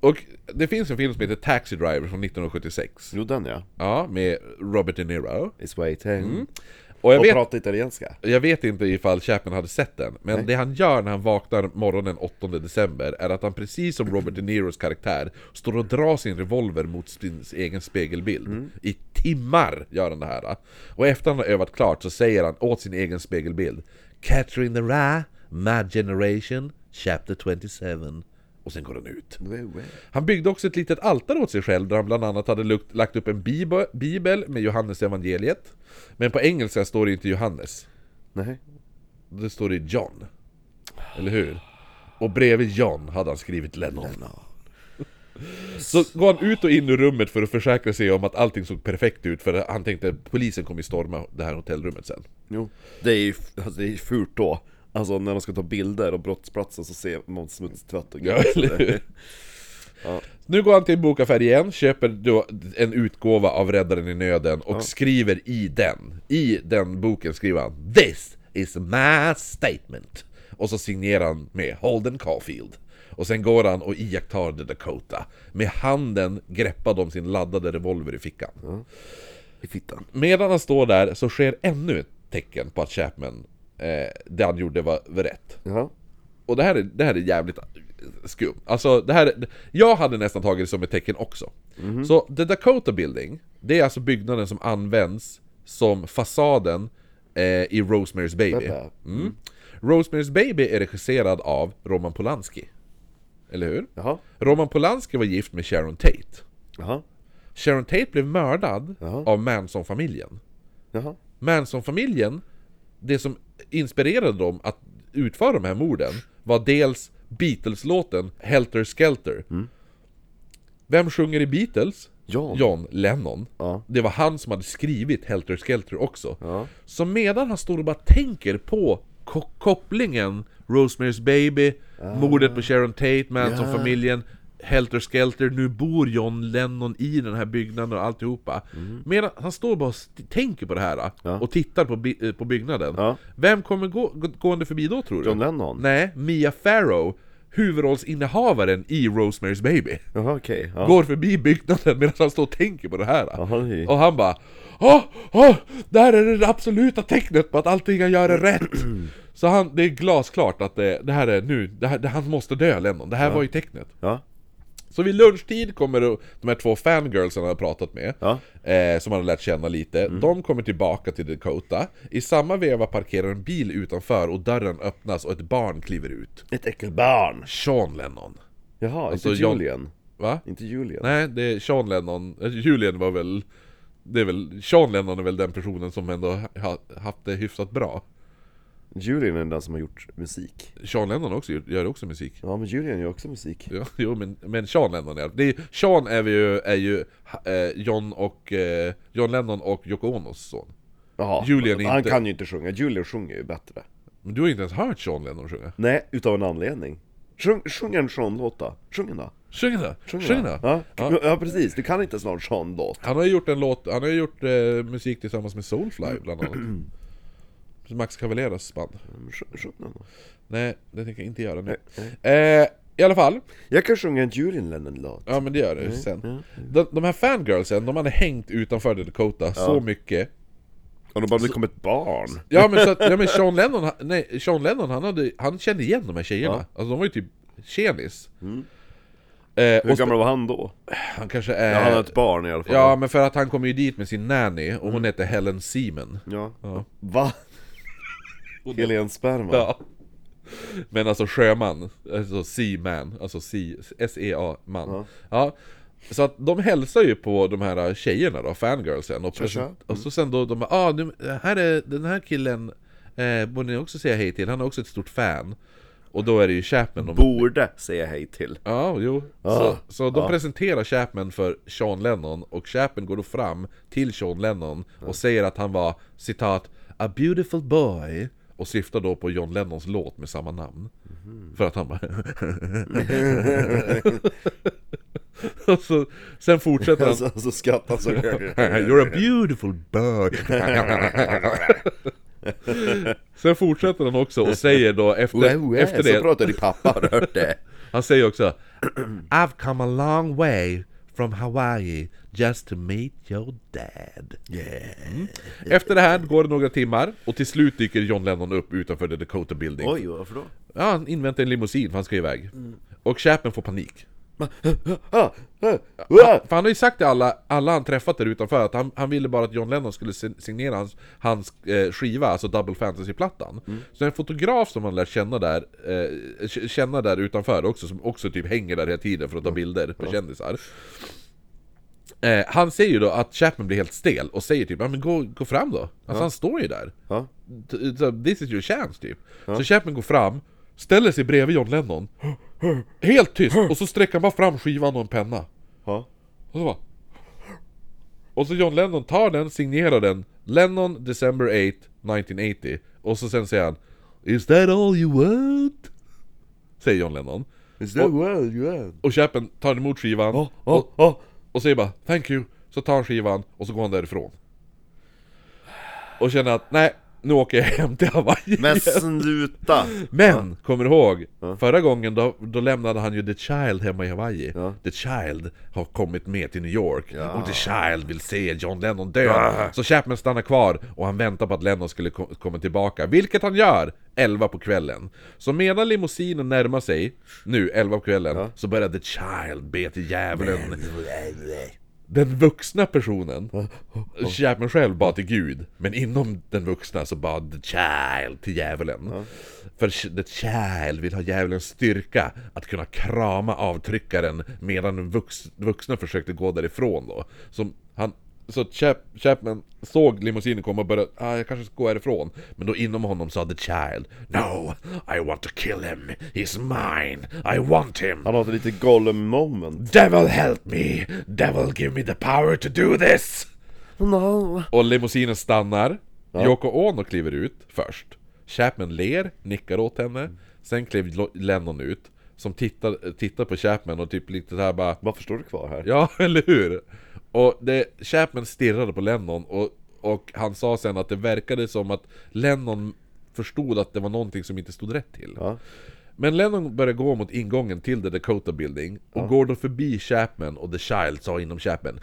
S1: Och det finns en film som heter Taxi Driver från 1976.
S2: Jo, den ja.
S1: Ja, med Robert De Niro.
S2: It's
S1: Och
S2: waiting.
S1: Mm. jag
S2: Och
S1: vet,
S2: prata italienska.
S1: jag vet inte ifall Chapman hade sett den, men det han gör när han vaknar morgonen 8 december är att han precis som Robert De Niros karaktär står och drar sin revolver mot sin egen spegelbild. I timmar gör han det här. Och efter han har övat klart så säger han åt sin egen spegelbild Catcher in the Rye, My Generation, Chapter 27 och sen går han ut. Han byggde också ett litet altare åt sig själv där han bland annat hade lukt, lagt upp en bibo- bibel med Johannes evangeliet Men på engelska står det inte Johannes
S2: Nej.
S1: det står det John. Eller hur? Och bredvid John hade han skrivit Lennon. Så går han ut och in ur rummet för att försäkra sig om att allting såg perfekt ut för han tänkte att polisen kommer ju storma det här hotellrummet sen.
S2: Jo. Det är ju alltså, det är ju fult då. Alltså när de ska ta bilder och brottsplatsen så ser man smutstvätt och
S1: Ja, <laughs> eller hur? Nu går han till en bokaffär igen, köper då en utgåva av Räddaren i nöden och skriver i den, i den boken skriver han This is my statement! Och så signerar han med Holden Caulfield. Och sen går han och iakttar The Dakota. Med handen greppad om sin laddade revolver i fickan.
S2: I fittan.
S1: Medan han står där så sker ännu ett tecken på att Chapman, eh, det han gjorde var, var rätt.
S2: Ja.
S1: Och det här är, det här är jävligt eh, skumt. Alltså det här, jag hade nästan tagit det som ett tecken också.
S2: Mhm.
S1: Så The Dakota Building, det är alltså byggnaden som används som fasaden eh, i Rosemary's Baby.
S2: Vänta.
S1: Mm. Rosemary's Baby är regisserad av Roman Polanski. Eller hur?
S2: Jaha.
S1: Roman Polanski var gift med Sharon Tate.
S2: Jaha.
S1: Sharon Tate blev mördad
S2: Jaha.
S1: av Manson-familjen.
S2: Jaha.
S1: Manson-familjen, det som inspirerade dem att utföra de här morden var dels Beatles-låten Helter Skelter. Vem sjunger i Beatles?
S5: John.
S1: John Lennon.
S5: Ja.
S1: Det var han som hade skrivit Helter Skelter också.
S5: Ja.
S1: Så medan han står och bara tänker på ko- kopplingen Rosemary's Baby,
S5: Ah.
S1: mordet på Sharon Tate, Manson-familjen, Helter Skelter, nu bor John Lennon i den här byggnaden och alltihopa.
S5: Mm.
S1: Medan han står bara och st- tänker på det här och tittar på, bi- eh, på byggnaden.
S5: Ja.
S1: Vem kommer gå- gå- gående förbi då tror du?
S5: John Lennon?
S1: Nej, Mia Farrow, huvudrollsinnehavaren i Rosemary's Baby
S5: Jaha okej, ja.
S1: går förbi byggnaden medan han står och tänker på det här.
S5: Jaha, hej.
S1: Och han bara Åh, åh, där är det absoluta tecknet på att allting han gör är rätt!
S5: <clears throat>
S1: Så han, det är glasklart att det, det här är nu, det här, det, han måste dö Lennon, det här var ju tecknet.
S5: Ja.
S1: Så vid lunchtid kommer det- de här två fangirlsen han har pratat med,
S5: Ja. Mm.
S1: eh, som han har lärt känna lite, de kommer tillbaka till Dakota. I samma veva parkerar en bil utanför och dörren öppnas och ett barn kliver ut.
S5: Ett äckelbarn!
S1: Sean Lennon.
S5: Jaha,
S1: Alltså,
S5: inte
S1: John-
S5: Julian?
S1: Va?
S5: Inte Julian?
S1: Nej, det är Sean Lennon, Eh, Julian var väl... Det är väl, Sean Lennon är väl den personen som ändå ha, haft det hyfsat bra
S5: Julian är den som har gjort musik
S1: Sean Lennon också, gör- gör också musik
S5: Ja men Julian gör också musik
S1: ja, Jo men, men Sean Lennon är det är, Sean är ju, är ju ha- eh, John och, eh, John Lennon och Yoko Onos son
S5: Jaha,
S1: Julian är
S5: han
S1: inte-
S5: kan ju inte sjunga, Julian sjunger ju bättre
S1: Men du har inte ens hört Sean Lennon sjunga?
S5: Nej, utav en anledning Sjung, sjung en Sean-låt då, sjung en då
S1: Sjung då!
S5: Sjung
S1: Sjung
S5: då.
S1: då!
S5: Ja.
S1: Ja.
S5: ja precis, du kan inte ens någon Sean-låt
S1: Han har ju gjort en låt, han har ju gjort eh, musik tillsammans med Soulfly bland annat Max Cavaleras band
S5: Men sjung- sjung den då.
S1: Nej, det tänker jag inte göra nu eh, I alla fall
S5: Jag kan sjunga en Julian Lennon-låt
S1: Ja men det gör det
S5: Mm,
S1: sen. De, de här fangirlsen, de hade hängt utanför Dakota så mycket.
S5: Har de bara blivit som ett barn?
S1: Ja men, så att, ja, men Sean Lennon, han- nej, Sean Lennon han, hade, han kände igen de här tjejerna. Alltså de var ju typ tjenis. Eh,
S5: Mm. Hur
S1: och så,
S5: gammal var han då?
S1: han kanske
S5: Ja, han har
S1: är... Ja,
S5: ett Mm. barn i alla fall
S1: men för att han kom ju dit med sin nanny och hon hette Helen Seaman.
S5: ja. Va? Helen Sperma?
S1: Ja. Men alltså sjöman, alltså seaman, alltså sea- S-E-A-man. Ja. Så att de hälsar ju på de här tjejerna då, fangirlsen. Och,
S5: tja. Mm.
S1: present- och så sen då, de bara, ah, nu, här är den här killen, eh, borde ni också säga hej till, han är också ett stort fan. Och då är det ju Chapman de...
S5: Borde säga hej till
S1: Ja, jo.
S5: Ah.
S1: Så, så de presenterar Chapman för Sean Lennon och Chapman går då fram till Sean Lennon och säger att han var citat ”A beautiful boy” och syftar då på John Lennons låt med samma namn. För att han bara... <laughs> och så, sen fortsätter
S2: <laughs> Alltså.
S1: han...
S5: Så, så skrattar han Alltså, så högt
S1: You're <laughs> a beautiful boy Sen fortsätter han också och säger då efter, efter det...
S5: Så pratar din pappa, har du hört det?
S1: Han säger också I've come a long way from Hawaii just to meet your dad. Mm. Efter det här går det några timmar och till slut dyker John Lennon upp utanför The Dakota Building.
S5: Oj, varför då?
S1: Ja, han inväntar en limousin för han ska iväg. Och Chapman får panik.
S5: Ah, ah, ah.
S1: För han har ju sagt till alla, alla han träffat där utanför att han, han ville bara att John Lennon skulle sin- signera hans, hans eh, skiva, alltså Double Fantasy-plattan. Så en fotograf som han lär känna där, eh, k- känna där utanför också, som också typ hänger där hela tiden för att ta bilder på kändisar. Eh, han säger ju då att Chapman blir helt stel och säger typ ja, men gå, gå fram då. Alltså han står ju där.
S5: Ja.
S1: T- så, This is your chance typ. Så Chapman går fram, ställer sig bredvid John Lennon, helt tyst, och så sträcker han bara fram skivan och en penna.
S5: Ja.
S1: Och så bara... Och så John Lennon tar den, signerar den Lennon December 8, 1980 Och så sen säger han Is that all you want? Säger John Lennon
S5: Is that well you are?
S1: Och Chapman tar emot skivan
S5: Ja, ja, ja.
S1: och säger bara 'Thank you' Så tar han skivan och så går han därifrån Och känner att nej, nu åker jag hem till Hawaii
S5: Men
S1: igen."
S5: sluta!
S1: Men, kommer du ihåg? Förra gången då, då lämnade han ju The Child hemma i Hawaii The Child har kommit med till New York och The Child vill se John Lennon dö Så Chapman stannar kvar och han väntar på att Lennon skulle ko- komma tillbaka Vilket han gör! 11 på kvällen Så medan limousinen närmar sig Nu, 11 på kvällen Så börjar The Child be till djävulen den vuxna personen, Chapman själv bad till Gud, men inom den vuxna så bad the child till djävulen. För ch- the child vill ha djävulens styrka att kunna krama avtryckaren medan den vux- vuxna försökte gå därifrån då. Så han, Så att Chap, Chapman såg limousinen komma och började, ah, jag kanske ska gå härifrån. Men då inom honom sa The Child, No, I want to kill him, he's mine, I want him.
S2: Han hade lite Gollum moment.
S1: Devil help me, devil give me the power to do this!
S2: No.
S1: Och limousinen stannar. Yoko Ono kliver ut först. Chapman ler, nickar åt henne. Sen klev Lo- Lennon ut. Som tittar, tittar på Chapman och typ lite så här bara
S2: Varför står du kvar här?
S1: Ja, <laughs> eller hur? Och det, Chapman stirrade på Lennon och, och han sa sen att det verkade som att Lennon förstod att det var någonting som inte stod rätt till.
S2: Ja.
S1: Men Lennon började gå mot ingången till The Dakota Building och går då förbi Chapman och The Child sa inom Chapman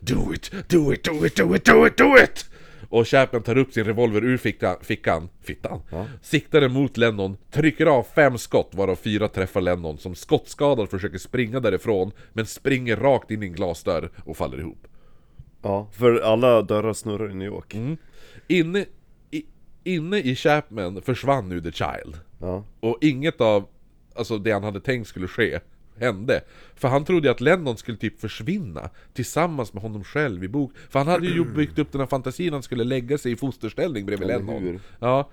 S1: Do it, do it, do it, do it, do it, do it, do it! Och Chapman tar upp sin revolver ur fickan, fickan fittan, siktar den mot Lennon, trycker av fem skott varav fyra träffar Lennon som skottskadad försöker springa därifrån men springer rakt in i en glasdörr och faller ihop.
S2: ja. För alla dörrar snurrar i New York.
S5: Mm.
S1: Inne i, inne i Chapman försvann nu The Child.
S2: Ja.
S1: Och inget av alltså, det han hade tänkt skulle ske hände. För han trodde ju att Lennon skulle typ försvinna tillsammans med honom själv i bok. För han hade
S2: <clears throat>
S1: ju byggt upp den här fantasin han skulle lägga sig i fosterställning bredvid Lennon.
S2: hur?
S1: Ja.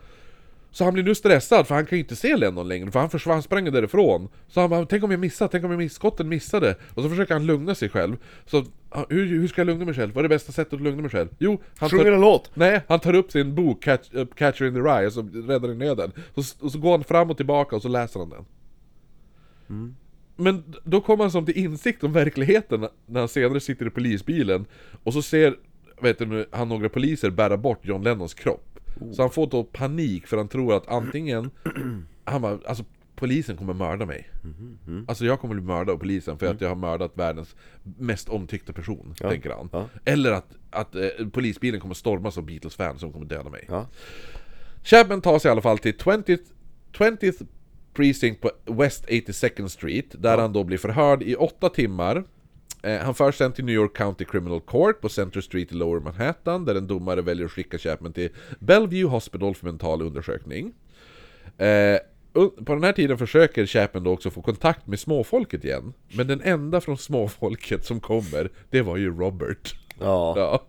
S1: Så han blir nu stressad för han kan ju inte se Lennon längre för han försvann, han sprang ju därifrån. Så han bara, tänk om jag missade, tänk om jag miss, skotten missade. Och så försöker han lugna sig själv. Så ah, hur, hur ska jag lugna mig själv? Vad är det bästa sättet att lugna mig själv? Jo, han
S2: Sjunger en låt!
S1: Nej, han tar upp sin bok Catch, äh, Catcher in the Rye, alltså Räddar i nöden. Och, s- och så går han fram och tillbaka och så läser han den. Men d- då kommer han som till insikt om verkligheten na- när han senare sitter i polisbilen och så ser vet du, nu, han några poliser bära bort John Lennons kropp. Så han får då panik för han tror att antingen, <clears throat> han bara, alltså polisen kommer mörda mig.
S2: Mm.
S1: Alltså jag kommer bli mördad av polisen för att jag har mördat världens mest omtyckta person, tänker han.
S2: ja.
S1: Eller att, att eh, polisbilen kommer stormas av Beatles-fans som kommer döda mig.
S2: Ja.
S1: Chapman tar sig i alla fall till 20th, 20th Precinct på West 82nd Street, där han då blir förhörd i åtta timmar. Eh, han förs sen till New York County Criminal Court på Center Street i Lower Manhattan, där en domare väljer att skicka Chapman till Bellevue Hospital för mental undersökning. Eh, un- på den här tiden försöker Chapman då också få kontakt med småfolket igen, men den enda från småfolket som kommer, det var ju Robert. <laughs>
S2: Ja.
S1: Ja.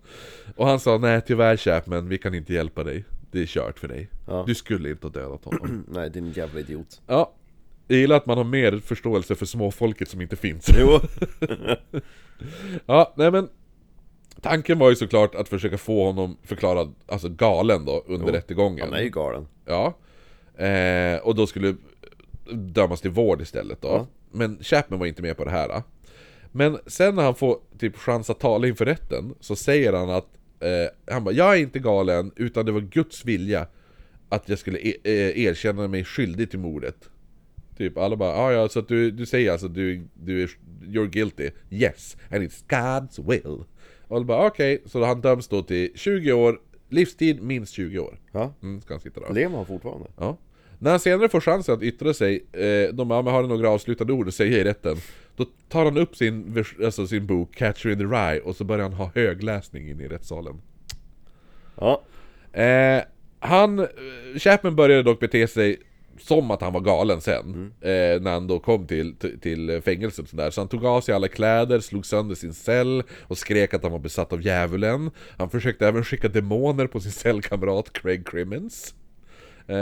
S1: Och han sa nej tyvärr Chapman, vi kan inte hjälpa dig. Det är kört för dig.
S2: Ja.
S1: Du skulle inte ha dödat
S2: <clears throat>
S1: honom.
S2: Nej, din jävla idiot.
S1: ja. Jag gillar att man har mer förståelse för småfolket som inte
S2: <laughs>
S1: finns.
S2: Jo.
S1: Ja, nej men Tanken var ju såklart att försöka få honom förklarad, alltså galen då, under rättegången.
S2: Han är ju galen.
S1: Ja. Eh, och då skulle dömas till vård istället då. Men Chapman var inte med på det här. Då. Men sen när han får typ chans att tala inför rätten så säger han att eh, han bara, jag är inte galen utan det var Guds vilja att jag skulle e- eh, erkänna mig skyldig till mordet. Typ alla bara, ah, ja så att du, du säger alltså att du, du är, you're guilty, yes, and it's God's will. Och alla bara okej, så han döms då till 20 år, livstid minst 20 år.
S2: Ja.
S1: Mm, ska han sitta då.
S2: Lever han fortfarande?
S1: Ja. När han senare får chansen att yttra sig, eh, de bara, "Ja, men har du några avslutande ord att säga i rätten? Då tar han upp sin, vers- alltså sin bok Catcher in the Rye och så börjar han ha högläsning inne i rättssalen.
S2: Ja.
S1: Eh, han, eh, Chapman började dock bete sig som att han var galen sen, eh, när han då kom till, till- till fängelset och sådär. Så han tog av sig alla kläder, slog sönder sin cell och skrek att han var besatt av djävulen. Han försökte även skicka demoner på sin cellkamrat Craig Crimmins. Eh,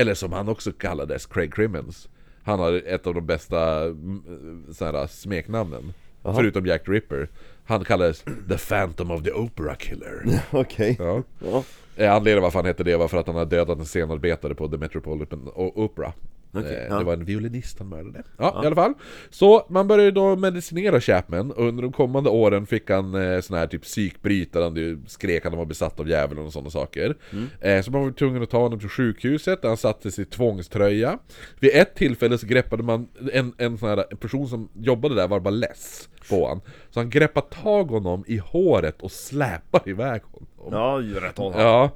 S1: eller som han också kallades, Craig Crimmins. Han har ett av de bästa mm, sådana smeknamnen. Förutom Jack the Ripper. Han kallades The Phantom of the Opera Killer.
S2: Okej.
S1: Ja.
S2: Ja.
S1: Eh, Anledningen varför han hette det var för att han hade dödat en scenarbetare på The Metropolitan O- Opera. eh,
S2: ja.
S1: Det var en violinist han mördade. Ja, i alla fall. Så man började då medicinera Chapman och under de kommande åren fick han eh, sån här typ psykbrytare, han ju skrek att han var besatt av djävulen och sådana saker. Eh, så man var tvungen att ta honom till sjukhuset där han sattes i tvångströja. Vid ett tillfälle så greppade man, en, en sån här person som jobbade där var bara less på han. Så han greppade tag honom i håret och släpade iväg honom.
S2: Ja, ju rätt håll.
S1: Ja.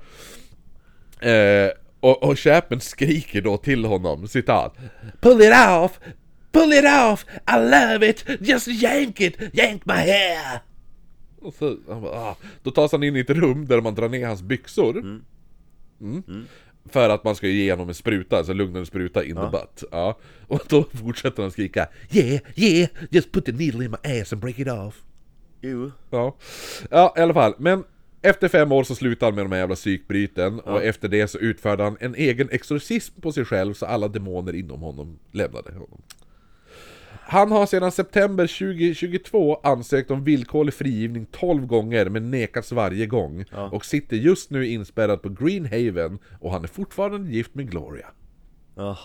S1: Eh, och, och Chapman skriker då till honom, citat. Pull it off! Pull it off! I love it! Just yank it! Yank my hair! Och så, han bara, ah. Då tas han in i ett rum där man drar ner hans byxor. Mm. För att man ska ju ge honom en spruta, alltså lugnande spruta in the butt. Ja. Och då fortsätter han skrika Yeah, yeah, just put the needle in my ass and break it off.
S5: Jo.
S1: Ja. ja, i alla fall. Men efter fem år så slutade han med de här jävla psykbryten och efter det så utförde han en egen exorcism på sig själv så alla demoner inom honom lämnade honom. Han har sedan september 2022 ansökt om villkorlig frigivning 12 gånger men nekats varje gång och sitter just nu inspärrad på Greenhaven och han är fortfarande gift med Gloria.
S5: Ja.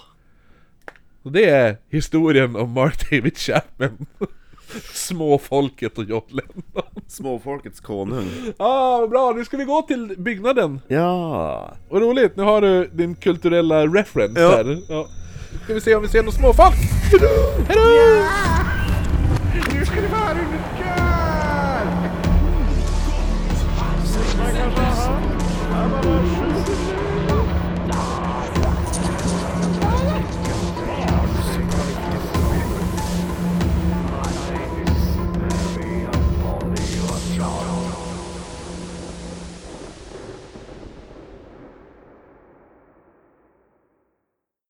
S1: Och det är historien om Mark David Chapman, <laughs> småfolket och John Lennon.
S5: Småfolkets konung.
S1: Ja, Ah, vad bra! Nu ska vi gå till byggnaden!
S5: Ja.
S1: Vad roligt, nu har du din kulturella reference
S5: Ja.
S1: här. Ja. Ska vi se om vi ser några småfolk? Hejdå! Hejdå!
S3: Nu ska det vara under